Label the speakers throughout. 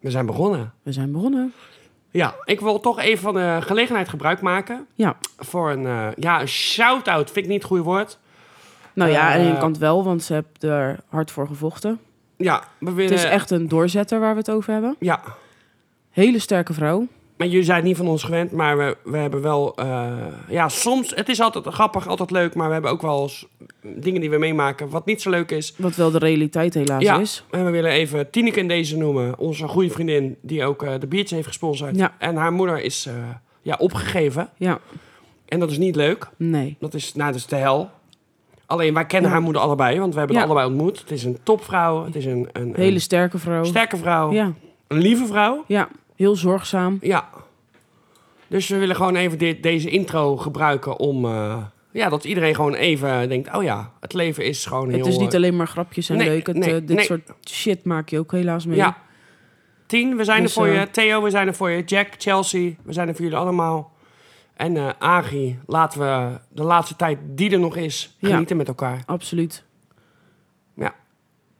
Speaker 1: We zijn begonnen.
Speaker 2: We zijn begonnen.
Speaker 1: Ja, ik wil toch even van de gelegenheid gebruik maken.
Speaker 2: Ja.
Speaker 1: Voor een, eh, ja, een shout-out vind ik niet het goede woord.
Speaker 2: Nou ja, aan de ene
Speaker 1: Eh,
Speaker 2: kant wel, want ze hebben er hard voor gevochten.
Speaker 1: Ja, we
Speaker 2: Het
Speaker 1: willen...
Speaker 2: is echt een doorzetter waar we het over hebben.
Speaker 1: Ja,
Speaker 2: Hele sterke vrouw.
Speaker 1: maar jullie zijn het niet van ons gewend, maar we, we hebben wel... eh, ja, soms, het is altijd grappig, altijd leuk, maar we hebben ook wel eens dingen die we meemaken wat niet zo leuk is.
Speaker 2: Wat wel de realiteit helaas
Speaker 1: Ja.
Speaker 2: is.
Speaker 1: En we willen even Tineke in deze noemen. Onze goede vriendin die ook eh, de biertje heeft gesponsord.
Speaker 2: Ja.
Speaker 1: En haar moeder is eh, ja, opgegeven.
Speaker 2: Ja,
Speaker 1: En dat is niet leuk.
Speaker 2: nee.
Speaker 1: Dat is, nou, dat is de hel. Alleen, wij kennen
Speaker 2: Ja.
Speaker 1: haar moeder allebei. Want we hebben haar
Speaker 2: Ja.
Speaker 1: allebei ontmoet. Het is een topvrouw. Het is een, een, een
Speaker 2: Hele sterke vrouw.
Speaker 1: sterke vrouw.
Speaker 2: Ja,
Speaker 1: Een lieve vrouw.
Speaker 2: ja. heel zorgzaam.
Speaker 1: Ja. Dus we willen gewoon even dit, deze intro gebruiken om... eh, ja, dat iedereen gewoon even denkt... Oh ja, het leven is gewoon heel...
Speaker 2: het is niet
Speaker 1: eh,
Speaker 2: alleen maar grapjes en
Speaker 1: Nee,
Speaker 2: leuk. Het,
Speaker 1: nee,
Speaker 2: eh, dit
Speaker 1: nee.
Speaker 2: soort shit maak je ook helaas mee.
Speaker 1: Ja. Tien, we zijn
Speaker 2: Dus,
Speaker 1: er voor
Speaker 2: eh,
Speaker 1: je. Theo, we zijn er voor je. Jack, Chelsea, we zijn er voor jullie allemaal. En eh Agi, laten we de laatste tijd die er nog is
Speaker 2: Ja.
Speaker 1: genieten met elkaar.
Speaker 2: Absoluut.
Speaker 1: Ja.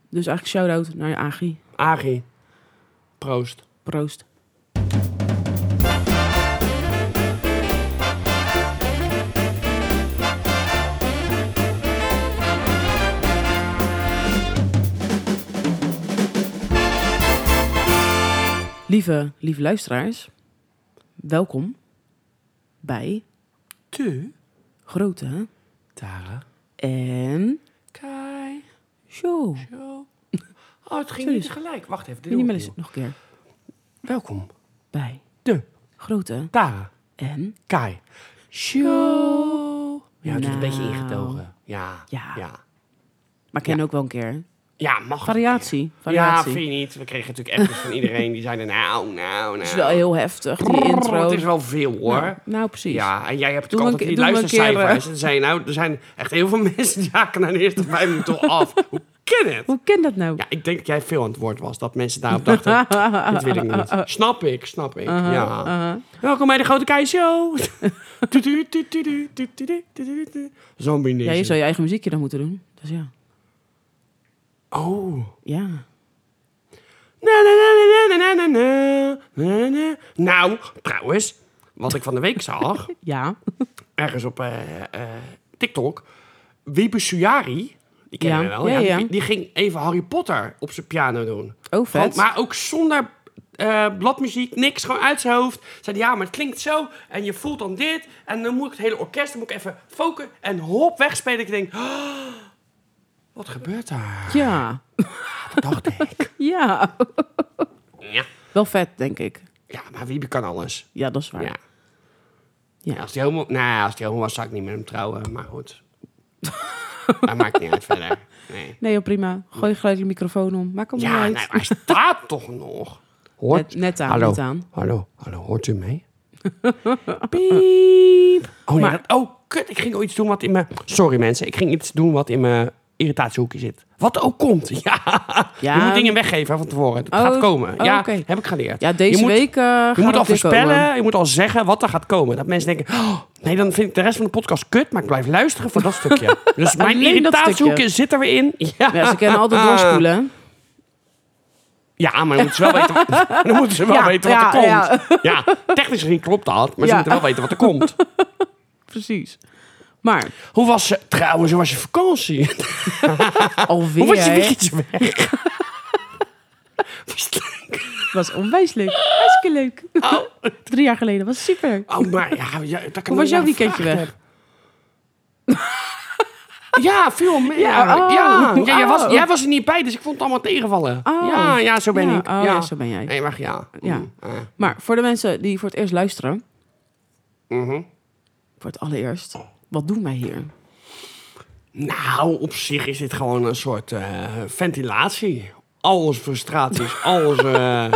Speaker 2: Dus eigenlijk shout-out naar je Agi.
Speaker 1: Agi, proost.
Speaker 2: Proost. Lieve, lieve luisteraars, welkom bij
Speaker 1: Tu,
Speaker 2: Grote
Speaker 1: Tara,
Speaker 2: en
Speaker 1: Kai,
Speaker 2: Show.
Speaker 1: Jo. Oh, het ging
Speaker 2: Sorry.
Speaker 1: niet tegelijk. Wacht even, dit doe ik
Speaker 2: Minimalist,
Speaker 1: opnieuw.
Speaker 2: nog een keer.
Speaker 1: Welkom.
Speaker 2: Bij
Speaker 1: De
Speaker 2: Grote
Speaker 1: Tara,
Speaker 2: en
Speaker 1: Kai, Show. Ja, het is een
Speaker 2: Nou.
Speaker 1: beetje ingetogen. Ja,
Speaker 2: Ja.
Speaker 1: ja.
Speaker 2: Maar ken ook wel een keer. hè?
Speaker 1: Ja, mag het.
Speaker 2: Variatie.
Speaker 1: Ja,
Speaker 2: variatie.
Speaker 1: vind je niet. We kregen natuurlijk appjes van iedereen. Die zeiden nou, nou, nou.
Speaker 2: Het is wel heel heftig, die intro.
Speaker 1: Het is wel veel hoor.
Speaker 2: Nou, nou, precies.
Speaker 1: Ja, en jij hebt
Speaker 2: Doe
Speaker 1: natuurlijk
Speaker 2: een
Speaker 1: altijd die
Speaker 2: keer- doe een keer,
Speaker 1: luistercijfers.
Speaker 2: eh.
Speaker 1: En zei je, nou, er zijn echt heel veel mensen die haken naar de eerste vijf minuten al af. Hoe kan het?
Speaker 2: Hoe kan dat nou?
Speaker 1: Ja, ik denk dat jij veel aan het woord was. Dat mensen daarop dachten, dit wil ik niet. Snap ik, snap ik.
Speaker 2: Uh-huh,
Speaker 1: ja. Welkom bij de Grote Kei Show. Tudu, tudu, tudu, tudu, tudu, tudu, tudu. Zombie
Speaker 2: Ja, je
Speaker 1: Nation.
Speaker 2: zou je eigen muziekje dan moeten doen. Dus ja.
Speaker 1: Oh.
Speaker 2: Ja.
Speaker 1: Na, na, na, na, na, na, na, na, na, na. Nou, trouwens, wat ik van de week zag...
Speaker 2: Ja.
Speaker 1: ergens op eh, eh, TikTok. Wiebe Suyari, die ken
Speaker 2: Ja,
Speaker 1: je wel,
Speaker 2: ja,
Speaker 1: ja,
Speaker 2: ja.
Speaker 1: Die, die ging even Harry Potter op zijn piano doen.
Speaker 2: Oh,
Speaker 1: Gewoon-
Speaker 2: vet.
Speaker 1: maar ook zonder eh, bladmuziek, niks, gewoon uit zijn hoofd. Zei hij, ja, maar het klinkt zo en je voelt dan dit. En dan moet ik het hele orkest, dan moet ik even focussen en hop wegspelen. Ik denk, "Ah, wat gebeurt daar?
Speaker 2: Ja.
Speaker 1: Dat dacht ik.
Speaker 2: Ja.
Speaker 1: Ja.
Speaker 2: Wel vet, denk ik.
Speaker 1: ja, maar Wiebe kan alles.
Speaker 2: Ja, dat is waar.
Speaker 1: Ja.
Speaker 2: Ja.
Speaker 1: Ja, Als die homo, nou, als die homo was, zou ik niet met hem trouwen, maar goed. dat maakt niet uit verder. Nee.
Speaker 2: Nee, joh, prima. Gooi gelijk de microfoon om. Maak hem niet
Speaker 1: Ja,
Speaker 2: uit.
Speaker 1: nee, maar hij staat toch nog? Hoort...
Speaker 2: Net- net aan,
Speaker 1: hallo,
Speaker 2: net aan.
Speaker 1: Hallo, hallo, hoort u mee? Piep. Oh,
Speaker 2: Maar-
Speaker 1: maar... oh, kut, ik ging ooit iets doen wat in mijn... Sorry mensen, ik ging iets doen wat in mijn irritatiehoekje zit. Wat ook komt, ja.
Speaker 2: Ja.
Speaker 1: Je moet dingen weggeven van tevoren. Het
Speaker 2: Oh,
Speaker 1: gaat komen.
Speaker 2: oh,
Speaker 1: ja,
Speaker 2: oké.
Speaker 1: heb ik geleerd.
Speaker 2: Ja, deze
Speaker 1: je moet,
Speaker 2: week eh gaat
Speaker 1: Je moet
Speaker 2: het
Speaker 1: al
Speaker 2: weer
Speaker 1: voorspellen,
Speaker 2: komen.
Speaker 1: je moet al zeggen wat er gaat komen. Dat mensen denken, "Oh, nee, dan vind ik de rest van de podcast kut, maar ik blijf luisteren voor dat stukje. Dus mijn
Speaker 2: Alleen dat
Speaker 1: irritatiehoekje zit er weer in. Ja, Ah.
Speaker 2: Ja, ze kunnen altijd doorspoelen. hè?
Speaker 1: Ja, maar dan moeten ze wel weten, dan moeten ze wel
Speaker 2: Ja,
Speaker 1: weten wat er
Speaker 2: ja,
Speaker 1: komt. Ja. technisch gezien klopt dat, maar
Speaker 2: Ja.
Speaker 1: ze moeten wel weten wat er komt.
Speaker 2: Precies. Maar
Speaker 1: Hoe was ze, trouwens, hoe was je vakantie?
Speaker 2: alweer,
Speaker 1: Ah, Hoe was je
Speaker 2: hè?
Speaker 1: weekendje weg?
Speaker 2: was onwijs leuk. Hartstikke leuk. Drie jaar geleden. Was super.
Speaker 1: oh, maar ja, ja dat kan
Speaker 2: Hoe was
Speaker 1: ik
Speaker 2: jouw
Speaker 1: nog
Speaker 2: weekendje
Speaker 1: gevraagd
Speaker 2: weg?
Speaker 1: hebben. Ja, veel meer.
Speaker 2: Ja,
Speaker 1: Ja,
Speaker 2: oh,
Speaker 1: ja, jij, was,
Speaker 2: oh.
Speaker 1: jij was er niet bij, dus ik vond het allemaal tegenvallen.
Speaker 2: Oh.
Speaker 1: Ja, ja, zo ben
Speaker 2: Ja,
Speaker 1: ik.
Speaker 2: oh, ja, zo ben jij.
Speaker 1: Nee, mag ja.
Speaker 2: Ja.
Speaker 1: Mm, eh,
Speaker 2: Maar voor de mensen die voor het eerst luisteren,
Speaker 1: mhm.
Speaker 2: voor het allereerst, wat doen wij hier?
Speaker 1: Nou, op zich is dit gewoon een soort eh, ventilatie. Al onze frustraties, al onze eh,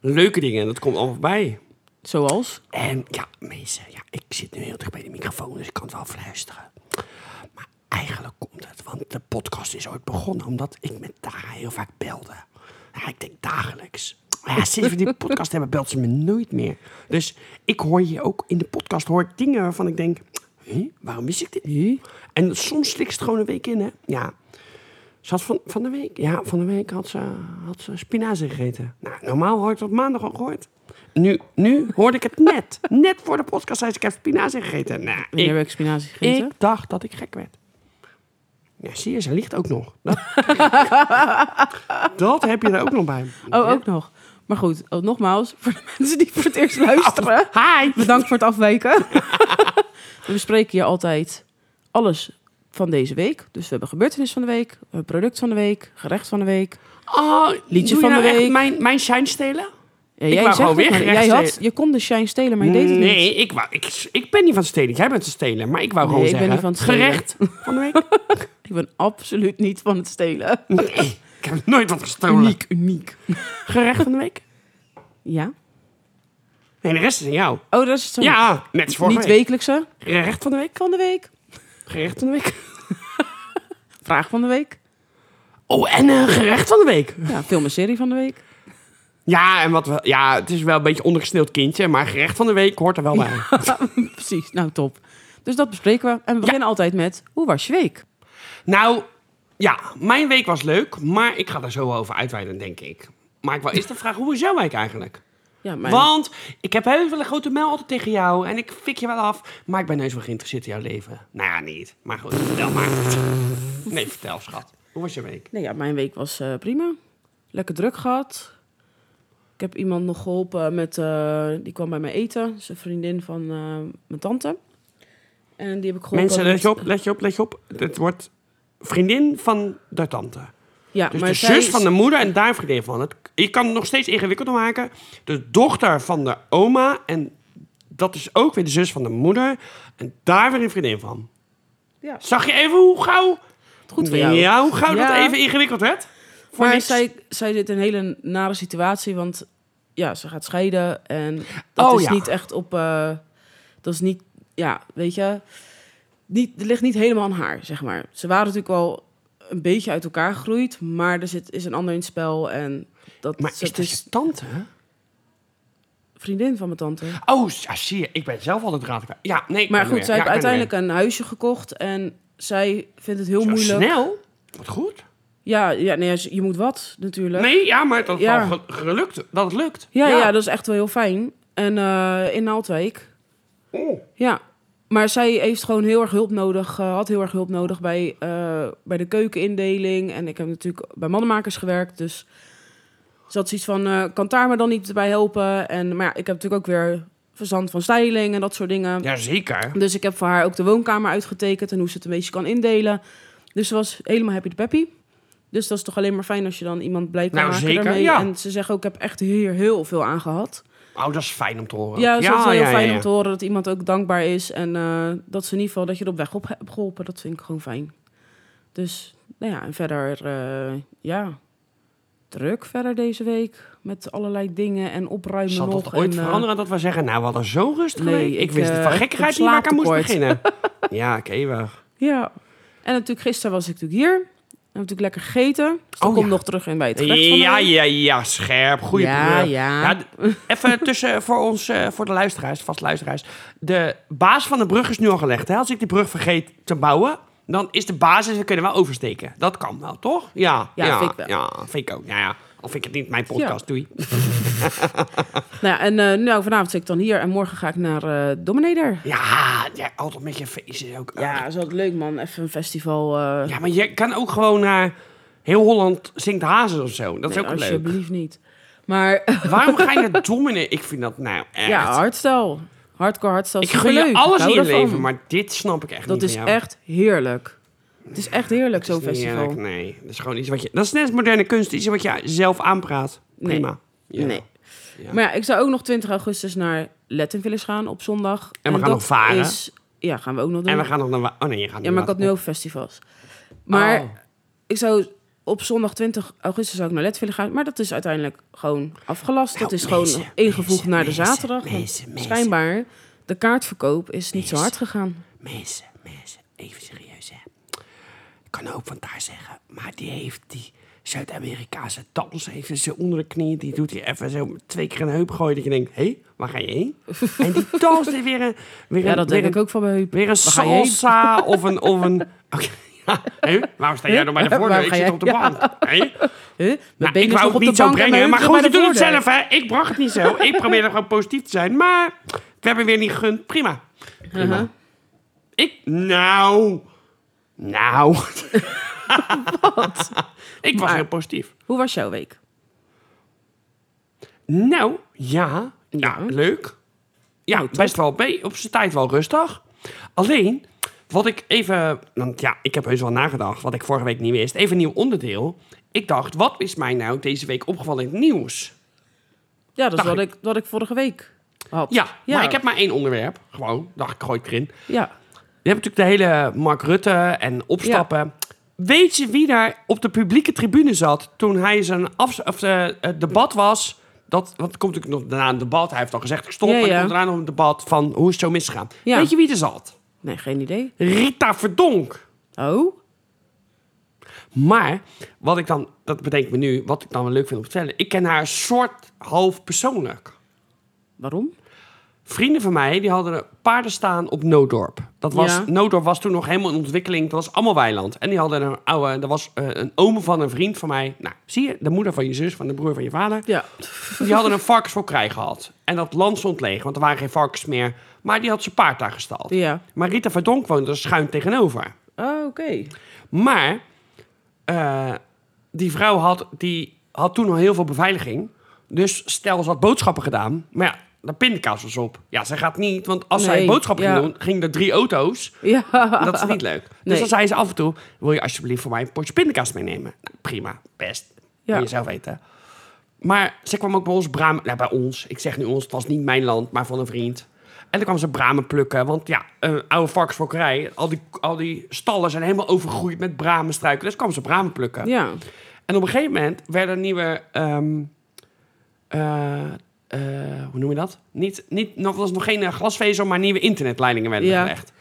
Speaker 1: leuke dingen, dat komt allemaal voorbij.
Speaker 2: Zoals?
Speaker 1: En ja, mensen, ja, ik zit nu heel dicht bij de microfoon, dus ik kan het wel fluisteren. Maar eigenlijk komt het, want de podcast is ooit begonnen omdat ik met Tara heel vaak belde. Ja, ik denk dagelijks. Maar ja, sinds we die podcast hebben, belt ze me nooit meer. Dus ik hoor je ook in de podcast hoor ik dingen waarvan ik denk, "Hé, waarom wist ik dit niet? En soms slikt het gewoon een week in, hè? Ja. Ze had van, van de week, ja, van de week had ze, had ze spinazie gegeten. Nou, normaal hoor ik dat maandag al gehoord. Nu, nu hoorde ik het net. Net voor de podcast zei ze, ik heb spinazie gegeten. Nou,
Speaker 2: Wanneer
Speaker 1: ik,
Speaker 2: heb ik spinazie gegeten?
Speaker 1: ik dacht dat ik gek werd. Ja, zie je, ze ligt ook nog. Dat, dat heb je er ook nog bij.
Speaker 2: Oh, ook nog. Maar goed, oh, nogmaals, voor de mensen die voor het eerst luisteren.
Speaker 1: Hi!
Speaker 2: Bedankt voor het afwijken. we bespreken hier altijd alles van deze week. Dus we hebben gebeurtenis van de week, een product van de week, gerecht van de week.
Speaker 1: Oh,
Speaker 2: Liedje
Speaker 1: doe je
Speaker 2: van
Speaker 1: nou
Speaker 2: de
Speaker 1: echt
Speaker 2: week.
Speaker 1: Mijn, mijn shine stelen?
Speaker 2: Ja,
Speaker 1: Ik wou gewoon
Speaker 2: het,
Speaker 1: weer
Speaker 2: maar
Speaker 1: gerecht
Speaker 2: jij had,
Speaker 1: stelen.
Speaker 2: Je kon de shine stelen, maar je deed het niet.
Speaker 1: nee, ik, wou, ik, ik ben niet van stelen. Jij bent van stelen. Maar ik wou
Speaker 2: Nee,
Speaker 1: gewoon
Speaker 2: ik ben
Speaker 1: zeggen.
Speaker 2: niet van het stelen.
Speaker 1: Gerecht van de week?
Speaker 2: Ik ben absoluut niet van het stelen.
Speaker 1: Nee, ik heb nooit wat gestolen.
Speaker 2: Uniek, uniek.
Speaker 1: Gerecht van de week?
Speaker 2: Ja?
Speaker 1: Nee, de rest is aan jou.
Speaker 2: Oh, dat is het zo.
Speaker 1: Ja, net als vorige
Speaker 2: niet
Speaker 1: week.
Speaker 2: wekelijkse.
Speaker 1: Gerecht van de week?
Speaker 2: Van de week.
Speaker 1: Gerecht van de week?
Speaker 2: Vraag van de week.
Speaker 1: Oh, en eh, gerecht van de week.
Speaker 2: Ja, film en serie van de week.
Speaker 1: Ja, en wat we, ja, het is wel een beetje ondergesneeuwd kindje, maar gerecht van de week hoort er wel bij.
Speaker 2: Precies, nou top. Dus dat bespreken we. En we beginnen altijd met, hoe was je week?
Speaker 1: nou, ja, mijn week was leuk, maar ik ga daar zo over uitweiden, denk ik. Maar ik wil eerst de vraag, hoe is jouw week eigenlijk?
Speaker 2: Ja, mijn...
Speaker 1: Want ik heb heel veel een grote mel altijd tegen jou en ik fik je wel af, maar ik ben heus wel geïnteresseerd in jouw leven. Nou ja, niet. Maar goed, vertel maar. Nee, vertel, schat. Hoe was je week?
Speaker 2: Nee, ja, mijn week was eh, prima. Lekker druk gehad. Ik heb iemand nog geholpen met... eh, die kwam bij mij eten. Dat is een vriendin van eh, mijn tante. En die heb ik geholpen
Speaker 1: Mensen,
Speaker 2: met-
Speaker 1: let je op, let je op, let je op. Het wordt vriendin van de tante.
Speaker 2: Ja,
Speaker 1: Dus
Speaker 2: maar
Speaker 1: de
Speaker 2: zij
Speaker 1: zus
Speaker 2: is-
Speaker 1: van de moeder en daar vriendin van. Het, je kan het nog steeds ingewikkelder maken. De dochter van de oma en dat is ook weer de zus van de moeder. En daar weer een vriendin van.
Speaker 2: Ja.
Speaker 1: Zag je even hoe gauw,
Speaker 2: Goed voor jou.
Speaker 1: Ja, hoe gauw dat
Speaker 2: Ja.
Speaker 1: even ingewikkeld werd? Voor
Speaker 2: Maar
Speaker 1: niks.
Speaker 2: zij, zij zit in een hele nare situatie, want ja, ze gaat scheiden en dat
Speaker 1: Oh,
Speaker 2: is
Speaker 1: ja.
Speaker 2: niet echt op... eh, dat is niet, ja, weet je... Niet, het ligt niet helemaal aan haar, zeg maar. Ze waren natuurlijk wel een beetje uit elkaar gegroeid, maar er zit, is een ander in het spel en... Dat,
Speaker 1: Maar
Speaker 2: ze-
Speaker 1: is
Speaker 2: het
Speaker 1: dat je tante?
Speaker 2: vriendin van mijn tante.
Speaker 1: Oh, ja, zie je. Ik ben zelf altijd raad. kwijt. Ja, nee. ik ben
Speaker 2: Maar
Speaker 1: er
Speaker 2: goed,
Speaker 1: weer.
Speaker 2: zij
Speaker 1: Ja,
Speaker 2: heeft
Speaker 1: ik ben er
Speaker 2: uiteindelijk een huisje gekocht en zij vindt het heel
Speaker 1: weer. Zo
Speaker 2: moeilijk.
Speaker 1: snel? Wat goed.
Speaker 2: Ja, ja nee, je moet wat natuurlijk.
Speaker 1: Nee, ja, maar dat het
Speaker 2: Ja.
Speaker 1: wel ge- gelukt. Dat het lukt.
Speaker 2: Ja, ja. dat is echt wel heel fijn. En eh, in Naaldwijk.
Speaker 1: Oh.
Speaker 2: Ja, maar zij heeft gewoon heel erg hulp nodig. eh, had heel erg hulp nodig bij, eh, bij de keukenindeling. En ik heb natuurlijk bij mannenmakers gewerkt. Dus ze had zoiets van, eh, kan daar me dan niet bij helpen? En, maar ja, ik heb natuurlijk ook weer verstand van styling en dat soort dingen.
Speaker 1: Ja, zeker.
Speaker 2: Dus ik heb voor haar ook de woonkamer uitgetekend en hoe ze het een beetje kan indelen. Dus ze was helemaal happy de peppy. Dus dat is toch alleen maar fijn als je dan iemand blij kan
Speaker 1: Nou,
Speaker 2: maken
Speaker 1: zeker,
Speaker 2: daarmee.
Speaker 1: ja.
Speaker 2: En ze zegt ook, ik heb echt hier heel veel aan gehad.
Speaker 1: Oh, dat is fijn om te horen.
Speaker 2: Ja, dus dat is wel heel
Speaker 1: ja,
Speaker 2: fijn
Speaker 1: ja.
Speaker 2: om te horen dat iemand ook dankbaar is. En eh, dat ze in ieder geval dat je er op weg op hebt geholpen. Dat vind ik gewoon fijn. Dus, nou ja, en verder, eh, ja, druk verder deze week. Met allerlei dingen en opruimen
Speaker 1: Zal
Speaker 2: nog.
Speaker 1: dat ooit
Speaker 2: en, eh,
Speaker 1: veranderen dat we zeggen, nou, we hadden zo rustig
Speaker 2: Nee,
Speaker 1: week. Ik,
Speaker 2: ik,
Speaker 1: wist
Speaker 2: eh,
Speaker 1: het van
Speaker 2: ik
Speaker 1: gekkigheid
Speaker 2: heb
Speaker 1: niet waar ik aan moest
Speaker 2: slaaptekort.
Speaker 1: beginnen. ja, oké, we-
Speaker 2: Ja. En natuurlijk, gisteren was ik natuurlijk hier. En heb ik natuurlijk lekker gegeten. Dus dat
Speaker 1: Oh,
Speaker 2: komt
Speaker 1: ja.
Speaker 2: nog terug in bij het gerecht van de
Speaker 1: Ja,
Speaker 2: week.
Speaker 1: ja, ja, scherp. Goeie
Speaker 2: Ja,
Speaker 1: brug.
Speaker 2: ja.
Speaker 1: d- even tussen voor ons, eh, voor de luisteraars, vast luisteraars. De baas van de brug is nu al gelegd. Hè? Als ik die brug vergeet te bouwen, dan is de basis, we kunnen wel oversteken. Dat kan wel, toch? Ja,
Speaker 2: Ja, vind ik wel.
Speaker 1: Ja, vind ik ook. Ja, ja. Of vind ik het niet, mijn podcast, doei.
Speaker 2: Nou ja, en eh, nou, vanavond zit ik dan hier. En morgen ga ik naar eh Dominator.
Speaker 1: Ja, ja, altijd met je feestjes ook.
Speaker 2: Ja, dat is altijd leuk, man. Even een festival. eh,
Speaker 1: Ja, maar je kan ook gewoon naar heel Holland zingt hazen of zo. Dat is
Speaker 2: nee,
Speaker 1: ook leuk.
Speaker 2: alsjeblieft niet. Maar
Speaker 1: Waarom ga je naar dominee? Ik vind dat nou echt...
Speaker 2: ja, hardstyle. Hardcore hardstyle
Speaker 1: ik
Speaker 2: is
Speaker 1: gun je
Speaker 2: superleuk. Ik
Speaker 1: alles in
Speaker 2: hou
Speaker 1: je
Speaker 2: daarvan.
Speaker 1: leven, maar dit snap ik echt
Speaker 2: Dat
Speaker 1: niet
Speaker 2: is
Speaker 1: van jou.
Speaker 2: echt heerlijk. Het is echt
Speaker 1: Dat
Speaker 2: heerlijk, zo'n
Speaker 1: is niet
Speaker 2: festival.
Speaker 1: eerlijk, nee, dat is gewoon iets wat je. Dat is net als moderne kunst, iets wat je zelf aanpraat. Prima. Ja.
Speaker 2: Nee.
Speaker 1: Ja.
Speaker 2: Maar ja, ik zou ook nog 20 augustus naar Latin Village gaan op zondag.
Speaker 1: we gaan
Speaker 2: dat
Speaker 1: nog varen.
Speaker 2: Is, ja, gaan we ook nog doen.
Speaker 1: En we gaan nog naar. wa- Oh nee, je gaat.
Speaker 2: Ja, maar ik had nu ook festivals. Maar
Speaker 1: Oh.
Speaker 2: ik zou op zondag 20 augustus zou ik naar Let willen gaan. Maar dat is uiteindelijk gewoon afgelast. dat is gewoon
Speaker 1: Nou, mensen,
Speaker 2: ingevoegd
Speaker 1: mensen,
Speaker 2: naar de
Speaker 1: mensen,
Speaker 2: zaterdag. want
Speaker 1: mensen, mensen.
Speaker 2: Schijnbaar, de kaartverkoop is niet zo
Speaker 1: Mensen.
Speaker 2: hard gegaan.
Speaker 1: Mensen, mensen, even serieus hè. Ik kan ook van daar zeggen, maar die heeft die Zuid-Amerikaanse dans even ze onder de knie. Die doet hij even zo twee keer een heup gooien. Dat je denkt, hé, waar ga je heen? en die danst weer een. Weer
Speaker 2: Ja,
Speaker 1: een-
Speaker 2: dat
Speaker 1: weer
Speaker 2: denk ik
Speaker 1: een-
Speaker 2: ook van mijn heup.
Speaker 1: Weer een
Speaker 2: Waar ga je heen?
Speaker 1: salsa of een. Of een Oké, Hé, waarom sta jij nog bij de
Speaker 2: Huh?
Speaker 1: voordeur?
Speaker 2: Waarom
Speaker 1: Ik
Speaker 2: ga
Speaker 1: zit
Speaker 2: jij-
Speaker 1: op de bank. Hé?
Speaker 2: Huh? Mijn
Speaker 1: Nou,
Speaker 2: been
Speaker 1: ik
Speaker 2: is
Speaker 1: wou
Speaker 2: nog
Speaker 1: het
Speaker 2: op
Speaker 1: niet
Speaker 2: de
Speaker 1: zo
Speaker 2: bank en mijn
Speaker 1: brengen, maar
Speaker 2: heupen
Speaker 1: goed, je
Speaker 2: bij de
Speaker 1: doet het
Speaker 2: voordeur.
Speaker 1: zelf, hè? Ik bracht het niet zo. Ik probeerde gewoon positief te zijn, maar we hebben weer niet gegund. Prima. Prima.
Speaker 2: Uh-huh.
Speaker 1: Ik, nou, nou. ik was
Speaker 2: Maar-
Speaker 1: heel positief.
Speaker 2: Hoe was jouw week?
Speaker 1: Nou, ja, ja, Nou,
Speaker 2: Ja.
Speaker 1: leuk. Ja, best wel be- op zijn tijd wel rustig. Alleen, wat ik even... Want ja, ik heb heus wel nagedacht, wat ik vorige week niet wist. Even een nieuw onderdeel. Ik dacht, wat is mij nou deze week opgevallen in het nieuws?
Speaker 2: Ja, dat is
Speaker 1: Dag.
Speaker 2: wat ik, wat ik vorige week had.
Speaker 1: Ja, maar ik heb maar één onderwerp. Gewoon, dacht ik, gooi ik erin.
Speaker 2: Ja.
Speaker 1: Je hebt natuurlijk de hele Mark Rutte en opstappen. Weet je wie daar op de publieke tribune zat toen hij zijn afs- of, eh, het debat was? Dat, want er komt natuurlijk nog daarna een debat. Hij heeft al gezegd, ik stop.
Speaker 2: Ja,
Speaker 1: En er
Speaker 2: ja.
Speaker 1: komt daarna nog een debat van hoe is het zo misgegaan.
Speaker 2: Ja.
Speaker 1: Weet je wie er zat?
Speaker 2: Nee, geen idee.
Speaker 1: Rita Verdonk.
Speaker 2: Oh?
Speaker 1: Maar, wat ik dan, dat bedenk ik me nu, wat ik dan wel leuk vind om te vertellen. Ik ken haar soort half persoonlijk.
Speaker 2: Waarom?
Speaker 1: Vrienden van mij, die hadden paarden staan op Noodorp. Dat was,
Speaker 2: Ja.
Speaker 1: Noodorp was toen nog helemaal in ontwikkeling. Dat was allemaal weiland. En die hadden een oude... Dat was eh, een oom van een vriend van mij. Nou, zie je? De moeder van je zus, van de broer van je vader.
Speaker 2: Ja.
Speaker 1: Die hadden een varkensfokkerij gehad. En dat land stond leeg, want er waren geen varkens meer. Maar die had zijn paard daar gestald.
Speaker 2: Ja.
Speaker 1: Maar Rita Verdonk woonde er schuin tegenover.
Speaker 2: Oh, oké.
Speaker 1: Maar eh, die vrouw had, die had toen al heel veel beveiliging. Dus stel, ze had boodschappen gedaan. Maar ja, daar pindakaas was op. Ja, ze gaat niet. Want als zij
Speaker 2: Nee,
Speaker 1: boodschappen
Speaker 2: ja.
Speaker 1: ging doen, gingen er drie auto's.
Speaker 2: Ja.
Speaker 1: En dat is niet leuk. Dus
Speaker 2: Nee.
Speaker 1: dan zei ze af en toe... wil je alsjeblieft voor mij een potje pindakaas meenemen? Nou, prima, best.
Speaker 2: Ja.
Speaker 1: Moet je zelf weten. Maar ze kwam ook bij ons bramen... Nou, bij ons. Ik zeg nu ons. Het was niet mijn land, maar van een vriend. En dan kwam ze bramen plukken. Want ja, een oude varkensfokkerij. Al die, al die stallen zijn helemaal overgroeid met bramenstruiken. Dus kwam ze bramen plukken.
Speaker 2: Ja.
Speaker 1: En op een gegeven moment werden nieuwe... ehm, eh, eh, hoe noem je dat? Niet, niet, nog was nog geen eh, glasvezel, maar nieuwe internetleidingen werden
Speaker 2: Ja.
Speaker 1: gelegd.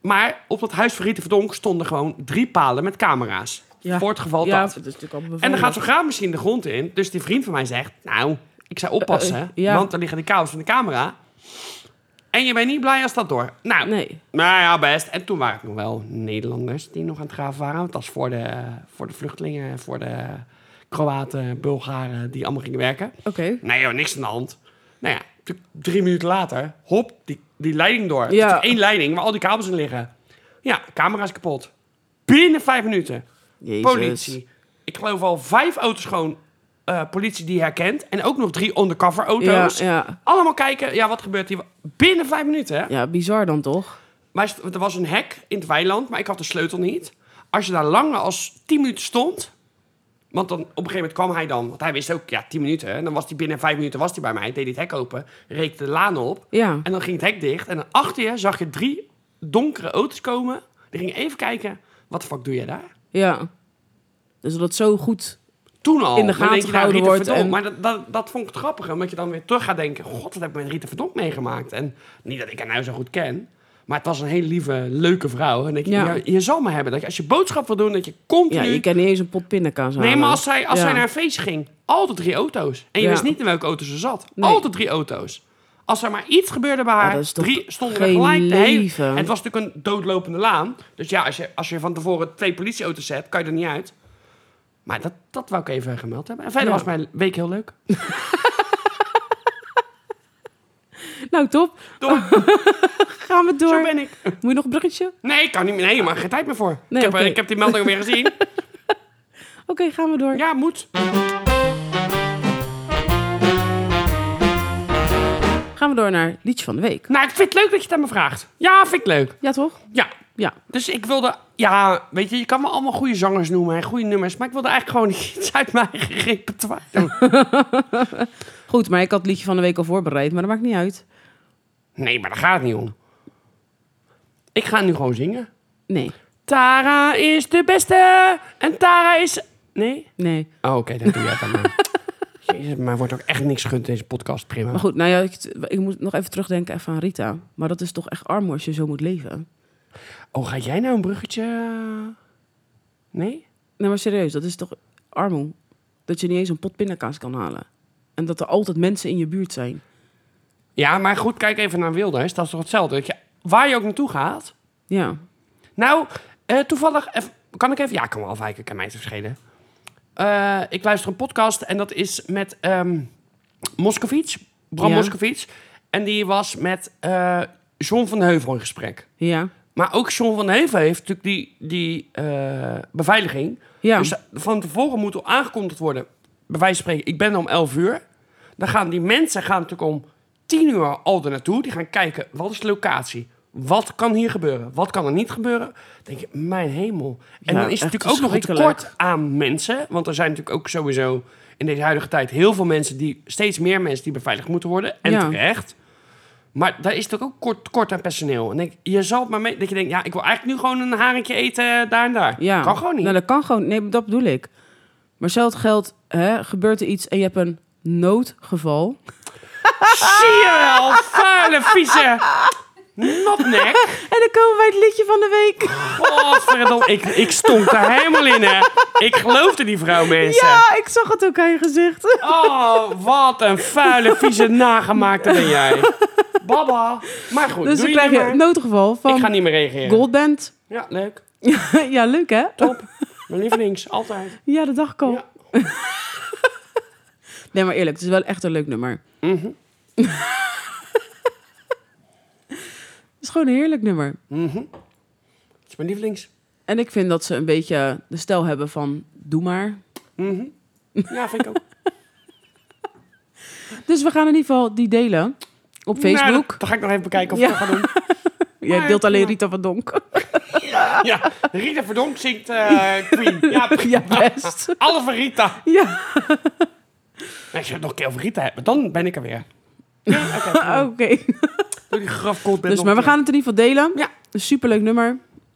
Speaker 1: Maar op dat huis van Rieten Verdonk stonden gewoon drie palen met camera's.
Speaker 2: ja.
Speaker 1: Voor het geval
Speaker 2: ja,
Speaker 1: dat.
Speaker 2: dat is natuurlijk allemaal
Speaker 1: En dan gaat
Speaker 2: beveiligd.
Speaker 1: zo'n graafmachine de grond in. Dus die vriend van mij zegt, nou, ik zou oppassen.
Speaker 2: Eh, eh, ja.
Speaker 1: Want er liggen de kabels van de camera. En je bent niet blij als dat door. Nou,
Speaker 2: Nee.
Speaker 1: nou ja, best. En toen waren het nog wel Nederlanders die nog aan het graven waren. Want dat is voor de, voor de vluchtelingen, voor de Kroaten, Bulgaren, die allemaal gingen werken.
Speaker 2: Oké.
Speaker 1: Nee joh, niks aan de hand. Nou ja, toen- drie minuten later, hop, die, die leiding door. Het
Speaker 2: Ja.
Speaker 1: is één leiding waar al die kabels in liggen. Ja, camera is kapot. Binnen vijf minuten.
Speaker 2: Jezus.
Speaker 1: Politie. Ik geloof al vijf auto's gewoon eh, politie die herkent. En ook nog drie undercover auto's.
Speaker 2: Ja, ja.
Speaker 1: Allemaal kijken, ja, wat gebeurt hier? Binnen vijf minuten, hè?
Speaker 2: Ja, bizar dan toch?
Speaker 1: Wij st- er was een hek in het weiland, maar ik had de sleutel niet. Als je daar langer als 10 minuten stond. Want dan, op een gegeven moment kwam hij dan. Want hij wist ook, ja, 10 minuten. En dan was hij binnen 5 minuten was hij bij mij. Deed hij het hek open, reed de laan op.
Speaker 2: Ja.
Speaker 1: En dan ging het hek dicht. En dan achter je zag je drie donkere auto's komen. Die gingen even kijken. Wat de fuck doe jij daar?
Speaker 2: Ja. Dus dat zo goed.
Speaker 1: Toen al.
Speaker 2: In de
Speaker 1: Dan denk
Speaker 2: gaten
Speaker 1: je, nou,
Speaker 2: gehouden
Speaker 1: Rita
Speaker 2: wordt
Speaker 1: Verdonk.
Speaker 2: en-
Speaker 1: Maar dat, dat, dat vond ik het grappig. Omdat je dan weer terug gaat denken. God, wat heb ik met Rita Verdonk meegemaakt. En niet dat ik haar nou zo goed ken. Maar het was een hele lieve, leuke vrouw. En dan denk je,
Speaker 2: Ja.
Speaker 1: ja, je zal maar hebben. Dat je, als je boodschap wil doen, dat je continu...
Speaker 2: Ja, je kan niet eens een pot pindakaas
Speaker 1: Nee,
Speaker 2: halen.
Speaker 1: maar als zij, als
Speaker 2: Ja.
Speaker 1: zij naar een feestje ging, altijd drie auto's. En je
Speaker 2: Ja.
Speaker 1: wist niet in welke auto ze zat.
Speaker 2: Nee.
Speaker 1: Altijd drie auto's. Als er maar iets gebeurde bij haar,
Speaker 2: dat is toch
Speaker 1: drie stonden er
Speaker 2: geen
Speaker 1: gelijk de hele...
Speaker 2: leven?
Speaker 1: En het was natuurlijk een doodlopende laan. Dus ja, als je, als je van tevoren twee politieauto's zet, kan je er niet uit. Maar dat, dat wou ik even gemeld hebben. En verder
Speaker 2: Ja.
Speaker 1: was mijn week heel leuk.
Speaker 2: Nou, top.
Speaker 1: Door,
Speaker 2: Gaan we
Speaker 1: zo
Speaker 2: door.
Speaker 1: ben ik.
Speaker 2: Moet je nog een bruggetje?
Speaker 1: Nee, ik kan niet meer. Nee, maar geen tijd meer voor.
Speaker 2: Nee,
Speaker 1: ik, heb, eh,
Speaker 2: oké.
Speaker 1: ik heb die melding weer gezien.
Speaker 2: Oké, gaan we door.
Speaker 1: Ja, moet.
Speaker 2: Gaan we door naar liedje van de week.
Speaker 1: Nou, ik vind het leuk dat je het aan me vraagt. Ja, vind ik leuk.
Speaker 2: Ja, toch?
Speaker 1: Ja,
Speaker 2: Ja.
Speaker 1: Dus ik wilde, ja, weet je, je kan me allemaal goede zangers noemen en goede nummers, maar ik wilde eigenlijk gewoon iets uit mijn eigen repertoire. doen.
Speaker 2: Goed, maar ik had het liedje van de week al voorbereid, maar dat maakt niet uit.
Speaker 1: Nee, maar daar gaat het niet om. Ik ga nu gewoon zingen.
Speaker 2: Nee,
Speaker 1: Tara is de beste en Tara is. Nee?
Speaker 2: nee.
Speaker 1: Oh, oké, dan doe jij dat maar. Jezus, maar wordt ook echt niks gegund in deze podcast, prima.
Speaker 2: Maar goed, nou ja, ik, ik moet nog even terugdenken even aan Rita. Maar dat is toch echt arm als je zo moet leven.
Speaker 1: Oh, ga jij nou een bruggetje? Nee?
Speaker 2: Nee, maar serieus, dat is toch armoe? Dat je niet eens een pot pindakaas kan halen. En dat er altijd mensen in je buurt zijn.
Speaker 1: Ja, maar goed, kijk even naar Wilders. Dat is toch hetzelfde? Dat je, waar je ook naartoe gaat,
Speaker 2: Ja.
Speaker 1: Nou, Eh, toevallig, eff- kan ik even? Ja, ik kan wel afwijken, kan mij het verschillen. Eh, ik luister een podcast en dat is met ehm Moskovits, Bram
Speaker 2: Ja.
Speaker 1: Moskovits. En die was met eh John van Heuvel in gesprek.
Speaker 2: Ja.
Speaker 1: Maar ook John van Heuvel heeft natuurlijk die, die eh, beveiliging.
Speaker 2: Ja.
Speaker 1: Dus van tevoren moet er aangekondigd worden. Bij wijze van spreken, ik ben er om 11 uur. Dan gaan die mensen gaan natuurlijk om 10 uur al er naartoe. Die gaan kijken, wat is de locatie? Wat kan hier gebeuren? Wat kan er niet gebeuren? Dan denk je, mijn hemel. En
Speaker 2: Ja,
Speaker 1: dan is
Speaker 2: echt
Speaker 1: het natuurlijk ook nog een
Speaker 2: verschrikkelijk.
Speaker 1: tekort aan mensen. Want er zijn natuurlijk ook sowieso in deze huidige tijd heel veel mensen die... Steeds meer mensen die beveiligd moeten worden. En
Speaker 2: Ja.
Speaker 1: terecht. Maar daar is natuurlijk ook kort, kort aan personeel. En denk, je zal het maar mee... Dat je denkt, ja, ik wil eigenlijk nu gewoon een harentje eten eh, daar en daar.
Speaker 2: ja.
Speaker 1: Kan gewoon niet.
Speaker 2: Nou, dat kan gewoon. Nee, dat bedoel ik. Maar zelfs geldt, hè, gebeurt er iets en je hebt een noodgeval.
Speaker 1: Ah! Zie je wel, vuile, vieze nopnek.
Speaker 2: En dan komen we bij het liedje van de week.
Speaker 1: Godverdomme, ik, ik stond er helemaal in, hè. Ik geloofde die vrouw, mensen.
Speaker 2: Ja, ik zag het ook aan je gezicht.
Speaker 1: eh, Oh, wat een vuile, vieze nagemaakte ben jij. Baba. Maar goed,
Speaker 2: Dus
Speaker 1: doe
Speaker 2: dan
Speaker 1: je
Speaker 2: krijg je
Speaker 1: maar.
Speaker 2: het noodgeval
Speaker 1: Ik ga
Speaker 2: van
Speaker 1: niet meer reageren.
Speaker 2: Goldband.
Speaker 1: Ja, leuk.
Speaker 2: ja, leuk hè?
Speaker 1: Top. Mijn lievelings, altijd.
Speaker 2: Ja, dat dacht ik al.
Speaker 1: Ja.
Speaker 2: nee, maar eerlijk, het is wel echt een leuk nummer.
Speaker 1: Mhm.
Speaker 2: Het is gewoon een heerlijk nummer.
Speaker 1: Mhm. Het is mijn lievelings.
Speaker 2: En ik vind dat ze een beetje de stijl hebben van doe maar.
Speaker 1: Mhm. Ja, vind ik ook.
Speaker 2: Dus we gaan in ieder geval die delen op
Speaker 1: Nou,
Speaker 2: Facebook.
Speaker 1: dan ga ik nog even bekijken of
Speaker 2: Ja.
Speaker 1: ik dat ga doen.
Speaker 2: Jij deelt alleen Rita van Donk.
Speaker 1: Ja, Rita Verdonk zingt eh, Queen. Ja,
Speaker 2: ja, best.
Speaker 1: alle van Rita.
Speaker 2: ja,
Speaker 1: Nee, als je het nog een keer over Rita hebt, dan ben ik er weer. Ja, oké.
Speaker 2: oké.
Speaker 1: Doe die grafkot bent
Speaker 2: Dus,
Speaker 1: nog
Speaker 2: maar we
Speaker 1: terug.
Speaker 2: gaan het in ieder geval delen.
Speaker 1: Ja.
Speaker 2: Een superleuk nummer.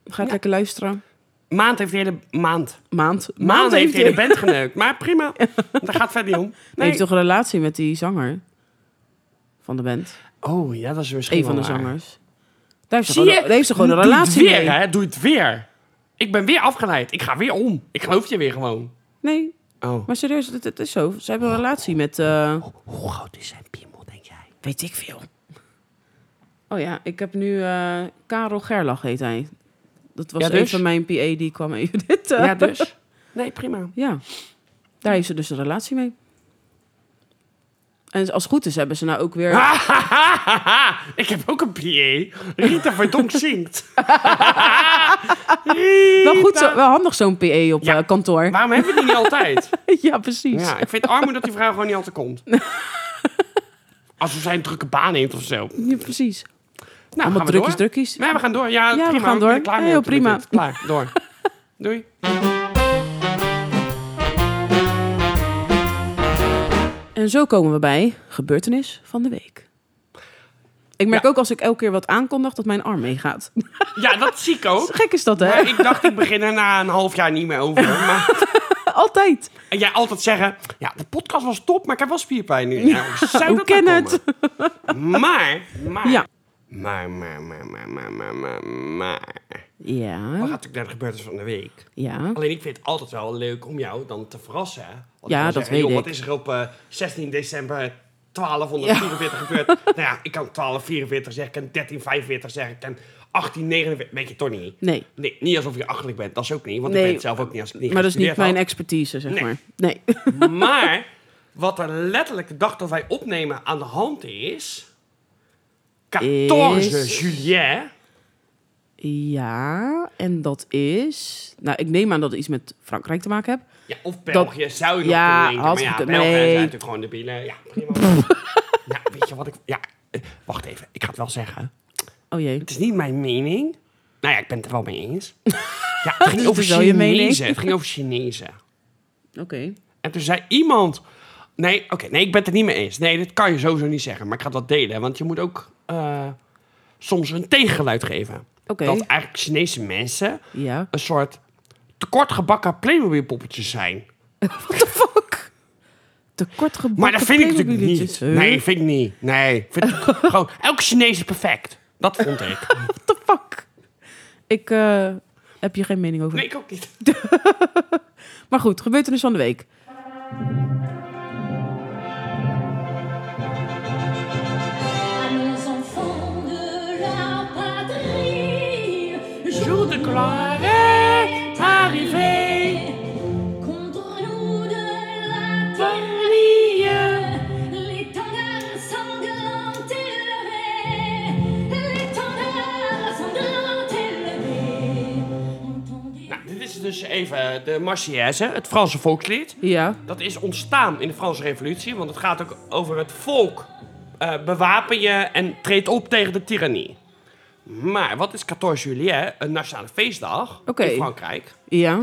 Speaker 2: Ga het
Speaker 1: Ja.
Speaker 2: lekker luisteren.
Speaker 1: Maand heeft de hele maand.
Speaker 2: Maand.
Speaker 1: Maand, heeft de hele
Speaker 2: hij-
Speaker 1: band geneukt. Maar prima, daar gaat verder niet om. Nee.
Speaker 2: heeft toch een relatie met die zanger van de band.
Speaker 1: Oh ja, dat is misschien
Speaker 2: Een van de
Speaker 1: wel waar.
Speaker 2: zangers. Daar heeft ze
Speaker 1: Zie
Speaker 2: gewoon,
Speaker 1: je?
Speaker 2: daar heeft ze gewoon een
Speaker 1: Doe het
Speaker 2: relatie
Speaker 1: weer,
Speaker 2: mee.
Speaker 1: hè? Doe het weer. Ik ben weer afgeleid. Ik ga weer om. Ik geloof je weer gewoon.
Speaker 2: Nee,
Speaker 1: Oh.
Speaker 2: maar serieus, het, het is zo. Ze hebben een relatie met... eh,
Speaker 1: Hoe groot is zijn piemel, denk jij?
Speaker 2: Weet ik veel. Oh ja, ik heb nu eh, Karel Gerlach heet hij. Dat was
Speaker 1: Ja,
Speaker 2: een
Speaker 1: dus?
Speaker 2: van mijn PA die kwam in dit. eh,
Speaker 1: Ja, dus? Nee, prima.
Speaker 2: ja. daar heeft ze dus een relatie mee. En als het goed is, hebben ze nou ook weer.
Speaker 1: Ah, ik heb ook een PA. Rita Verdonk zingt.
Speaker 2: wel goed, zo, wel handig zo'n PA op
Speaker 1: Ja.
Speaker 2: eh, kantoor.
Speaker 1: Waarom hebben we die niet altijd?
Speaker 2: ja, precies.
Speaker 1: Ja, ik vind armoe dat die vrouw gewoon niet altijd komt. Als ze zijn drukke baan heeft of zo. Nou,
Speaker 2: Ja, precies.
Speaker 1: gaan
Speaker 2: Allemaal
Speaker 1: we
Speaker 2: drukjes,
Speaker 1: door.
Speaker 2: drukjes.
Speaker 1: Nee, we gaan door. Ja,
Speaker 2: we
Speaker 1: prima.
Speaker 2: gaan
Speaker 1: ik
Speaker 2: door.
Speaker 1: ben er klaar mee
Speaker 2: Heel
Speaker 1: met dit.
Speaker 2: prima.
Speaker 1: Klaar, door. Doei.
Speaker 2: En zo komen we bij gebeurtenis van de week. Ik merk
Speaker 1: Ja.
Speaker 2: ook als ik elke keer wat aankondig dat mijn arm meegaat.
Speaker 1: Ja, dat zie ik ook.
Speaker 2: Gek is dat, hè?
Speaker 1: Maar ik dacht, ik begin er na een half jaar niet meer over. Maar
Speaker 2: Altijd.
Speaker 1: en jij altijd zeggen, ja, de podcast was top, maar ik heb wel spierpijn nu. Ja, hoe zou
Speaker 2: Hoe
Speaker 1: dat
Speaker 2: ken
Speaker 1: nou
Speaker 2: het?
Speaker 1: komen? Maar, maar,
Speaker 2: Ja.
Speaker 1: maar, maar, maar, maar, maar, maar, maar, maar. We gaan
Speaker 2: Ja.
Speaker 1: natuurlijk naar de gebeurtenissen van de week.
Speaker 2: Ja.
Speaker 1: Alleen ik vind het altijd wel leuk om jou dan te verrassen. hè? Want je
Speaker 2: Ja,
Speaker 1: kan
Speaker 2: dat
Speaker 1: zeggen,
Speaker 2: weet
Speaker 1: joh,
Speaker 2: ik.
Speaker 1: Wat is er op eh, 16 december 1244 gebeurd? Nou ja, ik kan 1244 zeggen, ik kan 1345 zeggen, ik kan 1849. Weet je toch niet?
Speaker 2: Nee.
Speaker 1: Nee, niet alsof je achterlijk bent. Dat is ook niet, want
Speaker 2: Nee,
Speaker 1: ik weet het zelf ook niet als ik niet
Speaker 2: Maar dat is niet mijn
Speaker 1: gestudeerd
Speaker 2: expertise, zeg
Speaker 1: Nee.
Speaker 2: maar. Nee.
Speaker 1: had. Maar wat er letterlijk de dag dat wij opnemen aan de hand is... 14
Speaker 2: Is-
Speaker 1: juillet.
Speaker 2: Ja, en dat is... Nou, ik neem aan dat het iets met Frankrijk te maken heeft.
Speaker 1: Ja, of België zou je nog
Speaker 2: Ja,
Speaker 1: kunnen denken. Maar ja,
Speaker 2: hartstikke-
Speaker 1: Belgen zijn
Speaker 2: nee.
Speaker 1: natuurlijk gewoon debielen. Ja, prima. ja, weet je wat ik... Ja, eh, wacht even. Ik ga het wel zeggen.
Speaker 2: Oh jee.
Speaker 1: Het is niet mijn mening. Nou ja, ik ben het er wel mee eens. ja, het ging
Speaker 2: is
Speaker 1: over
Speaker 2: dus wel je mening.
Speaker 1: Chinezen. Het ging over Chinezen.
Speaker 2: Oké.
Speaker 1: En toen zei iemand... Nee, oké, nee, ik ben het er niet mee eens. Nee, dat kan je sowieso niet zeggen. Maar ik ga dat delen, want je moet ook eh, soms een tegengeluid geven.
Speaker 2: Oké.
Speaker 1: Dat eigenlijk Chinese mensen
Speaker 2: Ja.
Speaker 1: een soort tekortgebakken Playmobil poppetjes zijn.
Speaker 2: What the fuck? Te kort gebakken
Speaker 1: Maar dat vind ik natuurlijk niet.
Speaker 2: Playmobilletjes. Huh?
Speaker 1: Nee, vind ik niet. Nee, vind ik gewoon... Elke Chinees is perfect. Dat vond ik.
Speaker 2: What the fuck? Ik eh, heb hier geen mening over.
Speaker 1: Nee, ik ook niet.
Speaker 2: Maar goed, gebeurtenis van de week.
Speaker 3: À nos enfants de la patrie, jour de gloire.
Speaker 1: Hey! Nou, dus even de Marseillaise, het Franse volkslied.
Speaker 2: Ja.
Speaker 1: Dat is ontstaan in de Franse Revolutie, want het gaat ook over het volk. eh, bewapen je en treed op tegen de tirannie. Maar wat is 14 juli, een nationale feestdag
Speaker 2: Oké.
Speaker 1: in Frankrijk?
Speaker 2: Ja.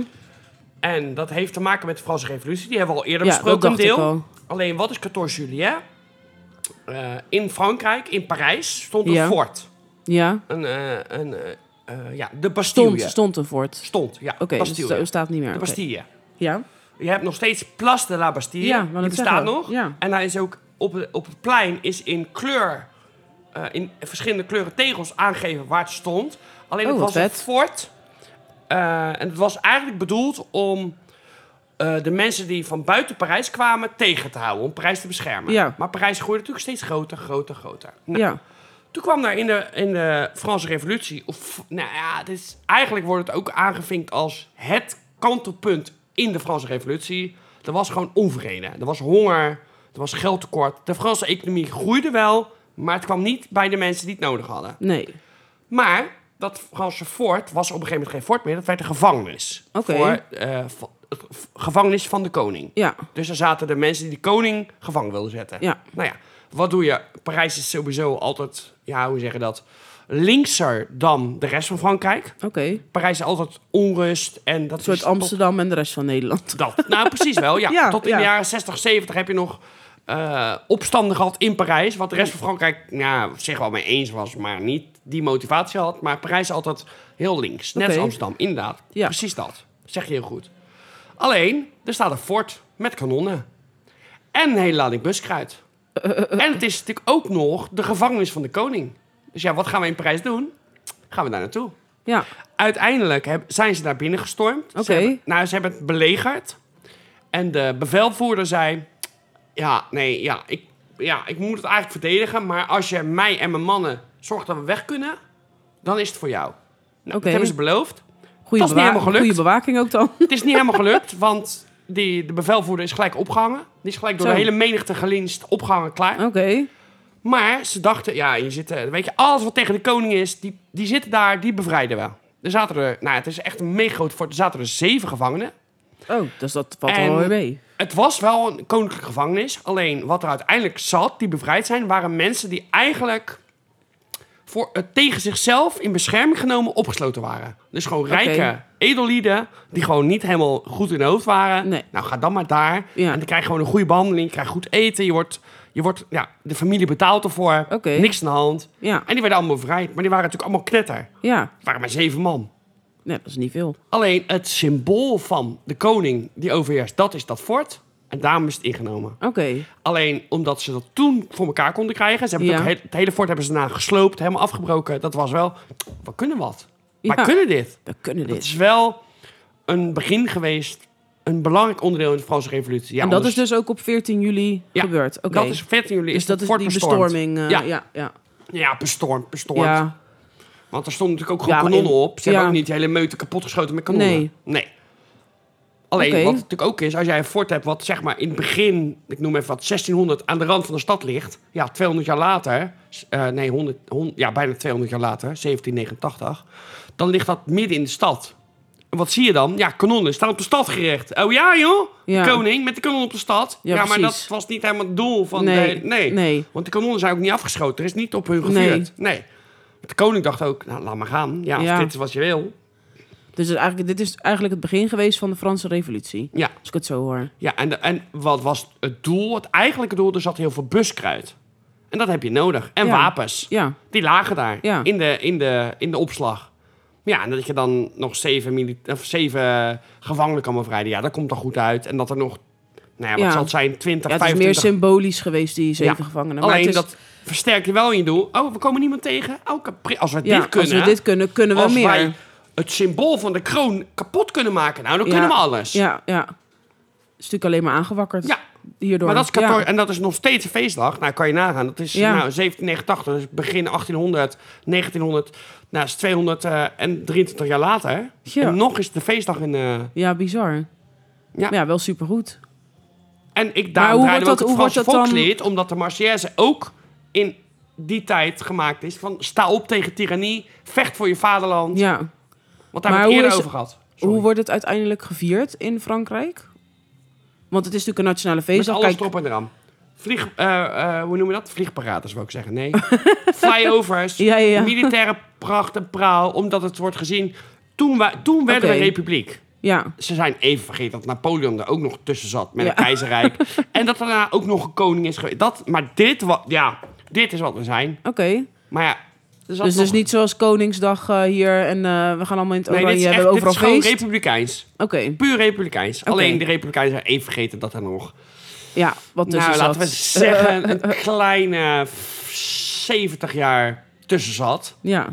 Speaker 1: En dat heeft te maken met de Franse Revolutie. Die hebben we al eerder
Speaker 2: Ja,
Speaker 1: besproken,
Speaker 2: dat
Speaker 1: een
Speaker 2: dacht
Speaker 1: deel.
Speaker 2: ik al.
Speaker 1: Alleen wat is 14 juli? Eh, in Frankrijk, in Parijs, stond een
Speaker 2: Ja.
Speaker 1: fort.
Speaker 2: Ja.
Speaker 1: Een, eh, een, eh, eh, ja, de Bastille.
Speaker 2: Stond, stond er voort.
Speaker 1: Stond, ja.
Speaker 2: Oké, dus
Speaker 1: Bastille.
Speaker 2: het staat niet meer.
Speaker 1: de
Speaker 2: oké.
Speaker 1: Bastille.
Speaker 2: Ja.
Speaker 1: Je hebt nog steeds Place de la Bastille.
Speaker 2: Ja, wou
Speaker 1: die
Speaker 2: net
Speaker 1: bestaat
Speaker 2: zeggen.
Speaker 1: nog.
Speaker 2: Ja.
Speaker 1: En daar is ook op, op het plein is in kleur, eh, in verschillende kleuren tegels aangegeven waar het stond. Alleen
Speaker 2: Oh,
Speaker 1: het was
Speaker 2: wat
Speaker 1: een
Speaker 2: vet.
Speaker 1: fort. Eh, en het was eigenlijk bedoeld om eh, de mensen die van buiten Parijs kwamen tegen te houden. Om Parijs te beschermen.
Speaker 2: Ja.
Speaker 1: Maar Parijs groeide natuurlijk steeds groter, groter, groter. Nou,
Speaker 2: Ja.
Speaker 1: toen kwam daar in de, in de Franse Revolutie. Of, nou ja, het is, eigenlijk wordt het ook aangevinkt als het kantelpunt in de Franse Revolutie. Er was gewoon onvrede. Er was honger. Er was geldtekort. De Franse economie groeide wel. Maar het kwam niet bij de mensen die het nodig hadden.
Speaker 2: Nee.
Speaker 1: Maar dat Franse fort was op een gegeven moment geen fort meer. Dat werd een gevangenis.
Speaker 2: Oké.
Speaker 1: Voor, eh, va- het v- gevangenis van de koning.
Speaker 2: Ja.
Speaker 1: Dus daar zaten de mensen die de koning gevangen wilden zetten.
Speaker 2: Ja.
Speaker 1: Nou ja, wat doe je? Parijs is sowieso altijd, ja, hoe zeggen dat? Linkser dan de rest van Frankrijk.
Speaker 2: Oké. Een
Speaker 1: Parijs is altijd onrust en dat
Speaker 2: soort
Speaker 1: is
Speaker 2: Amsterdam en de rest van Nederland.
Speaker 1: tot dat. Nou, precies wel. Ja.
Speaker 2: Ja,
Speaker 1: tot in de
Speaker 2: ja.
Speaker 1: jaren 60, 70 heb je nog eh, opstanden gehad in Parijs. Wat de rest van Frankrijk nou, zich wel mee eens was, maar niet die motivatie had. Maar Parijs is altijd heel links. Net
Speaker 2: Oké.
Speaker 1: als Amsterdam, inderdaad.
Speaker 2: Ja.
Speaker 1: Precies dat. Zeg je heel goed. Alleen, er staat een fort met kanonnen. En een hele lading buskruid. En het is natuurlijk ook nog de gevangenis van de koning. Dus ja, wat gaan we in Parijs doen? Gaan we daar naartoe.
Speaker 2: Ja.
Speaker 1: Nou, Uiteindelijk heb- zijn ze naar binnen gestormd. Ze
Speaker 2: Oké.
Speaker 1: hebben- nou, ze hebben het belegerd. En de bevelvoerder zei... Ja, nee, ja ik, ja, ik moet het eigenlijk verdedigen. Maar als je mij en mijn mannen zorgt dat we weg kunnen... dan is het voor jou. Nou, Dat
Speaker 2: Oké.
Speaker 1: hebben ze beloofd.
Speaker 2: Goede
Speaker 1: Dat is niet helemaal gelukt.
Speaker 2: Goede bewaking ook dan.
Speaker 1: Het is niet helemaal gelukt, want die, de bevelvoerder is gelijk opgehangen. Die is gelijk door
Speaker 2: Zo.
Speaker 1: de hele menigte gelinst, opgehangen, klaar.
Speaker 2: Oké.
Speaker 1: Maar ze dachten, ja, je zit, eh, weet je, alles wat tegen de koning is, die, die zitten daar, die bevrijden we. Er zaten er, nou, het is echt een mega groot fort. Er zaten er zeven gevangenen.
Speaker 2: Oh, dus dat valt
Speaker 1: En-
Speaker 2: wel weer mee.
Speaker 1: Het was wel een koninklijke gevangenis. Alleen wat er uiteindelijk zat, die bevrijd zijn, waren mensen die eigenlijk voor, eh, tegen zichzelf in bescherming genomen opgesloten waren. Dus gewoon rijke edellieden die gewoon niet helemaal goed in hun hoofd waren.
Speaker 2: Nee.
Speaker 1: Nou, ga dan maar daar.
Speaker 2: Ja.
Speaker 1: En dan krijg je gewoon een goede behandeling. Je krijgt goed eten. Je wordt, je wordt ja, de familie betaalt ervoor.
Speaker 2: Oké.
Speaker 1: Niks aan de hand.
Speaker 2: Ja.
Speaker 1: En die werden allemaal bevrijd. Maar die waren natuurlijk allemaal knetter.
Speaker 2: Ja.
Speaker 1: Het waren maar zeven man.
Speaker 2: Nee, dat is niet veel.
Speaker 1: Alleen het symbool van de koning die overheerst, dat is dat fort. En daarom is het ingenomen.
Speaker 2: Oké.
Speaker 1: Alleen omdat ze dat toen voor elkaar konden krijgen. Ze hebben
Speaker 2: Ja.
Speaker 1: het, ook heel- het hele fort hebben ze daarna gesloopt, helemaal afgebroken. Dat was wel, we kunnen wat. We
Speaker 2: Ja.
Speaker 1: kunnen dit.
Speaker 2: We kunnen
Speaker 1: Het
Speaker 2: dit.
Speaker 1: is wel een begin geweest, een belangrijk onderdeel in de Franse revolutie. Ja,
Speaker 2: en dat is
Speaker 1: anders-
Speaker 2: dus ook op 14 juli
Speaker 1: Ja,
Speaker 2: gebeurd. Oké.
Speaker 1: Dat is 14 juli.
Speaker 2: dus
Speaker 1: is het
Speaker 2: dat is
Speaker 1: fort
Speaker 2: die
Speaker 1: bestormd.
Speaker 2: bestorming. eh,
Speaker 1: ja. Ja.
Speaker 2: ja. Ja.
Speaker 1: bestormd, bestormd.
Speaker 2: ja.
Speaker 1: Want er stonden natuurlijk ook
Speaker 2: Ja,
Speaker 1: gewoon
Speaker 2: maar
Speaker 1: kanonnen
Speaker 2: in-
Speaker 1: op. Ze hebben
Speaker 2: ja.
Speaker 1: ook niet de hele meute kapotgeschoten met kanonnen.
Speaker 2: Nee.
Speaker 1: Alleen
Speaker 2: Oké.
Speaker 1: wat het natuurlijk ook is, als jij een fort hebt wat zeg maar in het begin, ik noem even wat, 1600 aan de rand van de stad ligt. Ja, 200 jaar later, s- eh, nee, 100, 100 ja, bijna 200 jaar later, 1789. Dan ligt dat midden in de stad. En wat zie je dan? Ja, kanonnen staan op de stad gericht. Oh ja joh,
Speaker 2: Ja.
Speaker 1: de koning met de kanon op de stad.
Speaker 2: Ja,
Speaker 1: Ja, maar
Speaker 2: precies.
Speaker 1: dat was niet helemaal het doel van...
Speaker 2: Nee,
Speaker 1: de- nee.
Speaker 2: nee.
Speaker 1: Want de kanonnen zijn ook niet afgeschoten. Er is niet op hun
Speaker 2: Nee.
Speaker 1: gevuurd. nee. De koning dacht ook, nou, laat maar gaan. Ja, als
Speaker 2: Ja.
Speaker 1: dit is wat je wil.
Speaker 2: Dus het eigenlijk, dit is eigenlijk het begin geweest van de Franse Revolutie.
Speaker 1: Ja,
Speaker 2: Als ik het zo hoor.
Speaker 1: ja en, de- en wat was het doel? Het eigenlijke doel, er zat heel veel buskruid. En dat heb je nodig. En
Speaker 2: Ja.
Speaker 1: wapens.
Speaker 2: Ja.
Speaker 1: Die lagen daar,
Speaker 2: Ja.
Speaker 1: in, de, in, de, in de opslag. Ja, en dat je dan nog zeven, mili- of zeven gevangenen kan bevrijden. Ja, dat komt dan goed uit. En dat er nog, nou ja, wat
Speaker 2: Ja.
Speaker 1: zal het zijn, 20,
Speaker 2: ja, het is
Speaker 1: 25...
Speaker 2: meer symbolisch geweest, die zeven
Speaker 1: Ja.
Speaker 2: gevangenen. Maar
Speaker 1: Alleen
Speaker 2: het is-
Speaker 1: dat versterkt je wel in je doel. Oh, we komen niemand tegen. Oh, kapri- als we
Speaker 2: ja,
Speaker 1: dit kunnen...
Speaker 2: als we dit kunnen, kunnen we
Speaker 1: als
Speaker 2: meer.
Speaker 1: wij het symbool van de kroon kapot kunnen maken, nou, dan
Speaker 2: Ja.
Speaker 1: kunnen we alles.
Speaker 2: Ja, ja. Het is natuurlijk alleen maar aangewakkerd
Speaker 1: Ja.
Speaker 2: hierdoor.
Speaker 1: Maar dat is
Speaker 2: Ja.
Speaker 1: 14 en dat is nog steeds een feestdag. Nou, kan je nagaan. Dat is
Speaker 2: Ja.
Speaker 1: nou, 1789, dus begin 1800, 1900, nou, dat is 223 jaar later.
Speaker 2: Ja.
Speaker 1: En nog is het de feestdag in. eh,
Speaker 2: Ja, bizar.
Speaker 1: Ja.
Speaker 2: Ja, ja wel supergoed.
Speaker 1: en ik daarom
Speaker 2: hoe
Speaker 1: draaide
Speaker 2: wordt
Speaker 1: ook het
Speaker 2: dat- hoe wordt
Speaker 1: Franse
Speaker 2: dat dan-
Speaker 1: volkslied, omdat de Marseillaise ook in die tijd gemaakt is van sta op tegen tirannie, vecht voor je vaderland.
Speaker 2: Ja.
Speaker 1: Want daar
Speaker 2: Maar
Speaker 1: hebben we het
Speaker 2: hoe
Speaker 1: eerder
Speaker 2: is-
Speaker 1: over gehad.
Speaker 2: Hoe wordt het uiteindelijk gevierd in Frankrijk? Want het is natuurlijk een nationale
Speaker 1: Met
Speaker 2: feestdag.
Speaker 1: alles
Speaker 2: Kijk,
Speaker 1: erop en eraan. Vlieg, eh, eh, hoe noem je dat? Vliegparades, wil ik zeggen. Nee. Flyovers.
Speaker 2: Ja, ja, ja.
Speaker 1: Militaire pracht en praal. Omdat het wordt gezien... Toen, wa- toen werden
Speaker 2: Oké.
Speaker 1: we republiek.
Speaker 2: ja,
Speaker 1: Ze zijn even vergeten dat Napoleon er ook nog tussen zat met
Speaker 2: Ja.
Speaker 1: een keizerrijk. en dat daarna ook nog een koning is geweest. Dat, maar dit, wa- ja, dit is wat we zijn.
Speaker 2: oké.
Speaker 1: Maar ja, er zat
Speaker 2: Dus het
Speaker 1: nog-
Speaker 2: is niet zoals Koningsdag eh, hier en eh, we gaan allemaal in het
Speaker 1: Nee,
Speaker 2: oranje,
Speaker 1: dit is, echt,
Speaker 2: hebben we
Speaker 1: dit
Speaker 2: overal
Speaker 1: is gewoon
Speaker 2: feest.
Speaker 1: republikeins.
Speaker 2: Oké,
Speaker 1: Puur republikeins.
Speaker 2: Oké.
Speaker 1: Alleen de republikeinen zijn even vergeten dat er nog...
Speaker 2: ja, wat dus tussen
Speaker 1: nou, laten we
Speaker 2: zat.
Speaker 1: zeggen een kleine 70 jaar tussen zat.
Speaker 2: Ja,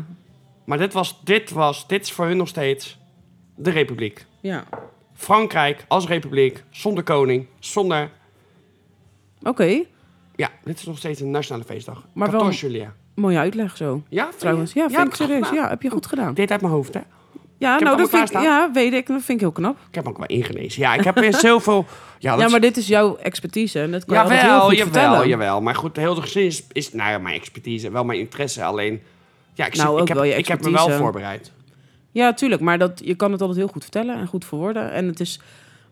Speaker 1: Maar dit, was, dit, was, dit is voor hun nog steeds de republiek.
Speaker 2: ja.
Speaker 1: Frankrijk als republiek, zonder koning, zonder...
Speaker 2: Oké,
Speaker 1: Ja, dit is nog steeds een nationale feestdag.
Speaker 2: Maar
Speaker 1: Maar
Speaker 2: wel-
Speaker 1: 14 julia.
Speaker 2: mooie uitleg zo.
Speaker 1: Ja, vind je?
Speaker 2: Trouwens, ja,
Speaker 1: heb
Speaker 2: vind
Speaker 1: ik
Speaker 2: ik
Speaker 1: goed
Speaker 2: serieus.
Speaker 1: gedaan.
Speaker 2: Ja, heb je goed gedaan.
Speaker 1: Dit uit mijn hoofd, hè?
Speaker 2: Ja,
Speaker 1: heb
Speaker 2: nou,
Speaker 1: het
Speaker 2: dat
Speaker 1: allemaal
Speaker 2: vind ik, ja, weet ik. Dat vind ik heel knap.
Speaker 1: Ik heb ook wel ingelezen. Ja, ik heb weer zoveel... Ja, dat
Speaker 2: Ja,
Speaker 1: is-
Speaker 2: maar dit is jouw expertise en dat kan je altijd heel
Speaker 1: Jawel,
Speaker 2: goed
Speaker 1: jawel,
Speaker 2: vertellen.
Speaker 1: jawel. Maar goed, de hele gezin is, is nou ja, mijn expertise, wel mijn interesse. Alleen, ja, ik, zit-
Speaker 2: Nou, ook
Speaker 1: ik, heb,
Speaker 2: wel je
Speaker 1: ik heb me wel
Speaker 2: expertise.
Speaker 1: voorbereid.
Speaker 2: Ja, tuurlijk. Maar dat, je kan het altijd heel goed vertellen en goed verwoorden. En het is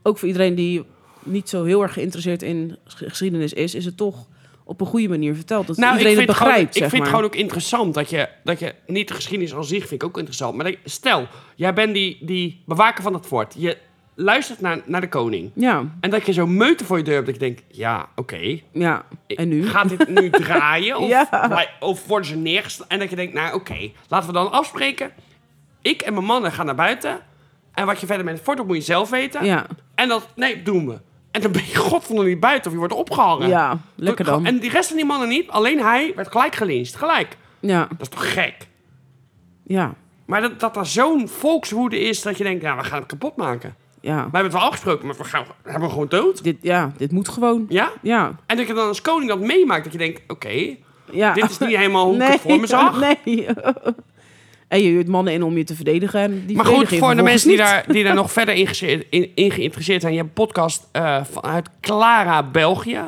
Speaker 2: ook voor iedereen die niet zo heel erg geïnteresseerd in ges- geschiedenis is, is het toch op een goede manier verteld. Dat
Speaker 1: Nou,
Speaker 2: iedereen
Speaker 1: ik vind,
Speaker 2: het begrijpt,
Speaker 1: gewoon, ik
Speaker 2: zeg
Speaker 1: vind
Speaker 2: maar.
Speaker 1: gewoon ook interessant dat je, dat je niet de geschiedenis als zich vind ik ook interessant. Maar dat- stel, jij bent die, die bewaker van dat fort. Je luistert naar, naar de koning.
Speaker 2: Ja,
Speaker 1: En dat je zo'n meute voor je deur hebt. Dat ik denk, ja, oké.
Speaker 2: ja. En nu?
Speaker 1: Gaat dit nu draaien? Of,
Speaker 2: Ja.
Speaker 1: of worden ze neergeslagen? En dat je denkt, nou oké, laten we dan afspreken. Ik en mijn mannen gaan naar buiten. En wat je verder met het fort doet, moet je zelf weten.
Speaker 2: Ja,
Speaker 1: En dat, nee, doen we. En dan ben je godverdomme niet buiten of je wordt opgehangen.
Speaker 2: ja. lekker dan.
Speaker 1: En die rest van die mannen niet. Alleen hij werd gelijk gelinst. Gelijk.
Speaker 2: Ja,
Speaker 1: Dat is toch gek?
Speaker 2: ja,
Speaker 1: Maar dat, dat er zo'n volkswoede is dat je denkt, nou, we gaan het kapot maken.
Speaker 2: ja.
Speaker 1: We hebben het wel afgesproken, maar we gaan hebben we gewoon dood.
Speaker 2: Dit, ja, dit moet gewoon.
Speaker 1: Ja?
Speaker 2: Ja,
Speaker 1: En dat je dan als koning dat meemaakt, dat je denkt, oké,
Speaker 2: ja.
Speaker 1: dit is niet helemaal hoe ik
Speaker 2: nee,
Speaker 1: het voor me zag.
Speaker 2: Nee. En je huurt mannen in om je te verdedigen. En die
Speaker 1: Maar goed,
Speaker 2: verdedigen je
Speaker 1: voor de
Speaker 2: vervolgens
Speaker 1: mensen die
Speaker 2: niet.
Speaker 1: daar, die daar nog verder in, gese- in, in geïnteresseerd zijn... je hebt een podcast eh, vanuit Clara, België...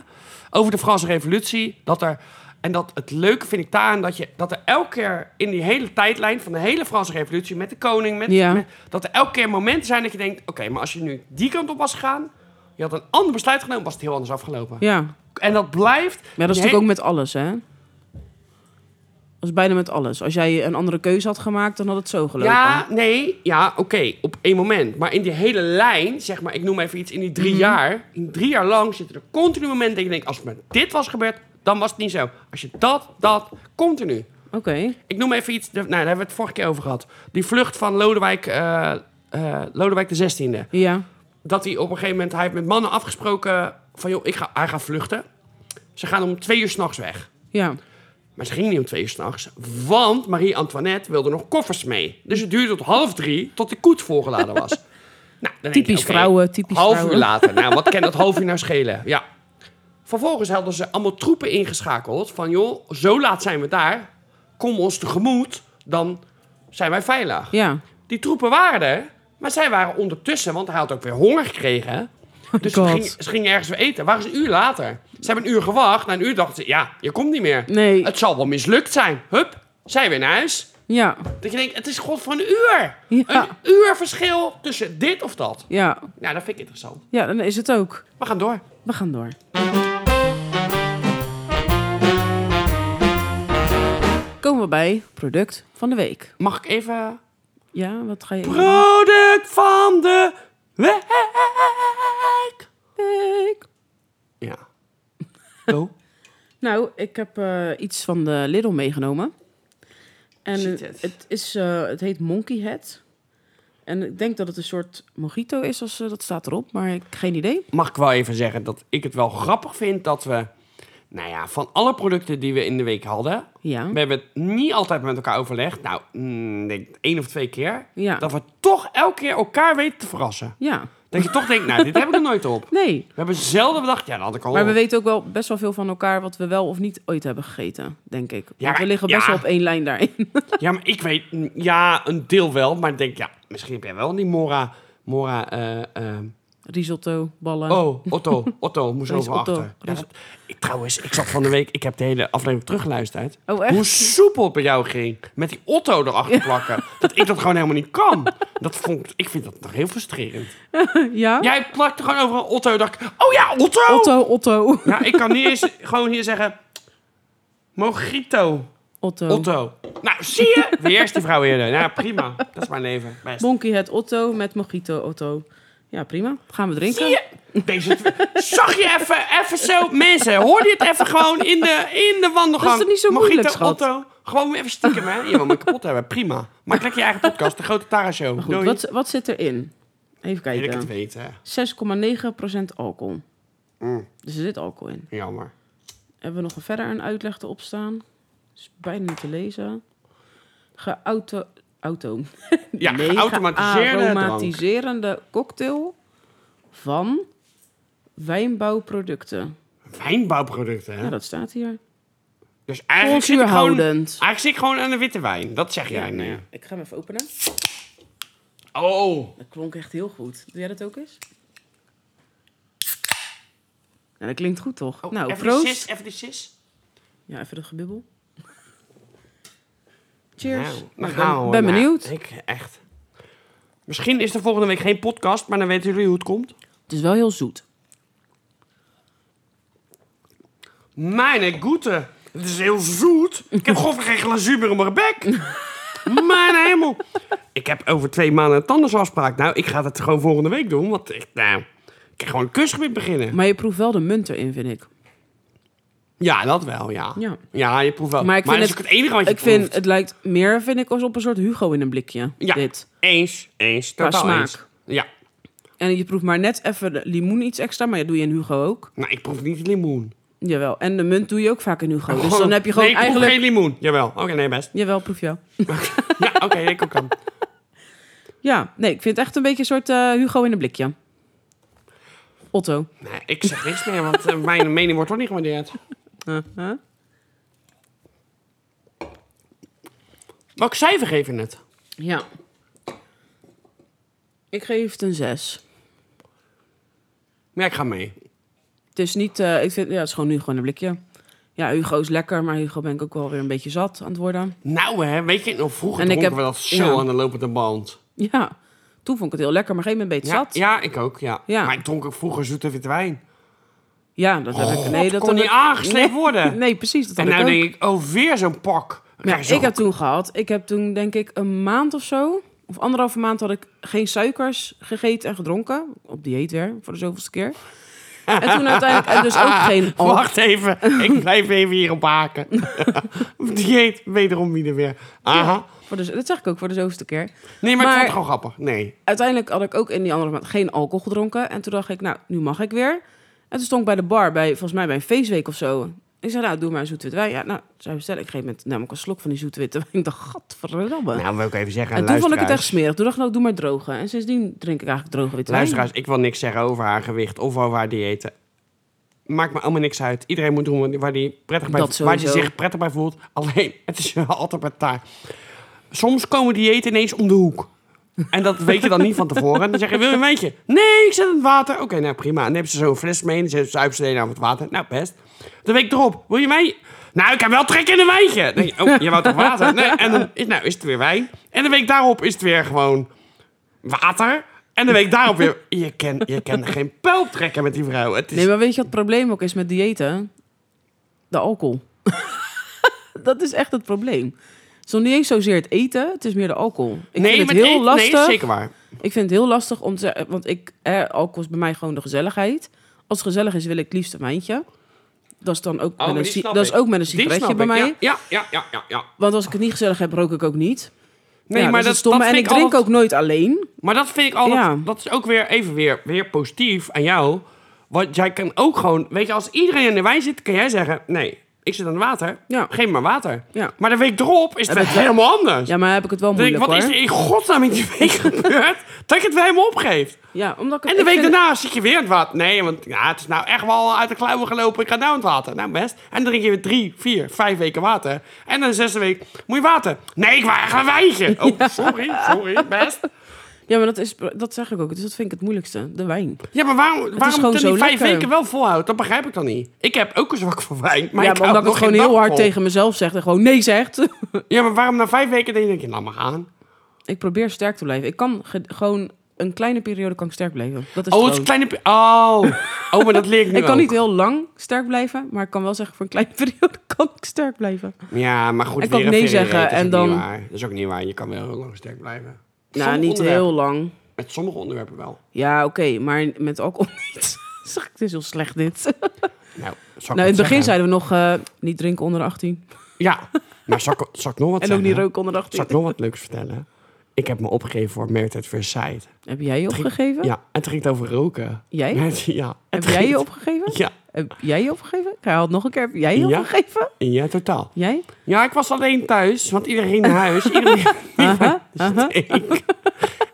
Speaker 1: over de Franse revolutie. Dat er, en dat het leuke vind ik daaraan... Dat, je, dat er elke keer in die hele tijdlijn... van de hele Franse revolutie met de koning... Met,
Speaker 2: Ja.
Speaker 1: met- dat er elke keer momenten zijn dat je denkt... oké, maar als je nu die kant op was gegaan... je had een ander besluit genomen... was het heel anders afgelopen.
Speaker 2: Ja,
Speaker 1: En dat blijft...
Speaker 2: Maar dat is
Speaker 1: die
Speaker 2: natuurlijk ook met alles, hè? Dat is bijna met alles. Als jij een andere keuze had gemaakt, dan had het zo gelopen.
Speaker 1: Ja, nee, ja, oké, op één moment. Maar in die hele lijn, zeg maar, ik noem even iets, in die drie jaar, in drie jaar lang zitten er continu momenten dat ik denk, als het met dit was gebeurd, dan was het niet zo. Als je dat, dat, continu.
Speaker 2: Oké.
Speaker 1: Ik noem even iets, de- nou, daar hebben we het vorige keer over gehad. Die vlucht van Lodewijk, eh, eh, Lodewijk de 16e.
Speaker 2: Ja.
Speaker 1: Dat hij op een gegeven moment, hij heeft met mannen afgesproken van, joh, ik ga, hij gaat vluchten. Ze gaan om twee uur s'nachts weg.
Speaker 2: Ja.
Speaker 1: Maar ze ging niet om twee uur s'nachts. Want Marie-Antoinette wilde nog koffers mee. Dus het duurde tot half drie tot de koets volgeladen was. Nou, dan denk je,
Speaker 2: Typisch
Speaker 1: oké,
Speaker 2: vrouwen, typisch
Speaker 1: half
Speaker 2: vrouwen.
Speaker 1: uur later. Nou, wat kan dat half uur nou schelen? Ja. Vervolgens hadden ze allemaal troepen ingeschakeld. Van joh, zo laat zijn we daar. Kom ons tegemoet, dan zijn wij veilig.
Speaker 2: Ja. Oh
Speaker 1: Die troepen waren er, maar zij waren ondertussen, want hij had ook weer honger gekregen. Dus ze
Speaker 2: God.
Speaker 1: gingen, ze gingen ergens weer eten. Waren ze een uur later? Ze hebben een uur gewacht. Na een uur dachten ze, ja, je komt niet meer.
Speaker 2: Nee.
Speaker 1: Het zal wel mislukt zijn. Hup, zij weer naar huis.
Speaker 2: Ja.
Speaker 1: Dat je denkt, het is god van een uur.
Speaker 2: Ja.
Speaker 1: Een uur verschil tussen dit of dat.
Speaker 2: Ja.
Speaker 1: Nou, dat vind ik interessant.
Speaker 2: Ja, dan is het ook.
Speaker 1: We gaan door.
Speaker 2: We gaan door. Komen we bij product van de week.
Speaker 1: Mag ik even...
Speaker 2: Ja, wat ga je...
Speaker 1: Product van de week.
Speaker 2: Week.
Speaker 1: Ja. Oh,
Speaker 2: Nou, ik heb eh, iets van de Lidl meegenomen. En
Speaker 1: Ziet
Speaker 2: het.
Speaker 1: het.
Speaker 2: is, eh, het heet Monkey Head. En ik denk dat het een soort mojito is, als, eh, dat staat erop, maar ik geen idee.
Speaker 1: mag ik wel even zeggen dat ik het wel grappig vind dat we... Nou ja, van alle producten die we in de week hadden...
Speaker 2: Ja.
Speaker 1: We hebben het niet altijd met elkaar overlegd. Nou, mm, ik denk één of twee keer.
Speaker 2: Ja.
Speaker 1: Dat we toch elke keer elkaar weten te verrassen.
Speaker 2: Ja.
Speaker 1: Dat je toch denkt, nou, dit heb ik er nooit op.
Speaker 2: Nee.
Speaker 1: We hebben zelden bedacht, ja, dat had ik al.
Speaker 2: Maar we weten ook wel best wel veel van elkaar wat we wel of niet ooit hebben gegeten, denk ik. Want
Speaker 1: maar-
Speaker 2: we liggen best
Speaker 1: ja.
Speaker 2: wel op één lijn daarin.
Speaker 1: Ja, maar ik weet, mm, ja, een deel wel. Maar ik denk, ja, misschien heb jij wel die Mora, Mora eh, eh,
Speaker 2: Risotto, ballen.
Speaker 1: Oh, Otto. Otto moest
Speaker 2: Er is
Speaker 1: over
Speaker 2: Otto.
Speaker 1: achter.
Speaker 2: Er is-
Speaker 1: Ja, dat- ik, trouwens, ik zat van de week... Ik heb de hele aflevering teruggeluisterd.
Speaker 2: Oh, echt?
Speaker 1: Hoe soepel het bij jou ging. Met die Otto erachter plakken. Dat ik dat gewoon helemaal niet kan. Dat vond, ik vind dat nog heel frustrerend.
Speaker 2: Ja?
Speaker 1: Jij plakte gewoon over een Otto. Dacht ik, oh ja, Otto!
Speaker 2: Oh. Otto, Otto.
Speaker 1: Nou, ik kan niet eens gewoon hier zeggen... Mojito.
Speaker 2: Otto.
Speaker 1: Otto. Nou, zie je? De eerste vrouw eerder. Nou, prima. Dat is mijn leven. Best.
Speaker 2: Bonkie het Otto met Mojito Otto. Ja, prima. Gaan we drinken.
Speaker 1: Zie je? Deze twee- Zag je even, even zo? Mensen, hoor je het even gewoon in de, in de wandelgang?
Speaker 2: Dat is toch niet zo
Speaker 1: Mojito,
Speaker 2: moeilijk, schat?
Speaker 1: Otto. Gewoon even stiekem, hè? Je wil me kapot hebben. Prima. Maak lekker je eigen podcast. De Grote Tara Show.
Speaker 2: Goed,
Speaker 1: Doei.
Speaker 2: wat, wat zit erin? Even
Speaker 1: Wil ik het
Speaker 2: kijken.
Speaker 1: weten.
Speaker 2: 6,9% alcohol.
Speaker 1: Mm.
Speaker 2: Dus er zit alcohol in.
Speaker 1: Jammer.
Speaker 2: Hebben we nog een verder een uitleg erop staan? Is bijna niet te lezen. Geauto... Auto.
Speaker 1: Ja,
Speaker 2: Nee,
Speaker 1: geautomatiseerde drank.
Speaker 2: gearomatiserende cocktail van wijnbouwproducten.
Speaker 1: Wijnbouwproducten, hè?
Speaker 2: Ja, dat staat hier.
Speaker 1: Dus eigenlijk zit, ik gewoon,
Speaker 2: Koolzuurhoudend.
Speaker 1: eigenlijk zit ik gewoon aan de witte wijn. Dat zeg jij nu.
Speaker 2: Ik ga hem even openen.
Speaker 1: Oh.
Speaker 2: Dat klonk echt heel goed. Doe jij dat ook eens? Nou, dat klinkt goed, toch?
Speaker 1: Oh,
Speaker 2: nou,
Speaker 1: even
Speaker 2: proost.
Speaker 1: Die sis, even die sis.
Speaker 2: Ja, even dat gebibbel. Cheers.
Speaker 1: Nou,
Speaker 2: Nou,
Speaker 1: dan
Speaker 2: ik
Speaker 1: gaan
Speaker 2: ben,
Speaker 1: we
Speaker 2: ben
Speaker 1: naar-
Speaker 2: benieuwd.
Speaker 1: Ik echt. Misschien is er volgende week geen podcast, maar dan weten jullie hoe het komt.
Speaker 2: Het is wel heel zoet.
Speaker 1: Mijn goede, het is heel zoet. Ik heb gewoon geen glazuur meer op mijn bek. Mijn hemel. Ik heb over twee maanden een tandartsafspraak. Nou, ik ga dat gewoon volgende week doen, want ik, nou, ik kan gewoon een kusgebied beginnen.
Speaker 2: Maar je proeft wel de munt erin, vind ik.
Speaker 1: Ja, dat wel, ja.
Speaker 2: Ja.
Speaker 1: je proeft wel.
Speaker 2: Maar ik
Speaker 1: dat
Speaker 2: vind
Speaker 1: is ook het enige wat je
Speaker 2: Ik vind,
Speaker 1: proeft.
Speaker 2: het lijkt meer, vind ik, als op een soort Hugo in een blikje.
Speaker 1: Ja,
Speaker 2: Dit.
Speaker 1: eens, eens,
Speaker 2: Qua
Speaker 1: totaal
Speaker 2: smaak.
Speaker 1: eens. Ja.
Speaker 2: En je proeft maar net even de limoen iets extra, maar dat doe je in Hugo ook.
Speaker 1: Nou, ik proef niet limoen. Oh.
Speaker 2: Jawel. En de munt doe je ook vaak in Hugo. Dus dan heb je gewoon
Speaker 1: nee, ik proef
Speaker 2: eigenlijk...
Speaker 1: geen limoen. Jawel. Oké, nee, best.
Speaker 2: Jawel, proef jou.
Speaker 1: Ja, oké, ik ook dan.
Speaker 2: Ja, nee, ik vind het echt een beetje een soort eh, Hugo in een blikje. Otto.
Speaker 1: Nee, ik zeg niks meer, want eh, mijn mening wordt toch niet gewaardeerd.
Speaker 2: Uh-huh.
Speaker 1: Welk cijfer geef je het?
Speaker 2: Ja. Ik geef het een 6.
Speaker 1: Ja, ik ga mee.
Speaker 2: Het is niet, eh, ik vind, ja, het is gewoon nu gewoon een blikje. Ja, Hugo is lekker, maar Hugo ben ik ook wel weer een beetje zat aan het worden.
Speaker 1: Nou hè, weet je nog, vroeger
Speaker 2: En ik
Speaker 1: dronken
Speaker 2: heb-
Speaker 1: we dat zo
Speaker 2: ja.
Speaker 1: aan de lopende band.
Speaker 2: Ja, toen vond ik het heel lekker, maar op een gegeven moment
Speaker 1: Ja,
Speaker 2: ben je
Speaker 1: Ja,
Speaker 2: het zat.
Speaker 1: ik ook, ja.
Speaker 2: Ja.
Speaker 1: Maar ik dronk ook vroeger zoete witte wijn.
Speaker 2: Ja, dat heb ik. Nee,
Speaker 1: Oh, God,
Speaker 2: dat
Speaker 1: kon
Speaker 2: heb
Speaker 1: niet
Speaker 2: ik-
Speaker 1: aangesleept worden.
Speaker 2: Nee, precies. Dat
Speaker 1: en
Speaker 2: had ik
Speaker 1: nou
Speaker 2: ook.
Speaker 1: denk ik, oh, weer zo'n pak.
Speaker 2: Maar
Speaker 1: Ga
Speaker 2: ja,
Speaker 1: je zo-
Speaker 2: ik heb toen gehad, ik heb toen denk ik een maand of zo, of anderhalve maand had ik geen suikers gegeten en gedronken. Op dieet weer, voor de zoveelste keer. En toen uiteindelijk, en dus ook geen al-
Speaker 1: Wacht even, ik blijf even hier op haken. Dieet, wederom ieder weer. Aha.
Speaker 2: voor de, dat zeg ik ook voor de zoveelste keer.
Speaker 1: Nee, maar, ik
Speaker 2: Maar-
Speaker 1: vond het gewoon grappig. Nee.
Speaker 2: Uiteindelijk had ik ook in die andere maand geen alcohol gedronken. En toen dacht ik, nou, nu mag ik weer. En toen stond ik bij de bar, bij, volgens mij bij een feestweek of zo. Ik zei, nou, doe maar een zoetwitte wijn. Ja, nou, zou bestellen. Ik geef met namelijk een slok van die zoetwitte wijn. Ik dacht, gadverdamme.
Speaker 1: Nou, wil ik even zeggen aan
Speaker 2: en toen vond ik het
Speaker 1: luisteraars.
Speaker 2: echt smerig. Toen dacht ik, nou, doe maar droge. En sindsdien drink ik eigenlijk droge witte wijn.
Speaker 1: Luisteraars, ik wil niks zeggen over haar gewicht of over haar diëten. Maakt me allemaal niks uit. Iedereen moet doen waar hij prettig bij,
Speaker 2: Dat
Speaker 1: waar die
Speaker 2: sowieso.
Speaker 1: zich prettig bij voelt. Alleen, het is wel altijd maar taar. Soms komen diëten ineens om de hoek. En dat weet je dan niet van tevoren. En dan zeg je, wil je een wijntje? Nee, ik zet het water. Oké, nou prima. En neem ze zo'n fles mee en ze zuipen ze aan het water. Nou, best. De week erop, wil je mij? Nou, ik heb wel trek in een wijntje. Nee, oh, je wou toch water? Nee, en dan is, nou, is het weer wijn. En de week daarop is het weer gewoon water. En de week daarop weer. Je kan, je kan geen pijl trekken met die vrouw. Het is,
Speaker 2: Nee, maar weet je wat het probleem ook is met diëten? De alcohol. dat is echt het probleem. Het is nog niet eens zozeer het eten, het is meer de alcohol. Ik
Speaker 1: nee,
Speaker 2: vind
Speaker 1: met
Speaker 2: het heel
Speaker 1: eten-
Speaker 2: lastig.
Speaker 1: Nee, zeker waar.
Speaker 2: Ik vind het heel lastig om te zeggen, want ik, eh, alcohol is bij mij gewoon de gezelligheid. Als het gezellig is, wil ik het liefst een wijntje. Dat is dan ook,
Speaker 1: maar
Speaker 2: met een,
Speaker 1: Oh, die
Speaker 2: si-
Speaker 1: snap
Speaker 2: dat is
Speaker 1: ik.
Speaker 2: ook met een
Speaker 1: Die snap
Speaker 2: sigaretje
Speaker 1: ik.
Speaker 2: bij mij.
Speaker 1: Ja, ja, ja, ja. ja, ja.
Speaker 2: Want als ik het niet gezellig heb, rook ik ook niet.
Speaker 1: Nee,
Speaker 2: Ja,
Speaker 1: maar
Speaker 2: is
Speaker 1: dat,
Speaker 2: het stomme.
Speaker 1: dat
Speaker 2: en
Speaker 1: vind
Speaker 2: ik drink
Speaker 1: altijd-
Speaker 2: ook nooit alleen.
Speaker 1: Maar dat vind ik altijd.
Speaker 2: Ja.
Speaker 1: Dat is ook weer even weer, weer positief aan jou. Want jij kan ook gewoon. Weet je, als iedereen in de wijn zit, kan jij zeggen: nee, ik zit aan het water.
Speaker 2: Ja.
Speaker 1: Geef me maar water.
Speaker 2: Ja,
Speaker 1: Maar de week erop is het
Speaker 2: Heb
Speaker 1: weer
Speaker 2: ik wel-
Speaker 1: helemaal anders.
Speaker 2: ja maar heb ik het wel
Speaker 1: Dan denk ik,
Speaker 2: moeilijk
Speaker 1: wat is
Speaker 2: hoor.
Speaker 1: er in godsnaam in die week gebeurd dat ik het weer helemaal opgeef?
Speaker 2: Ja, omdat ik het-
Speaker 1: En de
Speaker 2: ik
Speaker 1: week
Speaker 2: vind-
Speaker 1: daarna zit je weer in het water. Nee, want ja, het is nou echt wel uit de klauwen gelopen. Ik ga nou in het water. Nou, best. En dan drink je weer drie, vier, vijf weken water. En dan de zesde week moet je water. Nee, ik wou echt een wijntje. Oh, sorry, sorry, best.
Speaker 2: Ja, maar dat, is, dat zeg ik ook. Dus dat vind ik het moeilijkste. De wijn.
Speaker 1: Ja, maar waarom, waarom
Speaker 2: gewoon
Speaker 1: dan
Speaker 2: zo
Speaker 1: die vijf
Speaker 2: lekker.
Speaker 1: weken wel volhoudt? Dat begrijp ik dan niet. Ik heb ook een zwak voor wijn, maar
Speaker 2: ja,
Speaker 1: ik
Speaker 2: maar omdat ik
Speaker 1: hou
Speaker 2: het gewoon
Speaker 1: nog geen
Speaker 2: heel
Speaker 1: dag
Speaker 2: hard
Speaker 1: vol.
Speaker 2: tegen mezelf zeg. En gewoon nee zegt.
Speaker 1: Ja, maar waarom na vijf weken denk je, nou maar aan.
Speaker 2: ik probeer sterk te blijven. Ik kan ge- gewoon een kleine periode kan ik sterk blijven. Dat is
Speaker 1: Oh, het
Speaker 2: gewoon.
Speaker 1: is een kleine... pi- Oh. oh, maar dat leer ik nu
Speaker 2: ik kan
Speaker 1: ook.
Speaker 2: niet heel lang sterk blijven, maar ik kan wel zeggen voor een kleine periode kan ik sterk blijven.
Speaker 1: Ja, maar goed,
Speaker 2: Ik kan
Speaker 1: weer een
Speaker 2: nee
Speaker 1: verre
Speaker 2: zeggen
Speaker 1: reet is
Speaker 2: en
Speaker 1: ook
Speaker 2: dan-
Speaker 1: niet waar. Dat is ook niet waar. Je kan wel heel lang sterk blijven.
Speaker 2: Nou,
Speaker 1: Sommige
Speaker 2: niet
Speaker 1: onderwerpen-
Speaker 2: heel lang.
Speaker 1: Met sommige onderwerpen wel.
Speaker 2: Ja, oké, maar met alcohol niet. Zeg, het is heel slecht dit.
Speaker 1: Nou, zal ik
Speaker 2: nou, in het
Speaker 1: wat
Speaker 2: begin
Speaker 1: zeggen?
Speaker 2: zeiden we nog eh, niet drinken onder de 18.
Speaker 1: Ja, maar zal ik, zal ik nog wat
Speaker 2: En ook
Speaker 1: zeggen?
Speaker 2: niet roken onder de 18.
Speaker 1: Zal ik nog wat leuks vertellen? Ik heb me opgegeven voor Merit at First Sight.
Speaker 2: Heb jij je opgegeven?
Speaker 1: Ja, en het ging het over roken.
Speaker 2: Jij?
Speaker 1: Ja, het- Ja.
Speaker 2: Heb
Speaker 1: Het
Speaker 2: jij
Speaker 1: ging-
Speaker 2: je opgegeven?
Speaker 1: Ja,
Speaker 2: Heb jij je opgegeven? Ik haal het nog een keer. Heb jij je
Speaker 1: Ja.
Speaker 2: opgegeven?
Speaker 1: ja, totaal.
Speaker 2: Jij?
Speaker 1: Ja, ik was alleen thuis, want iedereen ging naar huis. Iedereen Steek.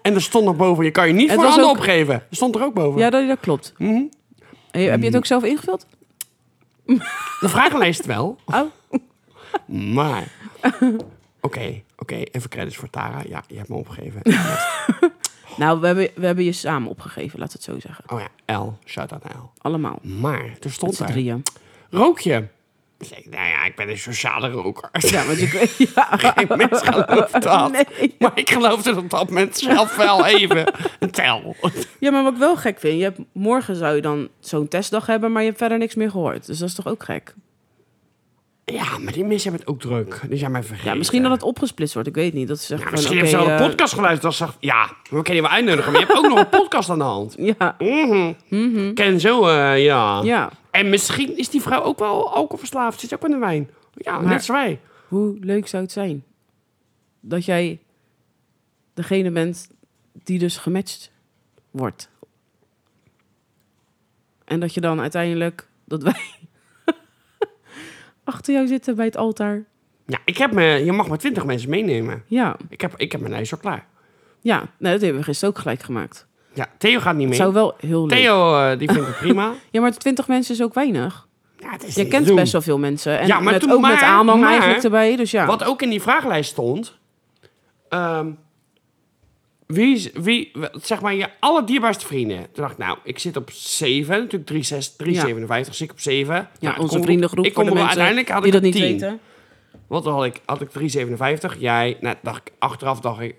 Speaker 1: En er stond nog boven, je kan je niet
Speaker 2: Het
Speaker 1: voor
Speaker 2: was
Speaker 1: handen
Speaker 2: ook-
Speaker 1: opgeven. Er stond er ook boven.
Speaker 2: Ja, dat, dat klopt.
Speaker 1: Mhm. Mm.
Speaker 2: En je- heb je het ook zelf ingevuld?
Speaker 1: De vragenlijst wel,
Speaker 2: Oh,
Speaker 1: maar... Oké, oké, even credits voor Tara. Ja, je hebt me opgegeven.
Speaker 2: nou, we hebben, we hebben je samen opgegeven, laat het zo zeggen.
Speaker 1: Oh ja, L, shout-out naar L.
Speaker 2: Allemaal.
Speaker 1: Maar, er
Speaker 2: Met
Speaker 1: stond
Speaker 2: z'n
Speaker 1: er,
Speaker 2: drieën.
Speaker 1: rook je? Ik zei, nou ja, ik ben een sociale roker.
Speaker 2: Ja, want je, ja.
Speaker 1: Geen mens gelooft dat.
Speaker 2: Nee.
Speaker 1: Maar ik geloofde dat op dat moment zelf wel even. Een tel.
Speaker 2: ja, maar wat ik wel gek vind, je hebt, morgen zou je dan zo'n testdag hebben, maar je hebt verder niks meer gehoord. Dus dat is toch ook gek?
Speaker 1: Ja, maar die mensen hebben het ook druk. Die zijn mij vergeten.
Speaker 2: Ja, misschien dat het opgesplitst wordt, ik weet niet. Dat is echt
Speaker 1: Ja,
Speaker 2: van,
Speaker 1: misschien
Speaker 2: oké,
Speaker 1: heeft ze al
Speaker 2: eh,
Speaker 1: een podcast geluisterd. Dat ze dacht, ja, we kunnen je wel uitnodigen. Maar je hebt ook nog een podcast aan de hand.
Speaker 2: eh, Ja,
Speaker 1: Mhm. Ken zo, eh, ja.
Speaker 2: ja.
Speaker 1: En misschien is die vrouw ook wel alcoholverslaafd. Zit ook aan de wijn. Ja,
Speaker 2: Maar-
Speaker 1: net als wij.
Speaker 2: Hoe leuk zou het zijn dat jij degene bent die dus gematcht wordt? En dat je dan uiteindelijk, dat wij achter jou zitten bij het altaar.
Speaker 1: Ja, ik heb me, je mag maar twintig mensen meenemen.
Speaker 2: Ja,
Speaker 1: Ik heb, ik heb mijn lijst al klaar.
Speaker 2: ja. Nee, dat hebben we gisteren ook gelijk gemaakt.
Speaker 1: Ja, Theo gaat niet
Speaker 2: Het
Speaker 1: mee.
Speaker 2: zou wel heel leuk
Speaker 1: Theo, eh, die vindt het prima.
Speaker 2: Ja, maar 20 mensen is ook weinig.
Speaker 1: Ja, het is
Speaker 2: Je
Speaker 1: niet
Speaker 2: kent
Speaker 1: te doen.
Speaker 2: best wel veel mensen. En
Speaker 1: Ja, maar
Speaker 2: met,
Speaker 1: toen
Speaker 2: ook met
Speaker 1: maar-
Speaker 2: aanhang
Speaker 1: maar-
Speaker 2: eigenlijk erbij. Dus ja,
Speaker 1: Wat ook in die vragenlijst stond. ehm, wie, is- wie, zeg maar, je allerdierbaarste vrienden. Toen dacht ik, nou, ik zit op 7, natuurlijk 3, 357, zit ik op 7.
Speaker 2: ja onze vriendengroep
Speaker 1: nou, Ik
Speaker 2: voor
Speaker 1: kom
Speaker 2: de
Speaker 1: er wel-
Speaker 2: mensen
Speaker 1: uiteindelijk had
Speaker 2: die
Speaker 1: ik
Speaker 2: dat niet
Speaker 1: 10.
Speaker 2: weten.
Speaker 1: Want dan had ik, had ik 357, jij, nou, dacht ik, achteraf dacht ik,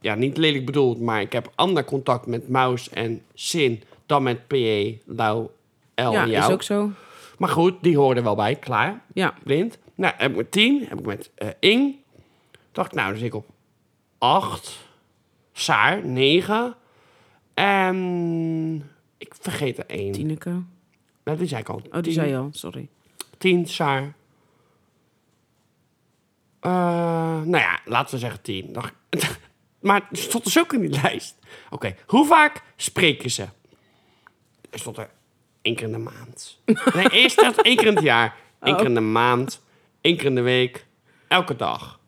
Speaker 1: ja, niet lelijk bedoeld, maar ik heb ander contact met Maus en Sin dan met PE, Lau, L
Speaker 2: Ja,
Speaker 1: en jou.
Speaker 2: is ook zo.
Speaker 1: Maar goed, die hoorden er wel bij, klaar.
Speaker 2: Ja,
Speaker 1: blind. Nou, heb ik met 10, heb ik met eh, Ing. Dacht, nou, dan zit ik op 8. Saar, 9. En ik vergeet er één.
Speaker 2: Tineke.
Speaker 1: Nou, die zei ik al.
Speaker 2: Oh, die zei je al, sorry.
Speaker 1: 10, Saar. Eh, nou ja, laten we zeggen 10. Dacht, maar er stond dus ook in die lijst. Oké, hoe vaak spreken ze? Er stond er één keer in de maand. Nee, eerst dat één keer in het jaar. Eén keer in de maand. Één keer in de week. Elke dag.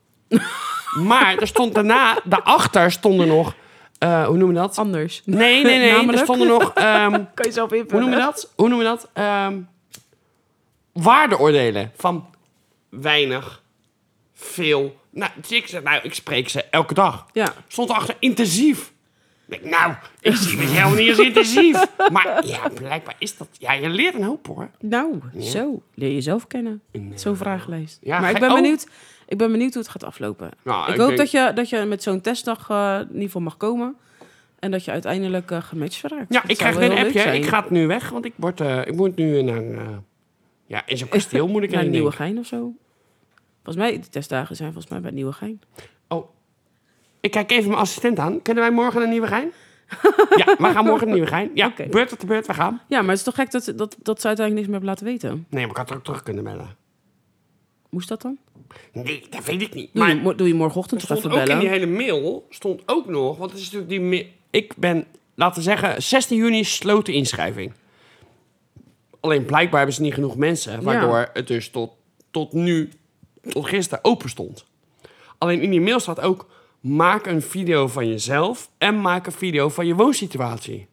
Speaker 1: Maar er stond daarna, daarachter stonden nog... eh, hoe noem je dat?
Speaker 2: Anders.
Speaker 1: Nee, nee, nee. Er
Speaker 2: Namelijk?
Speaker 1: stonden nog... ehm,
Speaker 2: Kan je zelf
Speaker 1: hoe
Speaker 2: invullen.
Speaker 1: noem je dat? Hoe noem je dat? Ehm, waardeoordelen van weinig, veel. Nou, dus ik, zeg, nou, ik spreek ze elke dag.
Speaker 2: Ja.
Speaker 1: Stond erachter intensief. Ik denk, nou, ik zie mezelf niet als intensief. Maar ja, blijkbaar is dat... Ja, je leert een hoop hoor.
Speaker 2: Nou, zo. Leer jezelf kennen. Zo'n vragenlijst.
Speaker 1: Ja,
Speaker 2: maar ik
Speaker 1: ga-
Speaker 2: ben,
Speaker 1: oh.
Speaker 2: benieuwd, ik ben benieuwd hoe het gaat aflopen.
Speaker 1: Nou,
Speaker 2: ik,
Speaker 1: ik
Speaker 2: hoop
Speaker 1: denk-
Speaker 2: dat, je, dat je met zo'n testdag eh, in ieder geval mag komen. En dat je uiteindelijk eh, gematcht raakt.
Speaker 1: Ja,
Speaker 2: Dat
Speaker 1: ik
Speaker 2: zou
Speaker 1: krijg
Speaker 2: wel
Speaker 1: weer een
Speaker 2: heel leuk
Speaker 1: appje.
Speaker 2: zijn.
Speaker 1: Ik ga het nu weg, want ik, word, eh, ik moet nu naar... een, eh, ja, in zo'n kasteel moet ik
Speaker 2: Naar
Speaker 1: heen. denk ik.
Speaker 2: Nieuwegein of zo. Volgens mij, die testdagen zijn volgens mij bij Nieuwegein.
Speaker 1: Oh, ik kijk even mijn assistent aan. Kunnen wij morgen naar Nieuwegein? ja, we gaan morgen naar Nieuwegein. Ja,
Speaker 2: Oké.
Speaker 1: beurt tot de beurt, we gaan.
Speaker 2: Ja, maar het is toch gek dat, dat, dat ze uiteindelijk niks meer hebben laten weten.
Speaker 1: Nee, maar ik had er ook terug kunnen bellen.
Speaker 2: Moest dat dan?
Speaker 1: Nee, dat weet ik niet.
Speaker 2: Doe, je,
Speaker 1: Maar
Speaker 2: mo- doe je morgenochtend toch
Speaker 1: stond
Speaker 2: even
Speaker 1: ook in die
Speaker 2: bellen?
Speaker 1: hele mail, stond ook nog, want het is natuurlijk die ma- Ik ben, laten we zeggen, 16 juni sloot de inschrijving. Alleen blijkbaar hebben ze niet genoeg mensen, waardoor het dus tot, tot nu, tot gisteren open stond. Alleen in die mail staat ook, maak een video van jezelf en maak een video van je woonsituatie.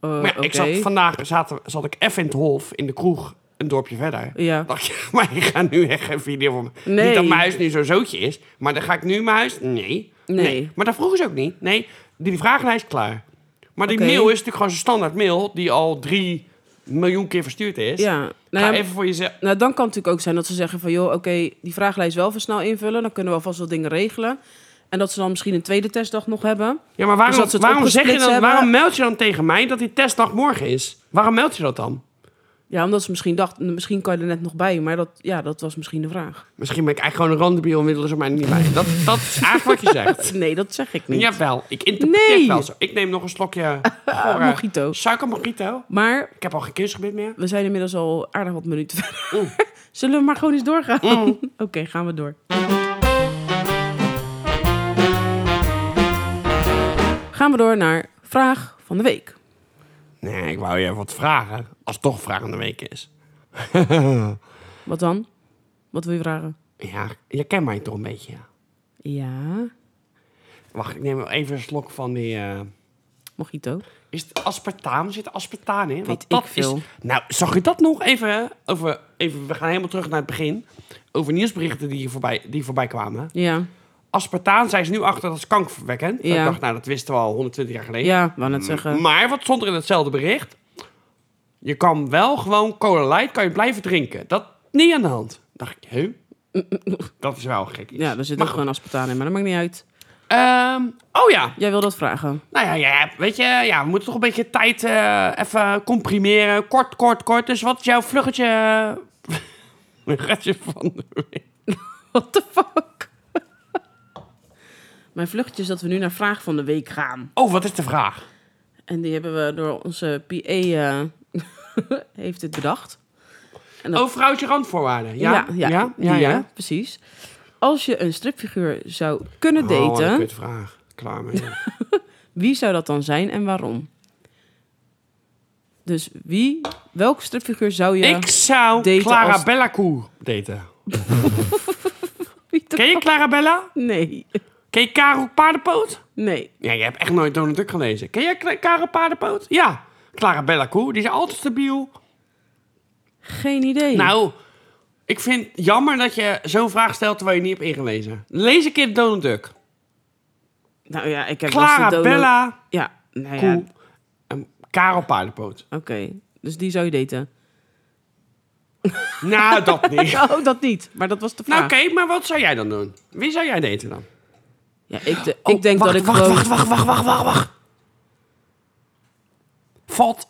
Speaker 2: Eh,
Speaker 1: Maar ja, ik
Speaker 2: oké.
Speaker 1: zat vandaag zat, zat ik even in het Hof in de kroeg, een dorpje verder.
Speaker 2: Ja.
Speaker 1: Dacht je, maar ik ga nu echt geen video van.
Speaker 2: Nee.
Speaker 1: Niet dat mijn huis nu zo'n zootje is, maar dan ga ik nu mijn huis. Nee.
Speaker 2: Nee.
Speaker 1: Maar dat vroegen ze ook niet. Nee. doe die vragenlijst klaar. Maar die
Speaker 2: Oké.
Speaker 1: mail is natuurlijk gewoon zo'n standaard mail die al drie miljoen keer verstuurd is.
Speaker 2: Ja,
Speaker 1: Ga
Speaker 2: nou, ja,
Speaker 1: even voor jezelf.
Speaker 2: nou dan kan het natuurlijk ook zijn dat ze zeggen van... joh, oké, die vragenlijst wel even snel invullen. Dan kunnen we alvast wat dingen regelen. En dat ze dan misschien een tweede testdag nog hebben.
Speaker 1: Ja, maar waarom,
Speaker 2: dat ze het
Speaker 1: waarom, zeg je
Speaker 2: opgesplitst
Speaker 1: dan,
Speaker 2: hebben.
Speaker 1: waarom meld je dan tegen mij dat die testdag morgen is? Waarom meld je dat dan?
Speaker 2: Ja, omdat ze misschien dachten, misschien kan je er net nog bij. Maar dat, ja, dat was misschien de vraag.
Speaker 1: Misschien ben ik eigenlijk gewoon een randebiel en willen ze mij er niet bij. Dat, dat is eigenlijk wat je zegt.
Speaker 2: Nee, dat zeg ik niet.
Speaker 1: Jawel, ik interpreteer
Speaker 2: Nee.
Speaker 1: wel zo. Ik neem nog een slokje gore
Speaker 2: mojito.
Speaker 1: Suiker mojito.
Speaker 2: Maar
Speaker 1: Ik heb al geen kunstgebit meer.
Speaker 2: we zijn inmiddels al aardig wat minuten verder.
Speaker 1: Oeh.
Speaker 2: Zullen we maar gewoon eens doorgaan? Oké, gaan we door. Gaan we door naar vraag van de week.
Speaker 1: Nee, ik wou je even wat vragen. Als het toch vraag van de week is.
Speaker 2: Wat dan? Wat wil je vragen?
Speaker 1: Ja, je kent mij toch een beetje.
Speaker 2: Ja,
Speaker 1: Wacht, ik neem wel even een slok van die... eh,
Speaker 2: mojito.
Speaker 1: Is het aspartaan? Zit er aspartaan in?
Speaker 2: Weet ik
Speaker 1: dat
Speaker 2: veel.
Speaker 1: Is... Nou, zag je dat nog? Even, hè? over, even, we gaan helemaal terug naar het begin. Over nieuwsberichten die hier voorbij, die voorbij kwamen.
Speaker 2: Ja,
Speaker 1: Aspartaan zijn ze nu achter dat is kankerverwekkend.
Speaker 2: Ja.
Speaker 1: Ik dacht, nou, dat wisten we al 120 jaar geleden.
Speaker 2: ja, wou net zeggen.
Speaker 1: Maar wat stond er in hetzelfde bericht? Je kan wel gewoon cola light kan je blijven drinken. Dat niet aan de hand. Dacht ik, huh? Dat is wel gek. iets.
Speaker 2: Ja, daar zit
Speaker 1: Maar
Speaker 2: ook gewoon aspartaan in, maar dat maakt niet uit.
Speaker 1: goed, ehm, oh ja.
Speaker 2: Jij wil dat vragen.
Speaker 1: Nou ja, ja, weet je, ja, we moeten toch een beetje tijd eh, even comprimeren. Kort, kort, kort. Dus wat is jouw vluggetje? eh, vluggetje van de week?
Speaker 2: What the fuck? Mijn vluchtje is dat we nu naar vraag van de week gaan.
Speaker 1: Oh, wat is de vraag?
Speaker 2: En die hebben we door onze PA eh, heeft het bedacht. Dat-
Speaker 1: Oh, vrouwtje randvoorwaarden. Ja, ja, ja. ja,
Speaker 2: die, eh, hè, precies. Als je een stripfiguur zou kunnen
Speaker 1: Oh, wat
Speaker 2: daten,
Speaker 1: een kutvraag. Klaar mee.
Speaker 2: wie zou dat dan zijn en waarom? Dus wie, welke stripfiguur zou je...
Speaker 1: Ik zou
Speaker 2: Daten
Speaker 1: Clara
Speaker 2: als-
Speaker 1: Bella Koe daten.
Speaker 2: Wie de-
Speaker 1: Ken je Clara Bella?
Speaker 2: Nee,
Speaker 1: Ken je Karel Paardenpoot?
Speaker 2: nee.
Speaker 1: Ja, je hebt echt nooit Donald Duck gelezen. Ken je Kla- Karel Paardenpoot? Ja. Clara Bella Koe, die is altijd stabiel.
Speaker 2: Geen idee.
Speaker 1: Nou, ik vind het jammer dat je zo'n vraag stelt terwijl je niet hebt ingelezen. Lees een keer Donald Duck.
Speaker 2: Nou ja, ik heb
Speaker 1: Clara
Speaker 2: wel eens de dono-
Speaker 1: Bella
Speaker 2: Ja, nou ja,
Speaker 1: Koe.
Speaker 2: oké.
Speaker 1: En Karel Paardenpoot.
Speaker 2: Dus die zou je daten.
Speaker 1: Nou, dat niet.
Speaker 2: Oh, dat niet. Maar dat was de vraag.
Speaker 1: Nou, oké, maar wat zou jij dan doen? Wie zou jij daten dan?
Speaker 2: Ja, ik, de-
Speaker 1: Oh,
Speaker 2: ik denk
Speaker 1: wacht,
Speaker 2: dat ik
Speaker 1: wacht,
Speaker 2: gewoon...
Speaker 1: Wacht, wacht, wacht, wacht, wacht, wacht. Valt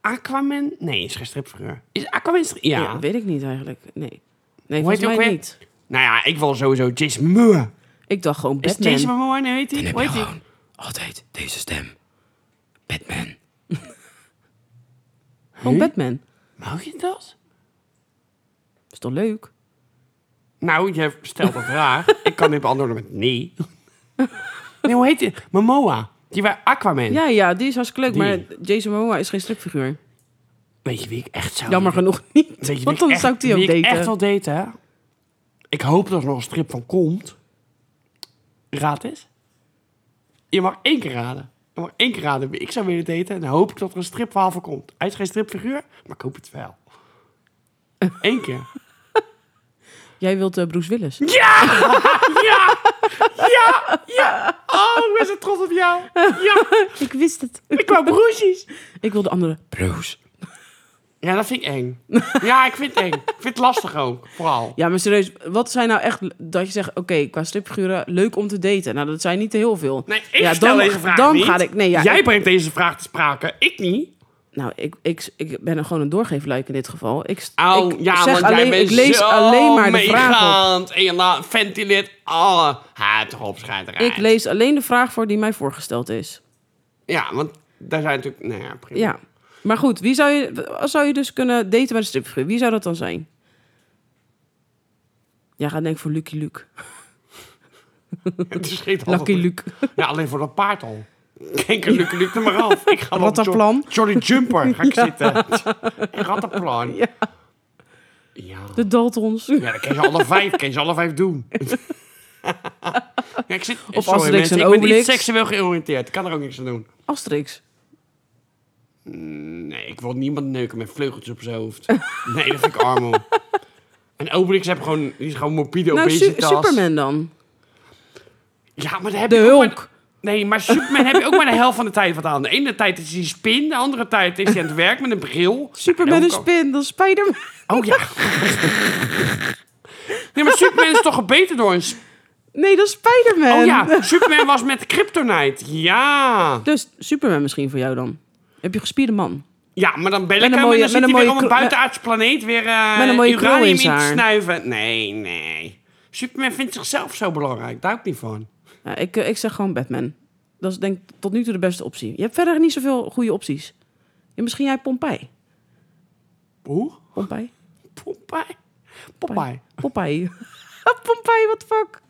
Speaker 1: Aquaman... Nee, is geen stripfiguur. Is Aquaman... stri- Ja.
Speaker 2: Ja. weet ik niet eigenlijk. Nee. Nee,
Speaker 1: Hoe heet
Speaker 2: volgens
Speaker 1: die ook
Speaker 2: mij
Speaker 1: weer?
Speaker 2: niet.
Speaker 1: Nou ja, ik wil sowieso Jason Momoa.
Speaker 2: Ik dacht gewoon
Speaker 1: Is
Speaker 2: Batman.
Speaker 1: Jason Momoa, nee, heet hij? Hoe heet hij?
Speaker 2: altijd deze stem. Batman. Gewoon Batman.
Speaker 1: Mag je dat?
Speaker 2: Is toch leuk?
Speaker 1: Nou, je stelt een vraag. ik kan dit beantwoorden met nee. nee, hoe heet hij? Momoa. Die bij Aquaman.
Speaker 2: Ja, ja, die is hartstikke leuk.
Speaker 1: Die.
Speaker 2: Maar Jason Momoa is geen stripfiguur.
Speaker 1: Weet je wie ik echt zou
Speaker 2: Jammer
Speaker 1: daten?
Speaker 2: genoeg niet.
Speaker 1: Weet je wie
Speaker 2: want
Speaker 1: ik
Speaker 2: dan
Speaker 1: echt-
Speaker 2: zou ik die ook
Speaker 1: wie
Speaker 2: daten.
Speaker 1: echt wel daten, hè? Ik hoop dat er nog een strip van komt. Raad eens. Je mag één keer raden. Je mag één keer raden wie ik zou willen daten. En dan hoop ik dat er een stripverhaal van komt. Hij is geen stripfiguur, maar ik hoop het wel. Eén keer.
Speaker 2: Jij wilt eh, Bruce Willis.
Speaker 1: Ja! Ja! Ja! Oh, ik ben zo trots op jou. Ja!
Speaker 2: ik wist het.
Speaker 1: Ik wou broesjes.
Speaker 2: Ik wil de andere Bruce.
Speaker 1: Ja, dat vind ik eng. Ja, ik vind het eng. Ik vind het lastig ook, vooral.
Speaker 2: Ja, maar serieus. Wat zijn nou echt... Dat je zegt, oké, qua stripfiguren, leuk om te daten. Nou, dat zijn niet heel veel.
Speaker 1: Nee, ik
Speaker 2: ja,
Speaker 1: stel
Speaker 2: dan,
Speaker 1: deze vraag
Speaker 2: dan
Speaker 1: niet.
Speaker 2: Ga ik, nee, ja,
Speaker 1: Jij
Speaker 2: ik-
Speaker 1: brengt deze vraag te sprake, ik niet.
Speaker 2: Nou, ik, ik, ik ben er gewoon een doorgeefluik in dit geval. Ik,
Speaker 1: Au,
Speaker 2: ik
Speaker 1: Oh, ja,
Speaker 2: zeg
Speaker 1: want
Speaker 2: alleen,
Speaker 1: jij bent
Speaker 2: ik lees
Speaker 1: zo
Speaker 2: alleen maar de vraag op.
Speaker 1: meegaand. En je la- ventileert alle... Ha, toch op, schijt eruit.
Speaker 2: Ik lees alleen de vraag voor die mij voorgesteld is.
Speaker 1: Ja, want daar zijn natuurlijk... Nou ja, prima.
Speaker 2: Ja. Maar goed, wie zou je, als zou je dus kunnen daten met een stripfiguur? Wie zou dat dan zijn? Jij gaat denk ik voor Lucky Luke.
Speaker 1: Het is geen
Speaker 2: Lucky
Speaker 1: handig.
Speaker 2: Luke.
Speaker 1: Ja, alleen voor dat paard al. Kenker, Luke, Luke, er maar af. Ik ga
Speaker 2: Wat een
Speaker 1: op Jo-
Speaker 2: plan.
Speaker 1: Johnny Jumper ga ik zitten. Rattenplan.
Speaker 2: Ja. Dus
Speaker 1: Ja. Ja.
Speaker 2: De Daltons.
Speaker 1: ja, dan kan je ze alle vijf, kan je ze alle vijf doen. Ja, ik zit,
Speaker 2: Of
Speaker 1: sorry,
Speaker 2: Asterix
Speaker 1: mensen,
Speaker 2: en
Speaker 1: ik ben niet
Speaker 2: Obelix.
Speaker 1: seksueel georiënteerd. Ik kan er ook niks aan doen.
Speaker 2: Asterix.
Speaker 1: Nee, ik wil niemand neuken met vleugeltjes op zijn hoofd. Nee, dat vind ik armo. En Obelix heb gewoon, die is gewoon morbide
Speaker 2: nou, Su-
Speaker 1: obesitas.
Speaker 2: Superman dan.
Speaker 1: Ja, maar daar heb
Speaker 2: De
Speaker 1: je ook maar-
Speaker 2: Hulk.
Speaker 1: Nee, maar Superman heb je ook maar de helft van de tijd wat aan. De ene tijd is hij spin, de andere tijd is hij aan het werk met een bril.
Speaker 2: Superman
Speaker 1: Ja,
Speaker 2: is
Speaker 1: dan
Speaker 2: spin, dan Spider-Man.
Speaker 1: kan- Oh ja. Nee, maar Superman is toch gebeten door een... sp-
Speaker 2: Nee, dat is Spider-Man.
Speaker 1: Oh ja, Superman was met Kryptonite. Ja.
Speaker 2: Dus Superman misschien voor jou dan. Heb je gespierde man?
Speaker 1: Ja, maar dan bel ik
Speaker 2: Met
Speaker 1: hem
Speaker 2: een
Speaker 1: en
Speaker 2: mooie-
Speaker 1: dan zit
Speaker 2: met
Speaker 1: hij weer
Speaker 2: een mooie
Speaker 1: op een
Speaker 2: kro-
Speaker 1: buitenaardse planeet weer eh
Speaker 2: Met een mooie krul
Speaker 1: uranium
Speaker 2: in
Speaker 1: in
Speaker 2: zijn
Speaker 1: te
Speaker 2: haar.
Speaker 1: snuiven. Nee, nee. Superman vindt zichzelf zo belangrijk. Daar hou ik niet van.
Speaker 2: Ja, ik, eh, ik zeg gewoon Batman. Dat is denk ik tot nu toe de beste optie. Je hebt verder niet zoveel goede opties. Ja, misschien jij Pompeii.
Speaker 1: Hoe?
Speaker 2: Pompeii?
Speaker 1: Popeye. Popeye.
Speaker 2: Popeye. Pompeii, what the fuck?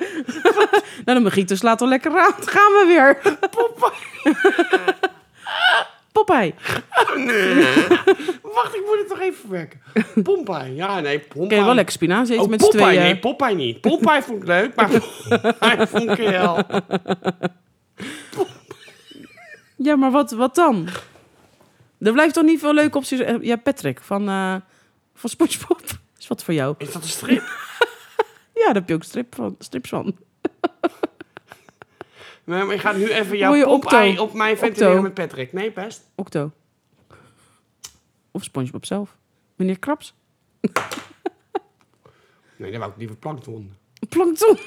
Speaker 2: nou, de Magriet slaat al lekker aan. Dan gaan we weer. Popeye.
Speaker 1: Wacht, ik moet het toch even verwerken. Popeye. Ja, nee, Popeye.
Speaker 2: Oké, wel lekker spinazie eten
Speaker 1: Oh,
Speaker 2: met z'n
Speaker 1: Popeye.
Speaker 2: tweeën.
Speaker 1: Nee, Popeye niet. Popeye vond ik leuk, maar Popeye vond ik heel...
Speaker 2: Ja, maar wat, wat dan? Er blijft toch niet veel leuke opties. Eh, Ja, Patrick van, eh van SpongeBob. Is wat voor jou?
Speaker 1: Is dat een strip?
Speaker 2: Ja, daar heb je ook strip van, strips van.
Speaker 1: Nee, maar ik ga nu even jouw
Speaker 2: Mooie
Speaker 1: Popeye
Speaker 2: Octo.
Speaker 1: op mij ventileren
Speaker 2: Octo.
Speaker 1: met Patrick. Nee, best.
Speaker 2: Octo. Of SpongeBob zelf. Meneer Krabs.
Speaker 1: Nee, dan wou ik liever plankton.
Speaker 2: Plankton.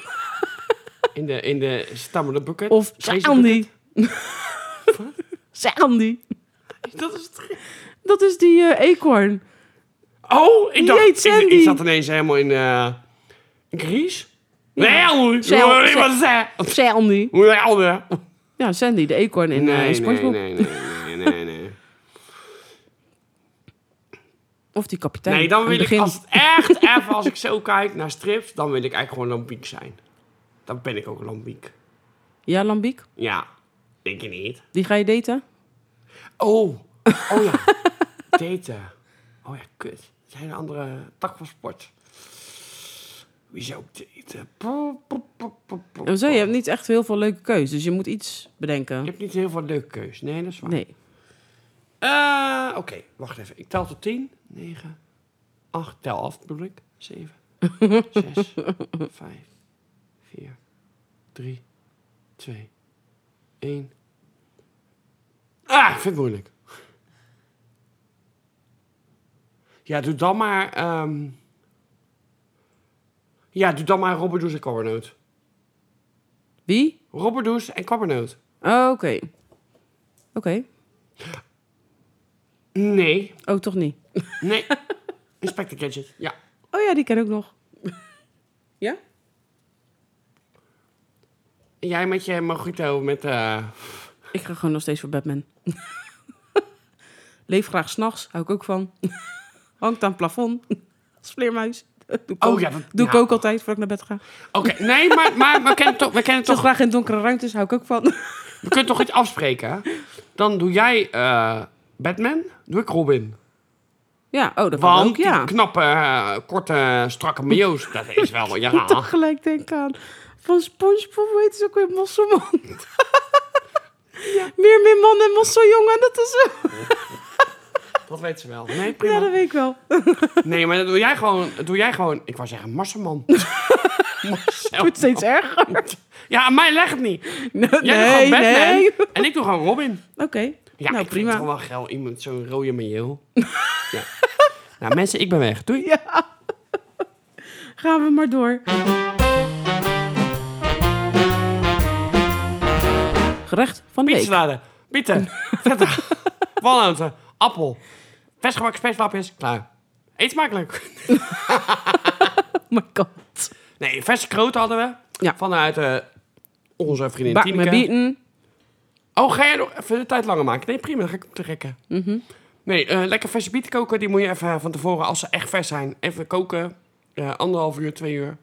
Speaker 1: In de, in de stammende bucket.
Speaker 2: Of
Speaker 1: Crazy
Speaker 2: Sandy. Sandy.
Speaker 1: bucket. Dat is het.
Speaker 2: Dat is die eh eekhoorn.
Speaker 1: Oh, ik
Speaker 2: Jeet,
Speaker 1: dacht, ik,
Speaker 2: Sandy.
Speaker 1: ik zat ineens helemaal in, eh in Gries. Nee, hoe?
Speaker 2: Zee-
Speaker 1: Hoe-
Speaker 2: zee-
Speaker 1: wat is dat?
Speaker 2: Sandy.
Speaker 1: Hoe de helde?
Speaker 2: Ja, Sandy, de eekhoorn in Oh, eh,
Speaker 1: Nee, nee,
Speaker 2: SpongeBob.
Speaker 1: nee, nee, nee, nee.
Speaker 2: Of die kapitein.
Speaker 1: Nee, dan
Speaker 2: aan
Speaker 1: wil
Speaker 2: het
Speaker 1: ik,
Speaker 2: begin.
Speaker 1: als het echt even, als ik zo kijk naar strips, dan wil ik eigenlijk gewoon lambiek zijn. Dan ben ik ook lambiek.
Speaker 2: Ja, Lambiek.
Speaker 1: Ja, denk je niet?
Speaker 2: Die ga je daten?
Speaker 1: Oh, oh ja, daten. Oh ja, kut. Dat is een hele andere tak van sport. Wie zou ik daten? Poe, poe, poe, poe, poe.
Speaker 2: Ja, zo, je hebt niet echt heel veel leuke keuzes, dus je moet iets bedenken.
Speaker 1: Je hebt niet heel veel leuke keus. Nee, dat is waar.
Speaker 2: Nee.
Speaker 1: Eh, Oké, wacht even. Ik tel tot 10, 9, 8, tel af bedoel ik. 7, 6, 5, 4, 3, 2, 1. Ah, ik vind het moeilijk. Ja, doe dan maar... ehm, ja, doe dan maar Robberdoes en Kwabbernoot.
Speaker 2: Wie?
Speaker 1: Robberdoes en Kwabbernoot.
Speaker 2: Oh, oké. Oké.
Speaker 1: Nee,
Speaker 2: Oh, toch niet.
Speaker 1: nee. Inspector Gadget, ja.
Speaker 2: Oh ja, die ken ik nog. ja?
Speaker 1: En Jij met je mojito met... eh,
Speaker 2: Ik ga gewoon nog steeds voor Batman. Leef graag s'nachts, hou ik ook van. Hangt aan het plafond. Als vleermuis. Doe ik,
Speaker 1: Oh
Speaker 2: ook,
Speaker 1: ja, dat-
Speaker 2: doe ik
Speaker 1: ja.
Speaker 2: ook altijd voordat ik naar bed ga.
Speaker 1: Oké, nee, maar, maar we kennen toch, we kennen
Speaker 2: Zit
Speaker 1: toch,
Speaker 2: graag in donkere ruimtes, hou ik ook van.
Speaker 1: we kunnen toch iets afspreken? Dan doe jij eh, Batman, doe ik Robin.
Speaker 2: ja, oh, dat kan
Speaker 1: Want
Speaker 2: ook, ja.
Speaker 1: die knappe, eh, korte, strakke Mio's, dat is wel, ja.
Speaker 2: moet toch gelijk denken aan. Van SpongeBob weet ze ook weer Mosselman. Meer, meer man en Mosseljongen, dat is hem.
Speaker 1: Dat weet ze wel. Nee,
Speaker 2: Ja,
Speaker 1: prima.
Speaker 2: dat weet ik wel.
Speaker 1: Nee, maar dat doe jij gewoon, dat doe jij gewoon, ik wou zeggen Marselman. Marcel.
Speaker 2: Wordt steeds erger.
Speaker 1: Ja, aan mij legt het niet.
Speaker 2: Nee,
Speaker 1: Jij doet gewoon Batman en ik doe gewoon Robin.
Speaker 2: Oké,
Speaker 1: Ja, ik vind
Speaker 2: nou
Speaker 1: het toch
Speaker 2: prima.
Speaker 1: wel geil, iemand zo'n rode Mio. ja. Nou mensen, ik ben weg. Doei.
Speaker 2: Gaan we maar door. Gerecht van de week.
Speaker 1: Pizzasalade. Bieten. Vetter. Walnoten. Appel. Versgebakken speeslapjes. Klaar. Eet smakelijk.
Speaker 2: Oh my god.
Speaker 1: Nee, verse kroten hadden we.
Speaker 2: Ja.
Speaker 1: Vanuit eh, onze vriendin
Speaker 2: Bak
Speaker 1: Tineke.
Speaker 2: me bieten.
Speaker 1: Oh, ga jij nog even de tijd langer maken? Nee, prima. Dan ga ik hem te rekken. Nee, eh, lekker verse bieten koken. Die moet je even eh, van tevoren, als ze echt vers zijn, even koken. Eh, anderhalf uur, twee uur.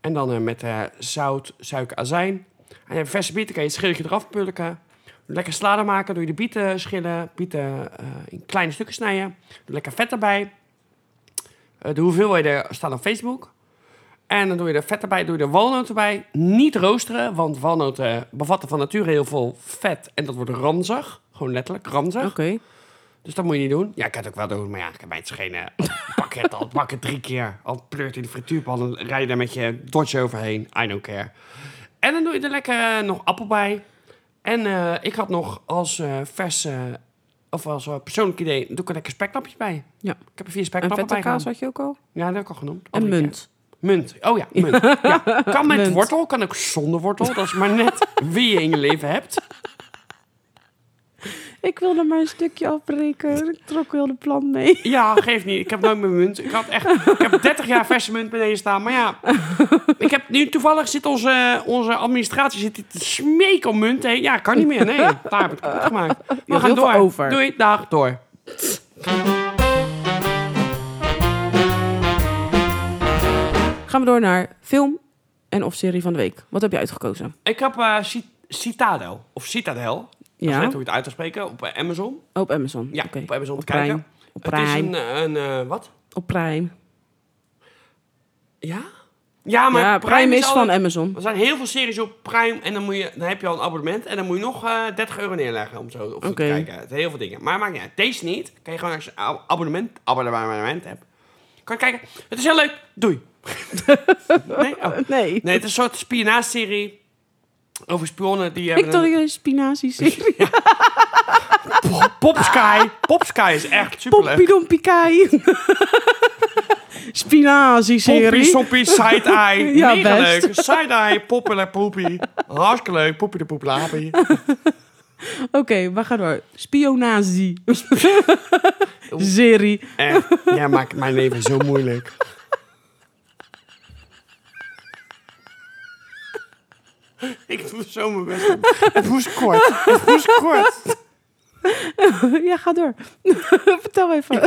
Speaker 1: En dan eh, met eh, zout, suiker, azijn. En je verse bieten kan je het schilletje eraf pulken. Lekker salade maken, doe je de bieten schillen. Bieten eh, in kleine stukken snijden. Doe lekker vet erbij. Eh, de hoeveelheden staan op Facebook. En dan doe je er vet erbij, doe je er walnoten bij. Niet roosteren, want walnoten bevatten van nature heel veel vet. En dat wordt ranzig. Gewoon letterlijk ranzig.
Speaker 2: Oké.
Speaker 1: Dus dat moet je niet doen. Ja, ik kan het ook wel doen, maar ja, ik heb het geen eh, pakket. Al pak het drie keer. Al pleurt in de frituurpan en rij je daar met je dodge overheen. I don't care. En dan doe je er lekker eh, nog appel bij. En eh, ik had nog als eh vers, eh, of als eh, persoonlijk idee, doe ik er lekker speklappjes bij.
Speaker 2: Ja.
Speaker 1: Ik heb er vier
Speaker 2: En
Speaker 1: speklappen
Speaker 2: vette
Speaker 1: bij
Speaker 2: kaas
Speaker 1: gedaan.
Speaker 2: had je ook al. Oh
Speaker 1: Ja, dat heb ik al genoemd.
Speaker 2: En
Speaker 1: Andere
Speaker 2: munt.
Speaker 1: keer. Munt. Oh ja, munt. ja. Kan met
Speaker 2: Munt.
Speaker 1: wortel, kan ook zonder wortel. Dat is maar net wie je in je leven hebt.
Speaker 2: Ik wilde maar een stukje afbreken. Ik trok heel de plan mee.
Speaker 1: Ja, geeft niet. Ik heb nooit meer munt. Ik, had echt, ik heb 30 jaar verse munt beneden staan. Maar ja, ik heb nu toevallig zit onze, onze administratie zit hier te smeken om munt heen. Ja, kan niet meer. Nee, daar heb ik het kapot gemaakt. We
Speaker 2: had
Speaker 1: gaan
Speaker 2: heel veel
Speaker 1: door.
Speaker 2: over.
Speaker 1: Doei, dag, door.
Speaker 2: Gaan we door naar film en of serie van de week. Wat heb je uitgekozen?
Speaker 1: Ik heb eh, Ci- Citadel, of Citadel. Dat is
Speaker 2: Ja,
Speaker 1: net hoe je het uit wil spreken, op eh, Amazon.
Speaker 2: Oh, op Amazon.
Speaker 1: Ja,
Speaker 2: Oké.
Speaker 1: op Amazon te
Speaker 2: Prime.
Speaker 1: kijken.
Speaker 2: Op
Speaker 1: Het is
Speaker 2: Prime.
Speaker 1: een, eh, een eh, wat?
Speaker 2: Op Prime.
Speaker 1: Ja? Ja, maar
Speaker 2: ja, Prime, is
Speaker 1: altijd-
Speaker 2: van Amazon.
Speaker 1: Er zijn heel veel series op Prime en dan, moet je, dan heb je al een abonnement en dan moet je nog eh, 30 euro neerleggen om zo op zo
Speaker 2: Oké.
Speaker 1: te kijken. Het zijn heel veel dingen. Maar maakt niet uit. Deze niet. Kan je gewoon als je een ab- abonnement, abonnement, abonnement hebt. Kan je kijken. Het is heel leuk. Doei. nee, oh.
Speaker 2: Nee.
Speaker 1: nee, het is een soort spionageserie over spionnen die
Speaker 2: Ik
Speaker 1: hebben...
Speaker 2: dacht dat je een spinazie serie.
Speaker 1: een- Popsky. Popsky is echt superleuk.
Speaker 2: Pompidompikai. spinazie
Speaker 1: Poppy,
Speaker 2: serie.
Speaker 1: soppie, side-eye.
Speaker 2: Ja,
Speaker 1: Mega
Speaker 2: best.
Speaker 1: leuk. Side-eye, poppele, poepie. Hartstikke leuk. Poepie de poeplapie.
Speaker 2: Oké, we gaan door. Spionazie. serie.
Speaker 1: Echt, jij Eh, maakt mijn leven zo moeilijk. Ik doe zo mijn best. Het moest kort. Het moest kort.
Speaker 2: ja, ga door. Vertel even.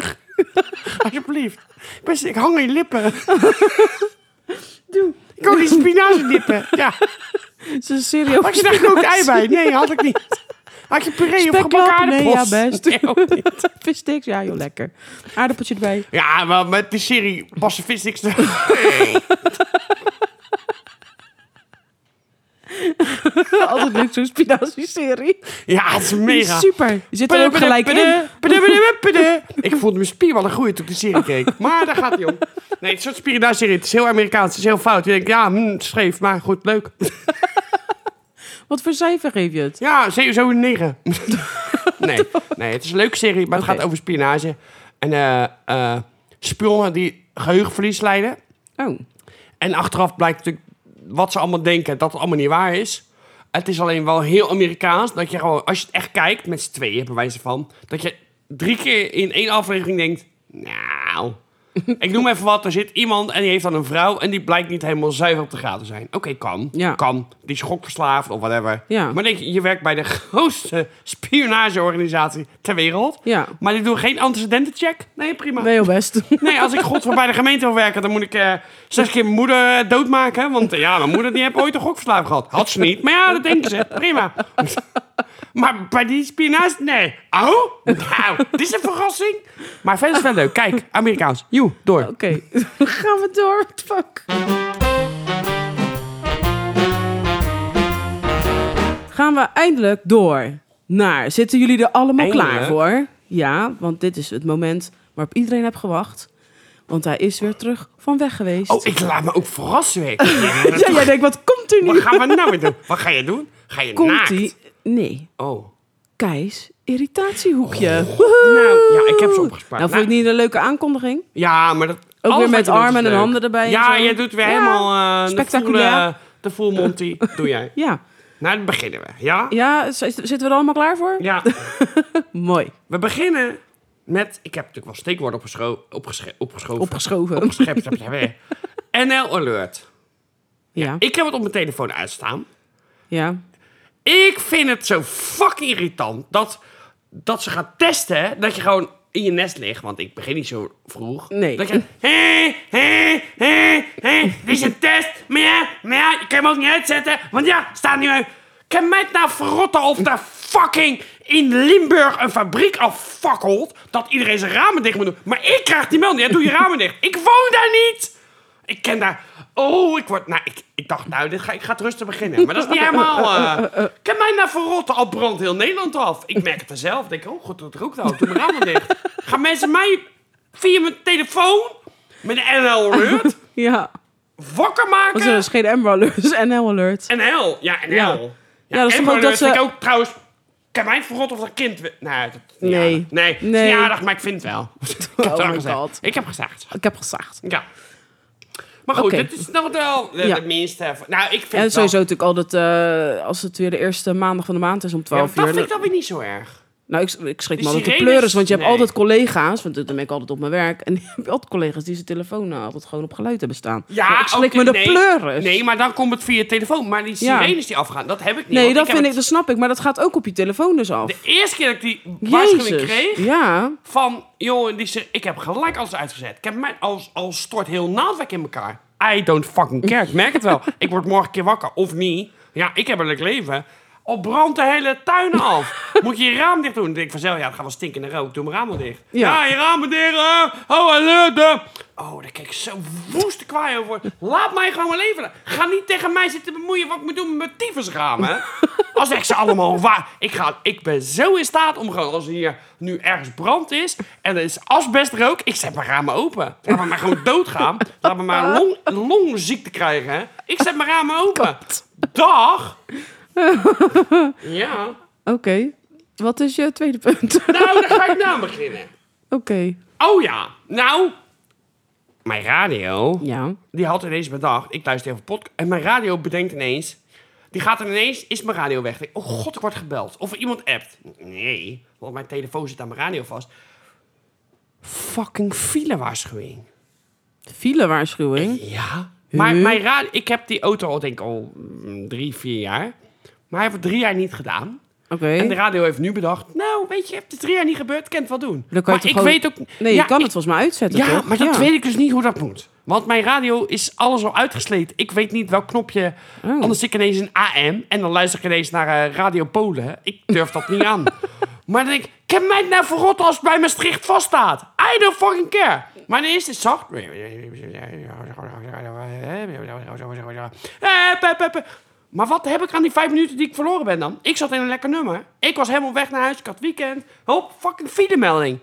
Speaker 1: Alsjeblieft. Best, ik hang in je lippen.
Speaker 2: Doe.
Speaker 1: Ik hang in spinazielippen. Ja.
Speaker 2: Het is een serie over
Speaker 1: Had je daar gekookt ei bij? Nee, had ik niet. Had je puree of gebakken
Speaker 2: Speklappen? Nee,
Speaker 1: aardappels?
Speaker 2: ja, best.
Speaker 1: Nee, ook niet.
Speaker 2: Vissticks, ja joh, lekker. Aardappeltje erbij.
Speaker 1: Ja, maar met die serie passen vis niks. te-
Speaker 2: Altijd leuk zo'n spinazie-serie.
Speaker 1: Ja, het is mega.
Speaker 2: Super. Je zit er ook gelijk in.
Speaker 1: Ik voelde mijn spierballen groeien toen ik de serie keek. Maar daar gaat hij om. Nee, het is een soort serie. Het is heel Amerikaans. Het is heel fout. Je denkt, ja, hm, scheef, maar goed, leuk.
Speaker 2: Wat voor cijfer geef je het?
Speaker 1: Ja, sowieso een 9. Nee, nee, het is een leuke serie, maar het
Speaker 2: Oké.
Speaker 1: gaat over spionage. En eh eh, spionnen die geheugenverlies lijden.
Speaker 2: Oh,
Speaker 1: En achteraf blijkt natuurlijk wat ze allemaal denken, dat het allemaal niet waar is. Het is alleen wel heel Amerikaans dat je gewoon, als je het echt kijkt, met z'n tweeën bij wijze van, dat je drie keer in één aflevering denkt, nou, ik noem even wat, er zit iemand en die heeft dan een vrouw en die blijkt niet helemaal zuiver op de graad te zijn. Oké, kan,
Speaker 2: Ja.
Speaker 1: kan, die is gokverslaafd of whatever.
Speaker 2: Ja.
Speaker 1: Maar denk je, je werkt bij de grootste spionageorganisatie ter wereld,
Speaker 2: ja.
Speaker 1: maar die doen geen antecedentencheck? Nee, prima.
Speaker 2: Nee, heel best.
Speaker 1: Nee, als ik godver bij de gemeente wil werken, dan moet ik eh, zes keer mijn moeder eh, doodmaken. Want eh, ja, mijn moeder die heeft ooit een gokverslaaf gehad. Had ze niet, maar ja, dat denken ze. Prima. Maar bij die spinazie, nee. Oh, nou, dit is een verrassing. Maar verder is het wel leuk. Kijk, Amerikaans. Joe, door.
Speaker 2: Oké, gaan we door. What the Fuck. Gaan we eindelijk door naar... Zitten jullie er allemaal
Speaker 1: Eindelijk?
Speaker 2: klaar voor? Ja, want dit is het moment waarop iedereen heeft gewacht. Want hij is weer terug van weg geweest.
Speaker 1: Oh, ik laat me ook verrassen. Weer.
Speaker 2: ja, jij denkt, wat komt er
Speaker 1: Wat
Speaker 2: nu?
Speaker 1: gaan we nou weer doen? Wat ga je doen? Ga je naakt?
Speaker 2: Komt-ie? Nee,
Speaker 1: Oh.
Speaker 2: Keis irritatiehoekje.
Speaker 1: Nou, ja, ik heb ze opgespaard.
Speaker 2: Nou, vond je het
Speaker 1: Nou,
Speaker 2: niet een leuke aankondiging?
Speaker 1: Ja, maar dat...
Speaker 2: Ook
Speaker 1: alles wat
Speaker 2: weer met
Speaker 1: je doet is
Speaker 2: armen en
Speaker 1: leuk.
Speaker 2: handen erbij en
Speaker 1: Ja,
Speaker 2: zo.
Speaker 1: jij doet weer
Speaker 2: Ja,
Speaker 1: helemaal... eh, de
Speaker 2: spectaculair.
Speaker 1: full, eh, De full Monty doe jij.
Speaker 2: Ja.
Speaker 1: Nou, dan beginnen we. Ja?
Speaker 2: Ja, z- zitten we er allemaal klaar voor?
Speaker 1: Ja.
Speaker 2: Mooi.
Speaker 1: We beginnen met... Ik heb natuurlijk wel steekwoorden opgescho opgesche- opgeschoven.
Speaker 2: Opgeschoven.
Speaker 1: Opgeschept. heb- heb- heb- NL Alert.
Speaker 2: ja.
Speaker 1: Ik heb het op mijn telefoon uitstaan.
Speaker 2: ja.
Speaker 1: Ik vind het zo fucking irritant dat, dat ze gaan testen. Dat je gewoon in je nest ligt. Want ik begin niet zo vroeg.
Speaker 2: Nee.
Speaker 1: Dat je... Hé, hé, hé, hé. Dit is een test. Maar ja, maar ja, je kan hem ook niet uitzetten. Want ja, staat nu uit. Kan mij het nou verrotten of daar fucking in Limburg een fabriek affakkelt. Dat iedereen zijn ramen dicht moet doen. Maar ik krijg die melding. Ja, doe je ramen dicht. Ik woon daar niet. Ik ken daar... Oh, ik word... Nou, ik, ik dacht, nou, dit ga, ik ga het rustig beginnen. Maar dat is niet helemaal... eh kan mij nou verrotten? Al brandt heel Nederland af. Ik merk het er zelf. Ik denk, oh, goed, dat rookt al. Doe mijn ramen dicht. Gaan mensen mij via mijn telefoon met een NL Alert
Speaker 2: Ja.
Speaker 1: wakker maken.
Speaker 2: Want er is geen Amber Alert, en NL Alert.
Speaker 1: En hel. Ja, en
Speaker 2: Ja.
Speaker 1: hel. Ja,
Speaker 2: Ja, dat is
Speaker 1: en
Speaker 2: toch ook
Speaker 1: Marleus
Speaker 2: dat ze-
Speaker 1: vind ik ook trouwens... Kan mij verrot of dat kind... we- Nee, dat is niet
Speaker 2: Nee.
Speaker 1: aardig. Nee, nee.
Speaker 2: Nee.
Speaker 1: niet aardig, maar ik vind het wel. ik heb het
Speaker 2: Oh
Speaker 1: al
Speaker 2: my
Speaker 1: gezegd.
Speaker 2: god.
Speaker 1: Ik heb gezaagd.
Speaker 2: Ik heb gezaagd.
Speaker 1: Ja. Maar goed,
Speaker 2: Oké.
Speaker 1: dit is nog wel de,
Speaker 2: Ja.
Speaker 1: de minste. van- Nou, ik vind
Speaker 2: En
Speaker 1: het
Speaker 2: sowieso
Speaker 1: wel-
Speaker 2: natuurlijk altijd, eh, als het weer de eerste maandag van de maand is om
Speaker 1: Ja, maar
Speaker 2: 12
Speaker 1: dat
Speaker 2: uur.
Speaker 1: vind ik
Speaker 2: dan-
Speaker 1: dan weer niet zo erg.
Speaker 2: Nou, ik, ik schrik
Speaker 1: Die
Speaker 2: me altijd de
Speaker 1: sirenes?
Speaker 2: pleuris, want je hebt
Speaker 1: Nee.
Speaker 2: altijd collega's, want dan ben ik altijd op mijn werk, en je hebt altijd collega's die zijn telefoon eh, altijd gewoon op geluid hebben staan. Maar ik schrik
Speaker 1: oké,
Speaker 2: me de
Speaker 1: nee.
Speaker 2: pleuris.
Speaker 1: Nee, maar dan komt het via telefoon. Maar die
Speaker 2: Ja.
Speaker 1: sirenes die afgaan, dat heb ik niet.
Speaker 2: Nee,
Speaker 1: want
Speaker 2: dat,
Speaker 1: heb
Speaker 2: vind ik,
Speaker 1: het-
Speaker 2: dat snap ik, maar dat gaat ook op je telefoon dus af.
Speaker 1: De eerste keer dat ik die waarschuwing
Speaker 2: Jezus.
Speaker 1: kreeg,
Speaker 2: Ja,
Speaker 1: van, joh, die sir- ik heb gelijk alles uitgezet. Ik heb mijn, als, als stort heel naaldwerk in elkaar. I don't fucking care, ik merk het wel. Ik word morgen een keer wakker, of niet. Ja, ik heb een leuk leven. Al brandt de hele tuin af. Moet je je raam dicht doen? Dan denk ik vanzelf, ja, het gaat wel stinken in de rook. Doe mijn raam wel dicht. Ja,
Speaker 2: Ja.
Speaker 1: je raam maar dicht. hè. Oh, alert. hè. Oh, daar kijk ik zo woest kwaai over. Laat mij gewoon mijn leven. leiden. Ga niet tegen mij zitten bemoeien wat ik moet doen met mijn tyfusraam, hè. Als echt ze allemaal waar. Ik, ga, ik ben zo in staat om gewoon, als hier nu ergens brand is en er is asbestrook, ik zet mijn ramen open. Laat me maar gewoon doodgaan. Laat me maar long, longziekte krijgen, hè. Ik zet mijn ramen open. Dag. Ja.
Speaker 2: oké. Wat is je tweede punt? oké.
Speaker 1: Nou, daar ga ik nou aan beginnen. Oh ja, nou. Mijn radio,
Speaker 2: Ja.
Speaker 1: die had ineens bedacht, ik luister even podcast. En mijn radio bedenkt ineens, die gaat er ineens, is mijn radio weg. Ik denk, Oh god, ik word gebeld. Of iemand appt. Nee, want mijn telefoon zit aan mijn radio vast. Fucking filewaarschuwing.
Speaker 2: File waarschuwing.
Speaker 1: Ja. Maar mijn radio, ik heb die auto al denk ik al mm, drie, vier jaar. Maar hij heeft het drie jaar niet gedaan.
Speaker 2: Oké.
Speaker 1: En de radio heeft nu bedacht, nou weet je, het is drie jaar niet gebeurd, kan het wel doen.
Speaker 2: Dan kan je
Speaker 1: maar
Speaker 2: toch
Speaker 1: ik
Speaker 2: gewoon-
Speaker 1: weet ook...
Speaker 2: Nee,
Speaker 1: Ja,
Speaker 2: je kan
Speaker 1: ik-
Speaker 2: het volgens mij uitzetten,
Speaker 1: ja,
Speaker 2: toch?
Speaker 1: maar dat weet ik dus niet hoe dat moet. Want mijn radio is alles al uitgesleten. Ik weet niet welk knopje. Anders zit ik ineens in AM en dan luister ik ineens naar eh, Radio Polen. Ik durf dat niet aan. Maar dan denk ik, ken mij het nou verrot als het bij Maastricht vaststaat? I don't fucking care. Maar dan is het zacht. Eh, Maar wat heb ik aan die vijf minuten die ik verloren ben dan? Ik zat in een lekker nummer. Ik was helemaal weg naar huis. Ik had weekend. Hop, fucking filemelding.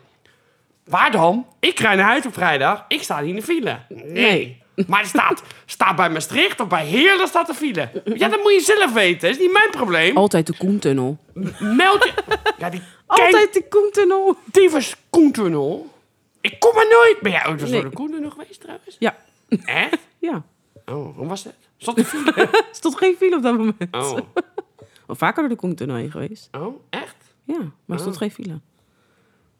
Speaker 1: Waar dan? Ik rij naar huis op vrijdag. Ik sta niet in de file. Nee. Maar er staat, staat bij Maastricht of bij Heerlen staat de file. Ja, dat moet je zelf weten. Dat is niet mijn probleem.
Speaker 2: Altijd de Koentunnel.
Speaker 1: Meld je... Ja, die
Speaker 2: Altijd de Koentunnel.
Speaker 1: Divers Koentunnel. Ik kom er nooit. Oh, Ben jij ooit eens
Speaker 2: Nee.
Speaker 1: door de Koentunnel geweest trouwens?
Speaker 2: Ja.
Speaker 1: Echt?
Speaker 2: Ja.
Speaker 1: Oh, hoe was dat? Zat de file?
Speaker 2: Er stond geen file op dat moment.
Speaker 1: Oh,
Speaker 2: Wel vaker door de Koentunnel heen geweest.
Speaker 1: oh echt?
Speaker 2: Ja, maar er stond
Speaker 1: Oh.
Speaker 2: geen file.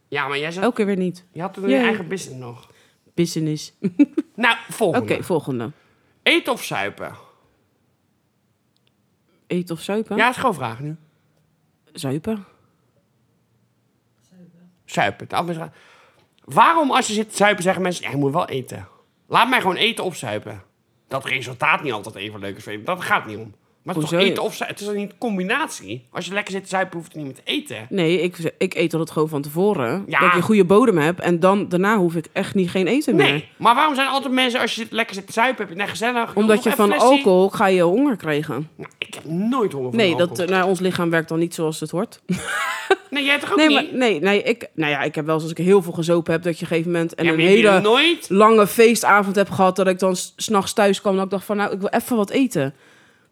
Speaker 1: Ja, maar jij zat,
Speaker 2: Elke keer weer niet.
Speaker 1: je had toen
Speaker 2: Ja,
Speaker 1: je
Speaker 2: Oh. ja.
Speaker 1: eigen business nog.
Speaker 2: Business. Oké,
Speaker 1: Nou, volgende.
Speaker 2: volgende.
Speaker 1: Eten of zuipen?
Speaker 2: Eten of zuipen?
Speaker 1: Ja, is gewoon vraag nu.
Speaker 2: Zuipen.
Speaker 1: Zuipen. De andere vraag. Waarom als je zit te zuipen zeggen mensen, ja, je moet wel eten. Laat mij gewoon eten of zuipen. Dat resultaat niet altijd even leuk is, weet ik. dat gaat niet om. Maar het is toch
Speaker 2: Hoezo?
Speaker 1: eten of zuipen? Het is dan niet een combinatie. Als je lekker zit te zuipen, hoeft het niet meer te eten.
Speaker 2: Nee, ik, ik eet altijd gewoon van tevoren.
Speaker 1: Ja.
Speaker 2: Dat je een goede bodem hebt. En dan, daarna hoef ik echt niet, geen eten
Speaker 1: Nee,
Speaker 2: meer.
Speaker 1: maar waarom zijn altijd mensen als je zit- lekker zit te zuipen, heb je het net gezellig? joh,
Speaker 2: Omdat
Speaker 1: nog
Speaker 2: je
Speaker 1: een
Speaker 2: van
Speaker 1: flesje?
Speaker 2: alcohol ga je honger krijgen.
Speaker 1: Nou, ik heb nooit honger van
Speaker 2: Nee,
Speaker 1: alcohol.
Speaker 2: dat, eh, nou, ons lichaam werkt dan niet zoals het hoort.
Speaker 1: Nee, jij toch ook
Speaker 2: Nee,
Speaker 1: niet?
Speaker 2: maar, nee, nee ik, nou ja, ik heb wel eens als ik heel veel gezopen heb, dat je op een gegeven moment en
Speaker 1: Ja,
Speaker 2: een
Speaker 1: maar jullie
Speaker 2: hele
Speaker 1: nooit?
Speaker 2: lange feestavond heb gehad, dat ik dan s- s'nachts thuis kwam en dat ik dacht van, nou, ik wil even wat eten.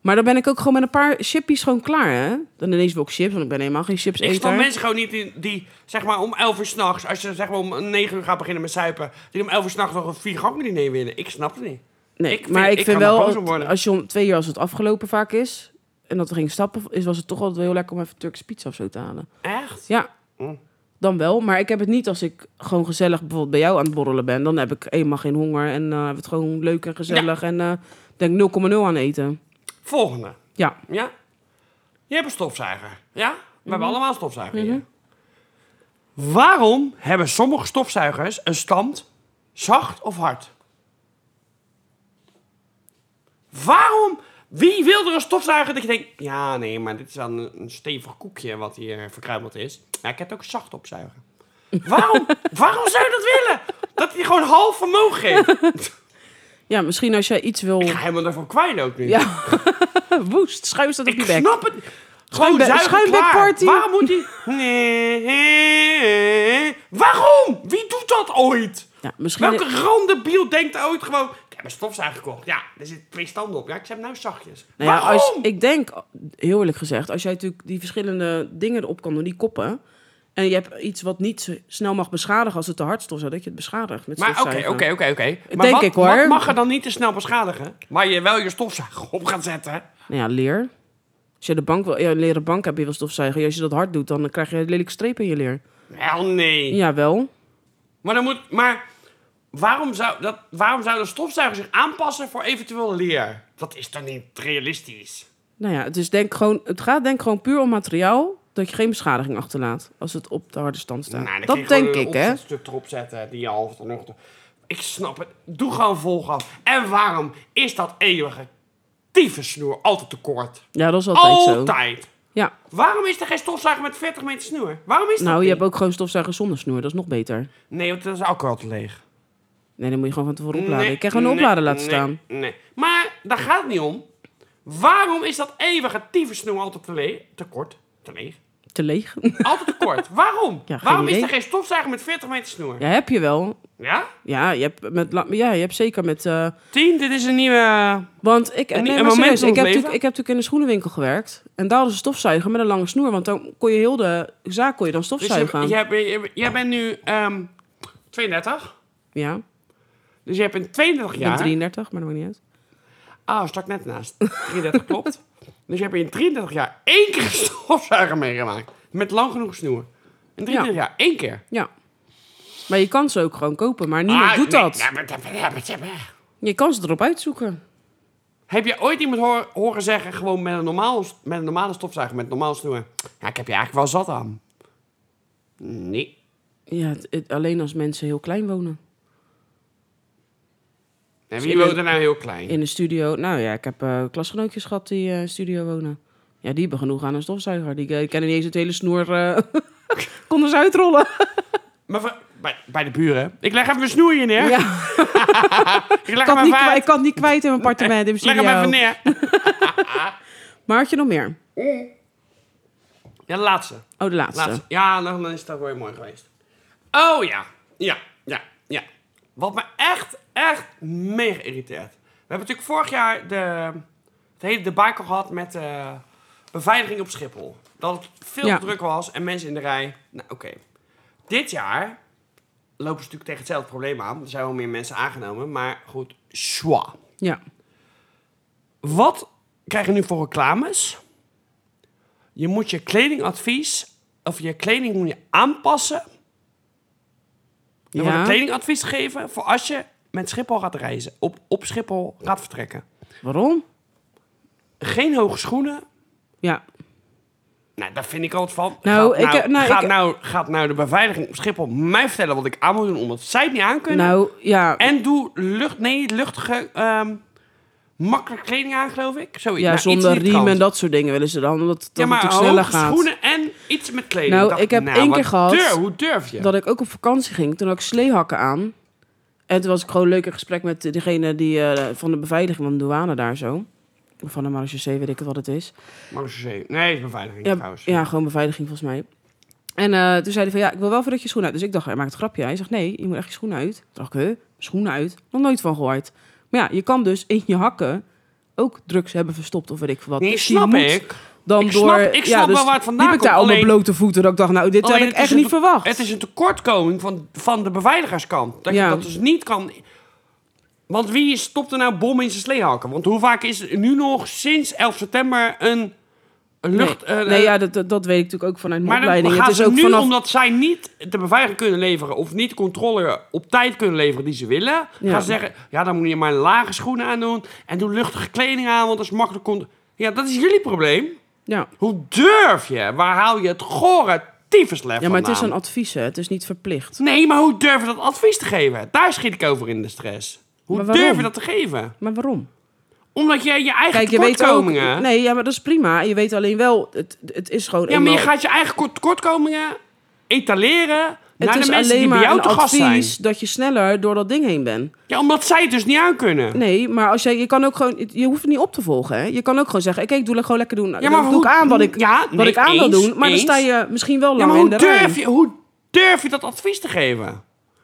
Speaker 2: Maar dan ben ik ook gewoon met een paar chippies gewoon klaar, hè? Dan ineens wil ik chips, want ik ben helemaal geen chips
Speaker 1: Ik snap
Speaker 2: eter.
Speaker 1: mensen gewoon niet die, die, zeg maar, om 11 uur s'nachts, als je zeg maar om 9 uur gaat beginnen met zuipen, die om 11 uur s'nachts nog een vier gang diner willen. Ik snap het niet.
Speaker 2: Nee,
Speaker 1: ik vind-
Speaker 2: maar ik,
Speaker 1: ik
Speaker 2: vind
Speaker 1: kan daar
Speaker 2: wel,
Speaker 1: boos om worden.
Speaker 2: dat- als je om twee uur als het afgelopen vaak is, en dat we gingen stappen, is, was het toch altijd wel heel lekker om even Turkse pizza of zo te halen.
Speaker 1: Echt?
Speaker 2: Ja,
Speaker 1: Mm.
Speaker 2: dan wel. Maar ik heb het niet als ik gewoon gezellig bijvoorbeeld bij jou aan het borrelen ben. Dan heb ik eenmaal geen honger en eh heb het gewoon leuk en gezellig. En eh, denk 0,0 aan eten.
Speaker 1: Volgende.
Speaker 2: Ja,
Speaker 1: Ja? Je hebt een stofzuiger. Ja? We hebben allemaal een stofzuiger hier. Waarom hebben sommige stofzuigers een stand zacht of hard? Waarom? Wie wil er een stofzuiger dat je denkt... Ja, nee, maar dit is wel een, een stevig koekje wat hier verkruimeld is. Ja, ik heb het ook zacht opzuigen. Waarom? waarom zou je dat willen? Dat hij gewoon half vermogen geeft.
Speaker 2: ja misschien als jij iets wil...
Speaker 1: Ik ga helemaal daarvan kwijt ook nu.
Speaker 2: Ja, woest, schuif dat op
Speaker 1: Ik
Speaker 2: je bek.
Speaker 1: snap het. Gewoon
Speaker 2: Schuimbe-
Speaker 1: zuigen klaar.
Speaker 2: schuimbekparty.
Speaker 1: Waarom moet die... Nee. Waarom? Wie doet dat ooit?
Speaker 2: Ja, misschien...
Speaker 1: Welke randebiel denkt ooit gewoon... heb een stofzuiger gekocht. Ja, er zitten twee standen op. Ja, ik zeg nou zachtjes.
Speaker 2: Nou ja,
Speaker 1: Waarom?
Speaker 2: als, ik denk, heel eerlijk gezegd, als jij natuurlijk die verschillende dingen erop kan doen, die koppen. En je hebt iets wat niet zo snel mag beschadigen als het te hard stof, dat je het beschadigt met
Speaker 1: Maar oké,
Speaker 2: stofzuigen.
Speaker 1: oké, oké, oké. Maar
Speaker 2: Denk
Speaker 1: wat,
Speaker 2: ik, hoor.
Speaker 1: wat mag er dan niet te snel beschadigen? Maar je wel je stofzuiger op gaat zetten.
Speaker 2: Nou ja, leer. Als je de bank wil, ja, een leren bank heb je wel stofzuigen. Als je dat hard doet, dan krijg je lelijke strepen in je leer.
Speaker 1: Wel nee.
Speaker 2: Jawel.
Speaker 1: Maar dan moet. Maar waarom zou, dat, waarom zou de stofzuiger zich aanpassen voor eventueel leer? Dat is dan niet realistisch.
Speaker 2: Nou ja, het, is denk gewoon, het gaat denk ik gewoon puur om materiaal dat je geen beschadiging achterlaat als het op de harde stand staat.
Speaker 1: Nou, dan kun je
Speaker 2: dat
Speaker 1: gewoon
Speaker 2: denk
Speaker 1: een
Speaker 2: ik, hè?
Speaker 1: opzetstuk erop zetten die je half dan nog. Ik snap het. Doe gewoon volgas. En waarom is dat eeuwige tyfusnoer altijd te kort?
Speaker 2: Ja, dat is altijd, zo.
Speaker 1: altijd.
Speaker 2: Ja.
Speaker 1: Waarom is er geen stofzuiger met 40 meter snoer? Waarom is dat
Speaker 2: Nou, je
Speaker 1: niet?
Speaker 2: hebt ook gewoon stofzuiger zonder snoer. Dat is nog beter.
Speaker 1: Nee, want dat is ook al te leeg.
Speaker 2: Nee, dan moet je gewoon van tevoren opladen.
Speaker 1: Nee,
Speaker 2: ik kan gewoon een
Speaker 1: nee,
Speaker 2: oplader laten
Speaker 1: nee,
Speaker 2: staan.
Speaker 1: Nee. Maar daar gaat het niet om. Waarom is dat eeuwige tyfusnoer altijd te, leeg, te kort? Te leeg?
Speaker 2: Te leeg.
Speaker 1: Altijd te kort. Waarom?
Speaker 2: Ja, geen
Speaker 1: waarom is
Speaker 2: idee.
Speaker 1: er geen stofzuiger met 40 meter snoer?
Speaker 2: ja, heb je wel.
Speaker 1: ja?
Speaker 2: Ja, je hebt, met, la- ja, je hebt zeker met... eh,
Speaker 1: Tien, dit is een nieuwe... eh,
Speaker 2: want ik, nee,
Speaker 1: een
Speaker 2: maar
Speaker 1: moment
Speaker 2: serieus,
Speaker 1: in ons
Speaker 2: ik, heb
Speaker 1: leven.
Speaker 2: natuurlijk, ik heb natuurlijk in een schoenenwinkel gewerkt. En daar hadden ze stofzuigen met een lange snoer. Want dan kon je heel de zaak kon je dan
Speaker 1: Dus
Speaker 2: stofzuigen.
Speaker 1: je, jij, bent- jij bent nu ehm 32.
Speaker 2: ja, ik
Speaker 1: Dus je hebt in 32
Speaker 2: ben
Speaker 1: jaar...
Speaker 2: 33, maar dat maakt niet uit.
Speaker 1: Ah, stak net naast. 33 klopt. Dus je hebt in 33 jaar één keer een stofzuiger meegemaakt. Met lang genoeg snoer. In 33 jaar één keer.
Speaker 2: Ja. Maar je kan ze ook gewoon kopen. Maar niemand doet
Speaker 1: Ah, nee,
Speaker 2: dat.
Speaker 1: nee, maar- maar- maar- maar- maar-
Speaker 2: Je kan ze erop uitzoeken.
Speaker 1: Heb je ooit iemand hoor- horen zeggen, gewoon met een, normaal, met een normale stofzuiger, met normaal snoer... Ja, ik heb je eigenlijk wel zat aan. Nee.
Speaker 2: Ja, het- het- alleen als mensen heel klein wonen.
Speaker 1: En
Speaker 2: Dus
Speaker 1: wie
Speaker 2: ik ben-
Speaker 1: woont er nou heel klein?
Speaker 2: In de studio. Nou ja, ik heb eh, klasgenootjes gehad die eh, in de studio wonen. Ja, die hebben genoeg aan een stofzuiger. Die eh, kennen niet eens het hele snoer. eh konden ze uitrollen.
Speaker 1: Maar, voor- bij, bij de buren. Ik leg even mijn snoer hier neer.
Speaker 2: Ja,
Speaker 1: Ik leg hem
Speaker 2: ik, had niet
Speaker 1: even
Speaker 2: kwijt,
Speaker 1: uit.
Speaker 2: ik had niet kwijt in mijn appartement, in mijn
Speaker 1: Ik leg hem even
Speaker 2: studio.
Speaker 1: neer.
Speaker 2: Maar had je nog meer?
Speaker 1: Ja, de laatste.
Speaker 2: Oh, de laatste.
Speaker 1: laatste. Ja, dan dan is dat weer mooi geweest. Oh ja. Ja, ja, ja. Wat me echt, echt mega irriteert. We hebben natuurlijk vorig jaar de, het hele debacle gehad met eh, beveiliging op Schiphol. Dat het veel
Speaker 2: Ja.
Speaker 1: te druk was en mensen in de rij. Nou, oké. Dit jaar lopen ze natuurlijk tegen hetzelfde probleem aan. Er zijn wel meer mensen aangenomen, maar goed. Schwa.
Speaker 2: Ja.
Speaker 1: Wat krijg je nu voor reclames? Je moet je kledingadvies of je kleding moet je aanpassen. Je moet een
Speaker 2: ja.
Speaker 1: kledingadvies geven voor als je met Schiphol gaat reizen, op, op Schiphol gaat vertrekken.
Speaker 2: Waarom?
Speaker 1: Geen hoge schoenen.
Speaker 2: Ja.
Speaker 1: Nou, daar vind ik altijd van.
Speaker 2: Nou,
Speaker 1: gaat, nou,
Speaker 2: ik- nou,
Speaker 1: gaat,
Speaker 2: ik-
Speaker 1: nou, gaat nou de beveiliging op Schiphol mij vertellen wat ik aan moet doen omdat zij het niet aan kunnen?
Speaker 2: Nou, ja.
Speaker 1: En doe lucht, nee, luchtige, ehm, makkelijk kleding aan, geloof ik. Zoiets.
Speaker 2: ja,
Speaker 1: Nou, iets in
Speaker 2: zonder
Speaker 1: die
Speaker 2: riem
Speaker 1: trant.
Speaker 2: en dat soort dingen willen ze dan. Omdat het
Speaker 1: Ja,
Speaker 2: dan
Speaker 1: maar
Speaker 2: natuurlijk sneller
Speaker 1: hoge
Speaker 2: gaat.
Speaker 1: schoenen en iets met kleding.
Speaker 2: Nou,
Speaker 1: dacht
Speaker 2: ik heb één
Speaker 1: wat
Speaker 2: keer gehad
Speaker 1: durf- hoe durf je?
Speaker 2: dat ik ook op vakantie ging. Toen had ik sleehakken aan. En toen was ik gewoon leuk in gesprek met degene die eh, van de beveiliging van de douane daar zo. Of van de marechaussee, weet ik het wat het is.
Speaker 1: Marseille. Nee, is beveiliging
Speaker 2: Ja,
Speaker 1: trouwens.
Speaker 2: ja, gewoon beveiliging volgens mij. En eh, toen zei hij van, ja, ik wil wel voor dat je schoenen uit. Dus ik dacht, hij maakt een grapje. Hij zegt, nee, je moet echt je schoenen uit. Toen dacht ik, huh, schoenen uit? Nog nooit van gehoord. Maar ja, je kan dus in je hakken ook drugs hebben verstopt of weet ik veel wat.
Speaker 1: Nee,
Speaker 2: Dus die
Speaker 1: snap
Speaker 2: moet
Speaker 1: ik.
Speaker 2: Dan
Speaker 1: Ik
Speaker 2: door,
Speaker 1: snap- ik snap wel waar het vandaan
Speaker 2: liep ik daar
Speaker 1: komt,
Speaker 2: al mijn
Speaker 1: alleen-
Speaker 2: blote voeten. Dat ik dacht, nou, dit
Speaker 1: Alleen
Speaker 2: heb ik
Speaker 1: het is
Speaker 2: echt
Speaker 1: een
Speaker 2: niet
Speaker 1: te-
Speaker 2: verwacht.
Speaker 1: Het is een tekortkoming van, van de beveiligerskant. Dat
Speaker 2: Ja.
Speaker 1: je dat dus niet kan... Want wie stopt er nou bommen in zijn sleehakken? Want hoe vaak is er nu nog sinds 11 september een een lucht...
Speaker 2: nee,
Speaker 1: eh,
Speaker 2: nee,
Speaker 1: eh,
Speaker 2: ja, dat, dat- dat weet ik natuurlijk ook vanuit mijn
Speaker 1: maar dan
Speaker 2: opleiding.
Speaker 1: gaat
Speaker 2: Het
Speaker 1: het
Speaker 2: is ook
Speaker 1: nu
Speaker 2: vanaf...
Speaker 1: omdat zij niet de beveiliging kunnen leveren... of niet de controle op tijd kunnen leveren die ze willen...
Speaker 2: Ja.
Speaker 1: gaan ze zeggen, ja, dan moet je maar lage schoenen aandoen... en doe luchtige kleding aan, want dat is makkelijk... con- Ja, dat is jullie probleem.
Speaker 2: Ja.
Speaker 1: Hoe durf je? Waar haal je het gore tyfuslef
Speaker 2: ja, maar het is
Speaker 1: vandaan?
Speaker 2: een advies, hè. Het is niet verplicht.
Speaker 1: Nee, maar hoe durf je dat advies te geven? Daar schiet ik over in de stress. Hoe
Speaker 2: Maar waarom?
Speaker 1: durf je dat te geven?
Speaker 2: Maar waarom?
Speaker 1: Omdat je je eigen
Speaker 2: Kijk, je weet ook...
Speaker 1: tekortkomingen...
Speaker 2: Nee, ja, maar dat is prima. Je weet alleen wel, het, het is gewoon...
Speaker 1: ja, maar je
Speaker 2: eenmaal-
Speaker 1: gaat je eigen kort- tekortkomingen etaleren...
Speaker 2: het
Speaker 1: naar
Speaker 2: is
Speaker 1: de mensen
Speaker 2: alleen
Speaker 1: die bij
Speaker 2: maar
Speaker 1: jou
Speaker 2: een
Speaker 1: te gast zijn.
Speaker 2: advies dat je sneller door dat ding heen bent.
Speaker 1: Ja, omdat zij het dus niet aan kunnen.
Speaker 2: Nee, maar als jij, je kan ook gewoon, je hoeft het niet op te volgen. Hè? Je kan ook gewoon zeggen, oké, ik doe het gewoon lekker doen. Ja,
Speaker 1: maar
Speaker 2: doe
Speaker 1: hoe-
Speaker 2: ik aan wat ik,
Speaker 1: ja,
Speaker 2: wat
Speaker 1: nee,
Speaker 2: ik aan wil
Speaker 1: eens,
Speaker 2: doen. Maar
Speaker 1: eens.
Speaker 2: dan sta je misschien wel
Speaker 1: Ja,
Speaker 2: lang
Speaker 1: maar
Speaker 2: in
Speaker 1: hoe
Speaker 2: de rij.
Speaker 1: durf, je, hoe durf je dat advies te geven? Omdat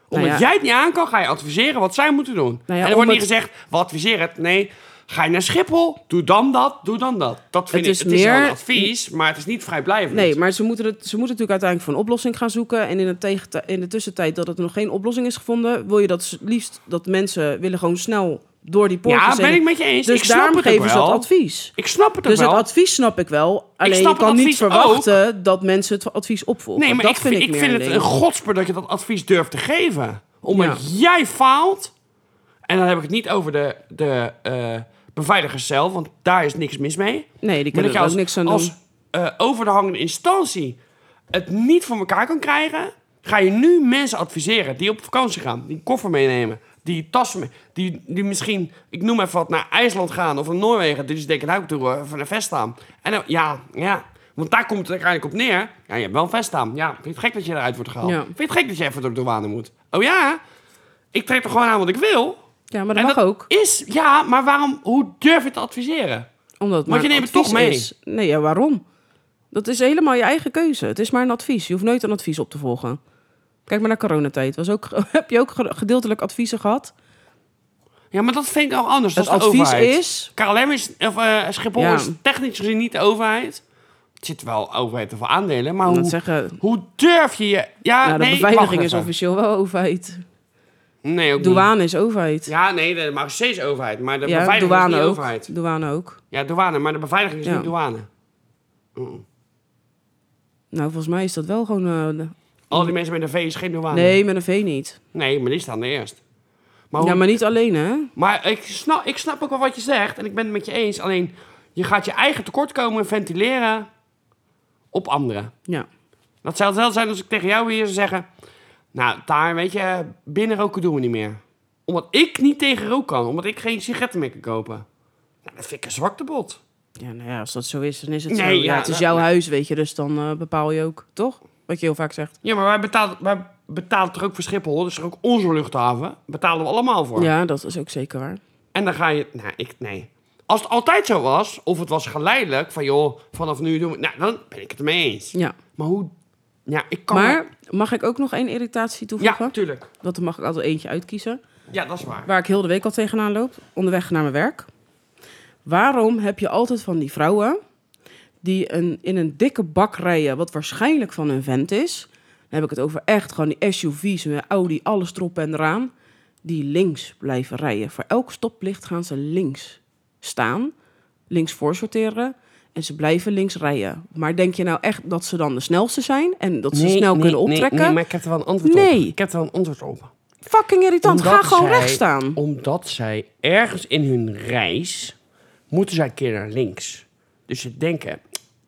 Speaker 2: Nou ja. Nou
Speaker 1: jij het niet aan kan, ga je adviseren wat zij moeten doen.
Speaker 2: ja,
Speaker 1: en er wordt
Speaker 2: om
Speaker 1: niet
Speaker 2: het-
Speaker 1: gezegd, we adviseren het. Nee, ga je naar Schiphol, doe dan dat, doe dan dat. Dat vind
Speaker 2: Het
Speaker 1: ik,
Speaker 2: is
Speaker 1: het is wel
Speaker 2: meer-
Speaker 1: een advies, maar het is niet vrijblijvend.
Speaker 2: Nee, maar ze moeten, het, ze moeten natuurlijk uiteindelijk voor een oplossing gaan zoeken. En in de, tegen, in de tussentijd dat er nog geen oplossing is gevonden, wil je dat s- liefst dat mensen willen gewoon snel door die poortjes
Speaker 1: ja, ben
Speaker 2: heen.
Speaker 1: ik met je eens.
Speaker 2: Dus
Speaker 1: ik snap
Speaker 2: daarom
Speaker 1: het ook
Speaker 2: geven ze
Speaker 1: wel.
Speaker 2: dat advies.
Speaker 1: Ik snap het ook
Speaker 2: Dus het
Speaker 1: wel.
Speaker 2: advies snap ik wel. Alleen
Speaker 1: snap
Speaker 2: je kan
Speaker 1: het
Speaker 2: niet
Speaker 1: advies
Speaker 2: verwachten dat mensen het advies opvolgen.
Speaker 1: Nee, maar
Speaker 2: dat
Speaker 1: ik vind, ik
Speaker 2: meer
Speaker 1: vind
Speaker 2: een
Speaker 1: het
Speaker 2: ding.
Speaker 1: een godsper dat je dat advies durft te geven. Omdat jij faalt. En dan heb ik het niet over de, de eh, beveiligers zelf, want daar is niks mis mee.
Speaker 2: Nee, die
Speaker 1: Maar
Speaker 2: kunnen
Speaker 1: dat je
Speaker 2: er ook
Speaker 1: als,
Speaker 2: niks aan
Speaker 1: als
Speaker 2: doen.
Speaker 1: eh, over de hangende instantie het niet voor elkaar kan krijgen, ga je nu mensen adviseren die op vakantie gaan, die een koffer meenemen, die tassen, mee- die, die misschien, ik noem even wat, naar IJsland gaan of naar Noorwegen. Dus die denken, nou, ik doe eh, even een vest aan. En dan, ja, ja. Want daar komt het uiteindelijk op neer. Ja, je hebt wel een vest aan. Ja, vind je het gek dat je eruit wordt gehaald?
Speaker 2: Ja.
Speaker 1: Vind je het gek dat je even door de douane moet? Oh ja, ik trek er gewoon aan wat ik wil.
Speaker 2: Ja, maar dat
Speaker 1: en
Speaker 2: mag
Speaker 1: dat
Speaker 2: ook.
Speaker 1: is, ja, maar waarom, hoe durf je te adviseren?
Speaker 2: Omdat
Speaker 1: Want
Speaker 2: het maar
Speaker 1: je
Speaker 2: een
Speaker 1: neemt het toch
Speaker 2: advies
Speaker 1: mee.
Speaker 2: Is. Nee, ja, waarom? Dat is helemaal je eigen keuze. Het is maar een advies. Je hoeft nooit een advies op te volgen. Kijk maar naar coronatijd. Was ook, heb je ook ge- gedeeltelijk adviezen gehad?
Speaker 1: Ja, maar dat vind ik al anders. Dat
Speaker 2: het
Speaker 1: is de
Speaker 2: advies
Speaker 1: overheid.
Speaker 2: is...
Speaker 1: KLM is, of, eh, Schiphol
Speaker 2: Ja.
Speaker 1: is technisch gezien niet de overheid. Het zit wel overheid of aandelen, maar
Speaker 2: Ik moet
Speaker 1: hoe,
Speaker 2: zeggen,
Speaker 1: hoe durf je je... Ja,
Speaker 2: nou, de
Speaker 1: Ah, nee, wacht
Speaker 2: beveiliging is
Speaker 1: even.
Speaker 2: officieel wel overheid.
Speaker 1: Nee, ook niet.
Speaker 2: Douane is overheid.
Speaker 1: Ja, nee, de marechaussee is overheid, maar de
Speaker 2: Ja,
Speaker 1: beveiliging is
Speaker 2: douane
Speaker 1: niet
Speaker 2: ook.
Speaker 1: overheid.
Speaker 2: Douane ook.
Speaker 1: Ja, douane, maar de beveiliging is
Speaker 2: Ja.
Speaker 1: niet douane.
Speaker 2: Nou, volgens mij is dat wel gewoon...
Speaker 1: Ah,
Speaker 2: eh, de-
Speaker 1: Al die mensen met een V is geen douane.
Speaker 2: nee, met een V niet.
Speaker 1: Nee, maar die staan er eerst. Maar, hoe-
Speaker 2: Ja,
Speaker 1: maar...
Speaker 2: maar niet alleen, hè?
Speaker 1: ik, snap, ik snap ook wel wat je zegt en ik ben het met je eens. Alleen, je gaat je eigen tekortkomen ventileren op anderen.
Speaker 2: Ja.
Speaker 1: Dat zou hetzelfde zijn als ik tegen jou hier zou zeggen... Nou, daar, weet je, binnen roken doen we niet meer. Omdat ik niet tegen rook kan. Omdat ik geen sigaretten meer kan kopen. Nou, dat vind ik een zwakte bot.
Speaker 2: Ja, nou ja, als dat zo is, dan is het
Speaker 1: Nee,
Speaker 2: zo. Ja,
Speaker 1: ja,
Speaker 2: het is
Speaker 1: dat-
Speaker 2: jouw huis, weet je. Dus dan eh, bepaal je ook, toch? Wat je heel vaak zegt.
Speaker 1: Ja, maar wij betalen, wij betalen toch ook voor Schiphol? Dus ook onze luchthaven. Betalen we allemaal voor.
Speaker 2: Ja, dat is ook zeker waar.
Speaker 1: En dan ga je... Nou, ik... Nee. Als het altijd zo was, of het was geleidelijk... Van joh, vanaf nu doen we... Nou, dan ben ik het ermee eens.
Speaker 2: Ja.
Speaker 1: Maar hoe... Ja, ik kan...
Speaker 2: maar mag ik ook nog één irritatie
Speaker 1: Ja,
Speaker 2: toevoegen?
Speaker 1: natuurlijk.
Speaker 2: Want dan mag ik altijd eentje uitkiezen.
Speaker 1: Ja, dat is waar.
Speaker 2: Waar ik heel de week al tegenaan loop, onderweg naar mijn werk. Waarom heb je altijd van die vrouwen die een, in een dikke bak rijden, wat waarschijnlijk van een vent is? Dan heb ik het over echt gewoon die SUV's, een Audi, alles erop en eraan. Die links blijven rijden. Voor elk stoplicht gaan ze links staan, links voor sorteren. En ze blijven links rijden. Maar denk je nou echt dat ze dan de snelste zijn? En dat ze snel kunnen optrekken?
Speaker 1: Nee, maar ik heb er wel een antwoord op.
Speaker 2: Nee.
Speaker 1: Ik heb er wel een antwoord op.
Speaker 2: Fucking irritant. Ga
Speaker 1: Omdat
Speaker 2: gewoon
Speaker 1: zij-
Speaker 2: rechts staan.
Speaker 1: Omdat zij ergens in hun reis moeten zij een keer naar links. Dus ze denken,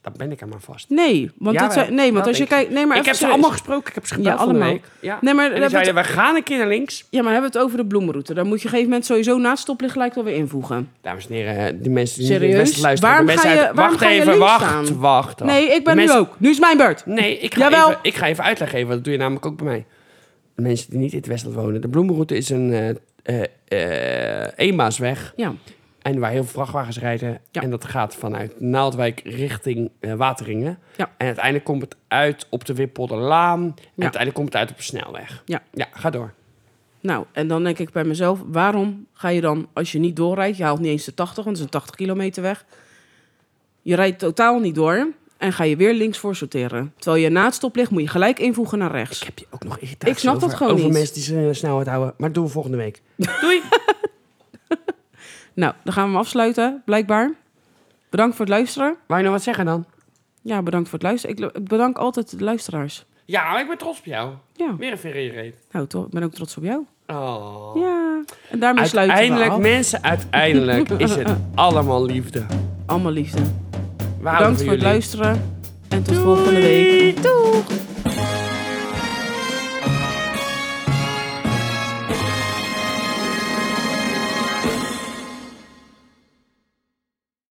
Speaker 1: dan ben ik er maar vast.
Speaker 2: Nee, want
Speaker 1: Ja,
Speaker 2: dat
Speaker 1: wel.
Speaker 2: zijn, nee, want
Speaker 1: Dat
Speaker 2: als je
Speaker 1: denk
Speaker 2: kijkt, nee, maar
Speaker 1: ik
Speaker 2: even
Speaker 1: heb ze
Speaker 2: serieus.
Speaker 1: allemaal gesproken, ik heb ze gebeld
Speaker 2: Ja,
Speaker 1: van de
Speaker 2: allemaal.
Speaker 1: week. Ja.
Speaker 2: Nee, maar
Speaker 1: en die
Speaker 2: dat
Speaker 1: zeiden, we gaan een keer naar links.
Speaker 2: Ja, maar hebben we het over de bloemenroute? Dan moet je op een gegeven moment sowieso na het stoplicht gelijk wel weer invoegen.
Speaker 1: Dames en heren, die mensen die
Speaker 2: Serieus?
Speaker 1: niet best luisteren.
Speaker 2: Waarom
Speaker 1: de mensen
Speaker 2: ga je-
Speaker 1: uit-
Speaker 2: waarom
Speaker 1: wacht
Speaker 2: ga je
Speaker 1: even,
Speaker 2: links
Speaker 1: wacht,
Speaker 2: staan?
Speaker 1: wacht, wacht.
Speaker 2: Nee, ik
Speaker 1: De
Speaker 2: ben
Speaker 1: mensen-
Speaker 2: nu ook. Nu is mijn beurt.
Speaker 1: Nee, ik ga,
Speaker 2: Jawel.
Speaker 1: even, ik ga even uitleg geven. Dat doe je namelijk ook bij mij. De mensen die niet in het Westland wonen. De Bloemenroute is een eh, eh, eh, eenmaasweg.
Speaker 2: Ja,
Speaker 1: En waar heel veel vrachtwagens rijden.
Speaker 2: Ja.
Speaker 1: En dat gaat vanuit Naaldwijk richting eh, Wateringen.
Speaker 2: Ja.
Speaker 1: En uiteindelijk komt het uit op de Wippolderlaan. En
Speaker 2: Ja.
Speaker 1: uiteindelijk komt het uit op de snelweg.
Speaker 2: ja.
Speaker 1: Ja, ga door.
Speaker 2: Nou, en dan denk ik bij mezelf, waarom ga je dan, als je niet doorrijdt, je haalt niet eens de 80, want het is een 80 kilometer weg. Je rijdt totaal niet door en ga je weer links voor sorteren. Terwijl je na het stoplicht moet je gelijk invoegen naar rechts.
Speaker 1: Ik heb je ook nog irritatie
Speaker 2: Ik snap dat
Speaker 1: over,
Speaker 2: gewoon
Speaker 1: over
Speaker 2: niet.
Speaker 1: mensen die zijn snelheid houden. Maar dat doen we volgende week. Doei!
Speaker 2: Nou, dan gaan we hem afsluiten, blijkbaar. Bedankt voor het luisteren.
Speaker 1: Wou je nog wat zeggen dan?
Speaker 2: Ja, bedankt voor het luisteren. Ik lu- bedank altijd de luisteraars.
Speaker 1: Ja, maar ik ben trots op jou.
Speaker 2: Ja,
Speaker 1: Weer een ver in je reet.
Speaker 2: nou toch, ik ben ook trots op jou.
Speaker 1: Oh.
Speaker 2: Ja, en daarmee sluiten we
Speaker 1: Uiteindelijk,
Speaker 2: af.
Speaker 1: mensen, uiteindelijk is het allemaal liefde.
Speaker 2: Allemaal liefde.
Speaker 1: We houden
Speaker 2: Bedankt
Speaker 1: van
Speaker 2: voor het
Speaker 1: jullie.
Speaker 2: luisteren en tot volgende week. Doeg!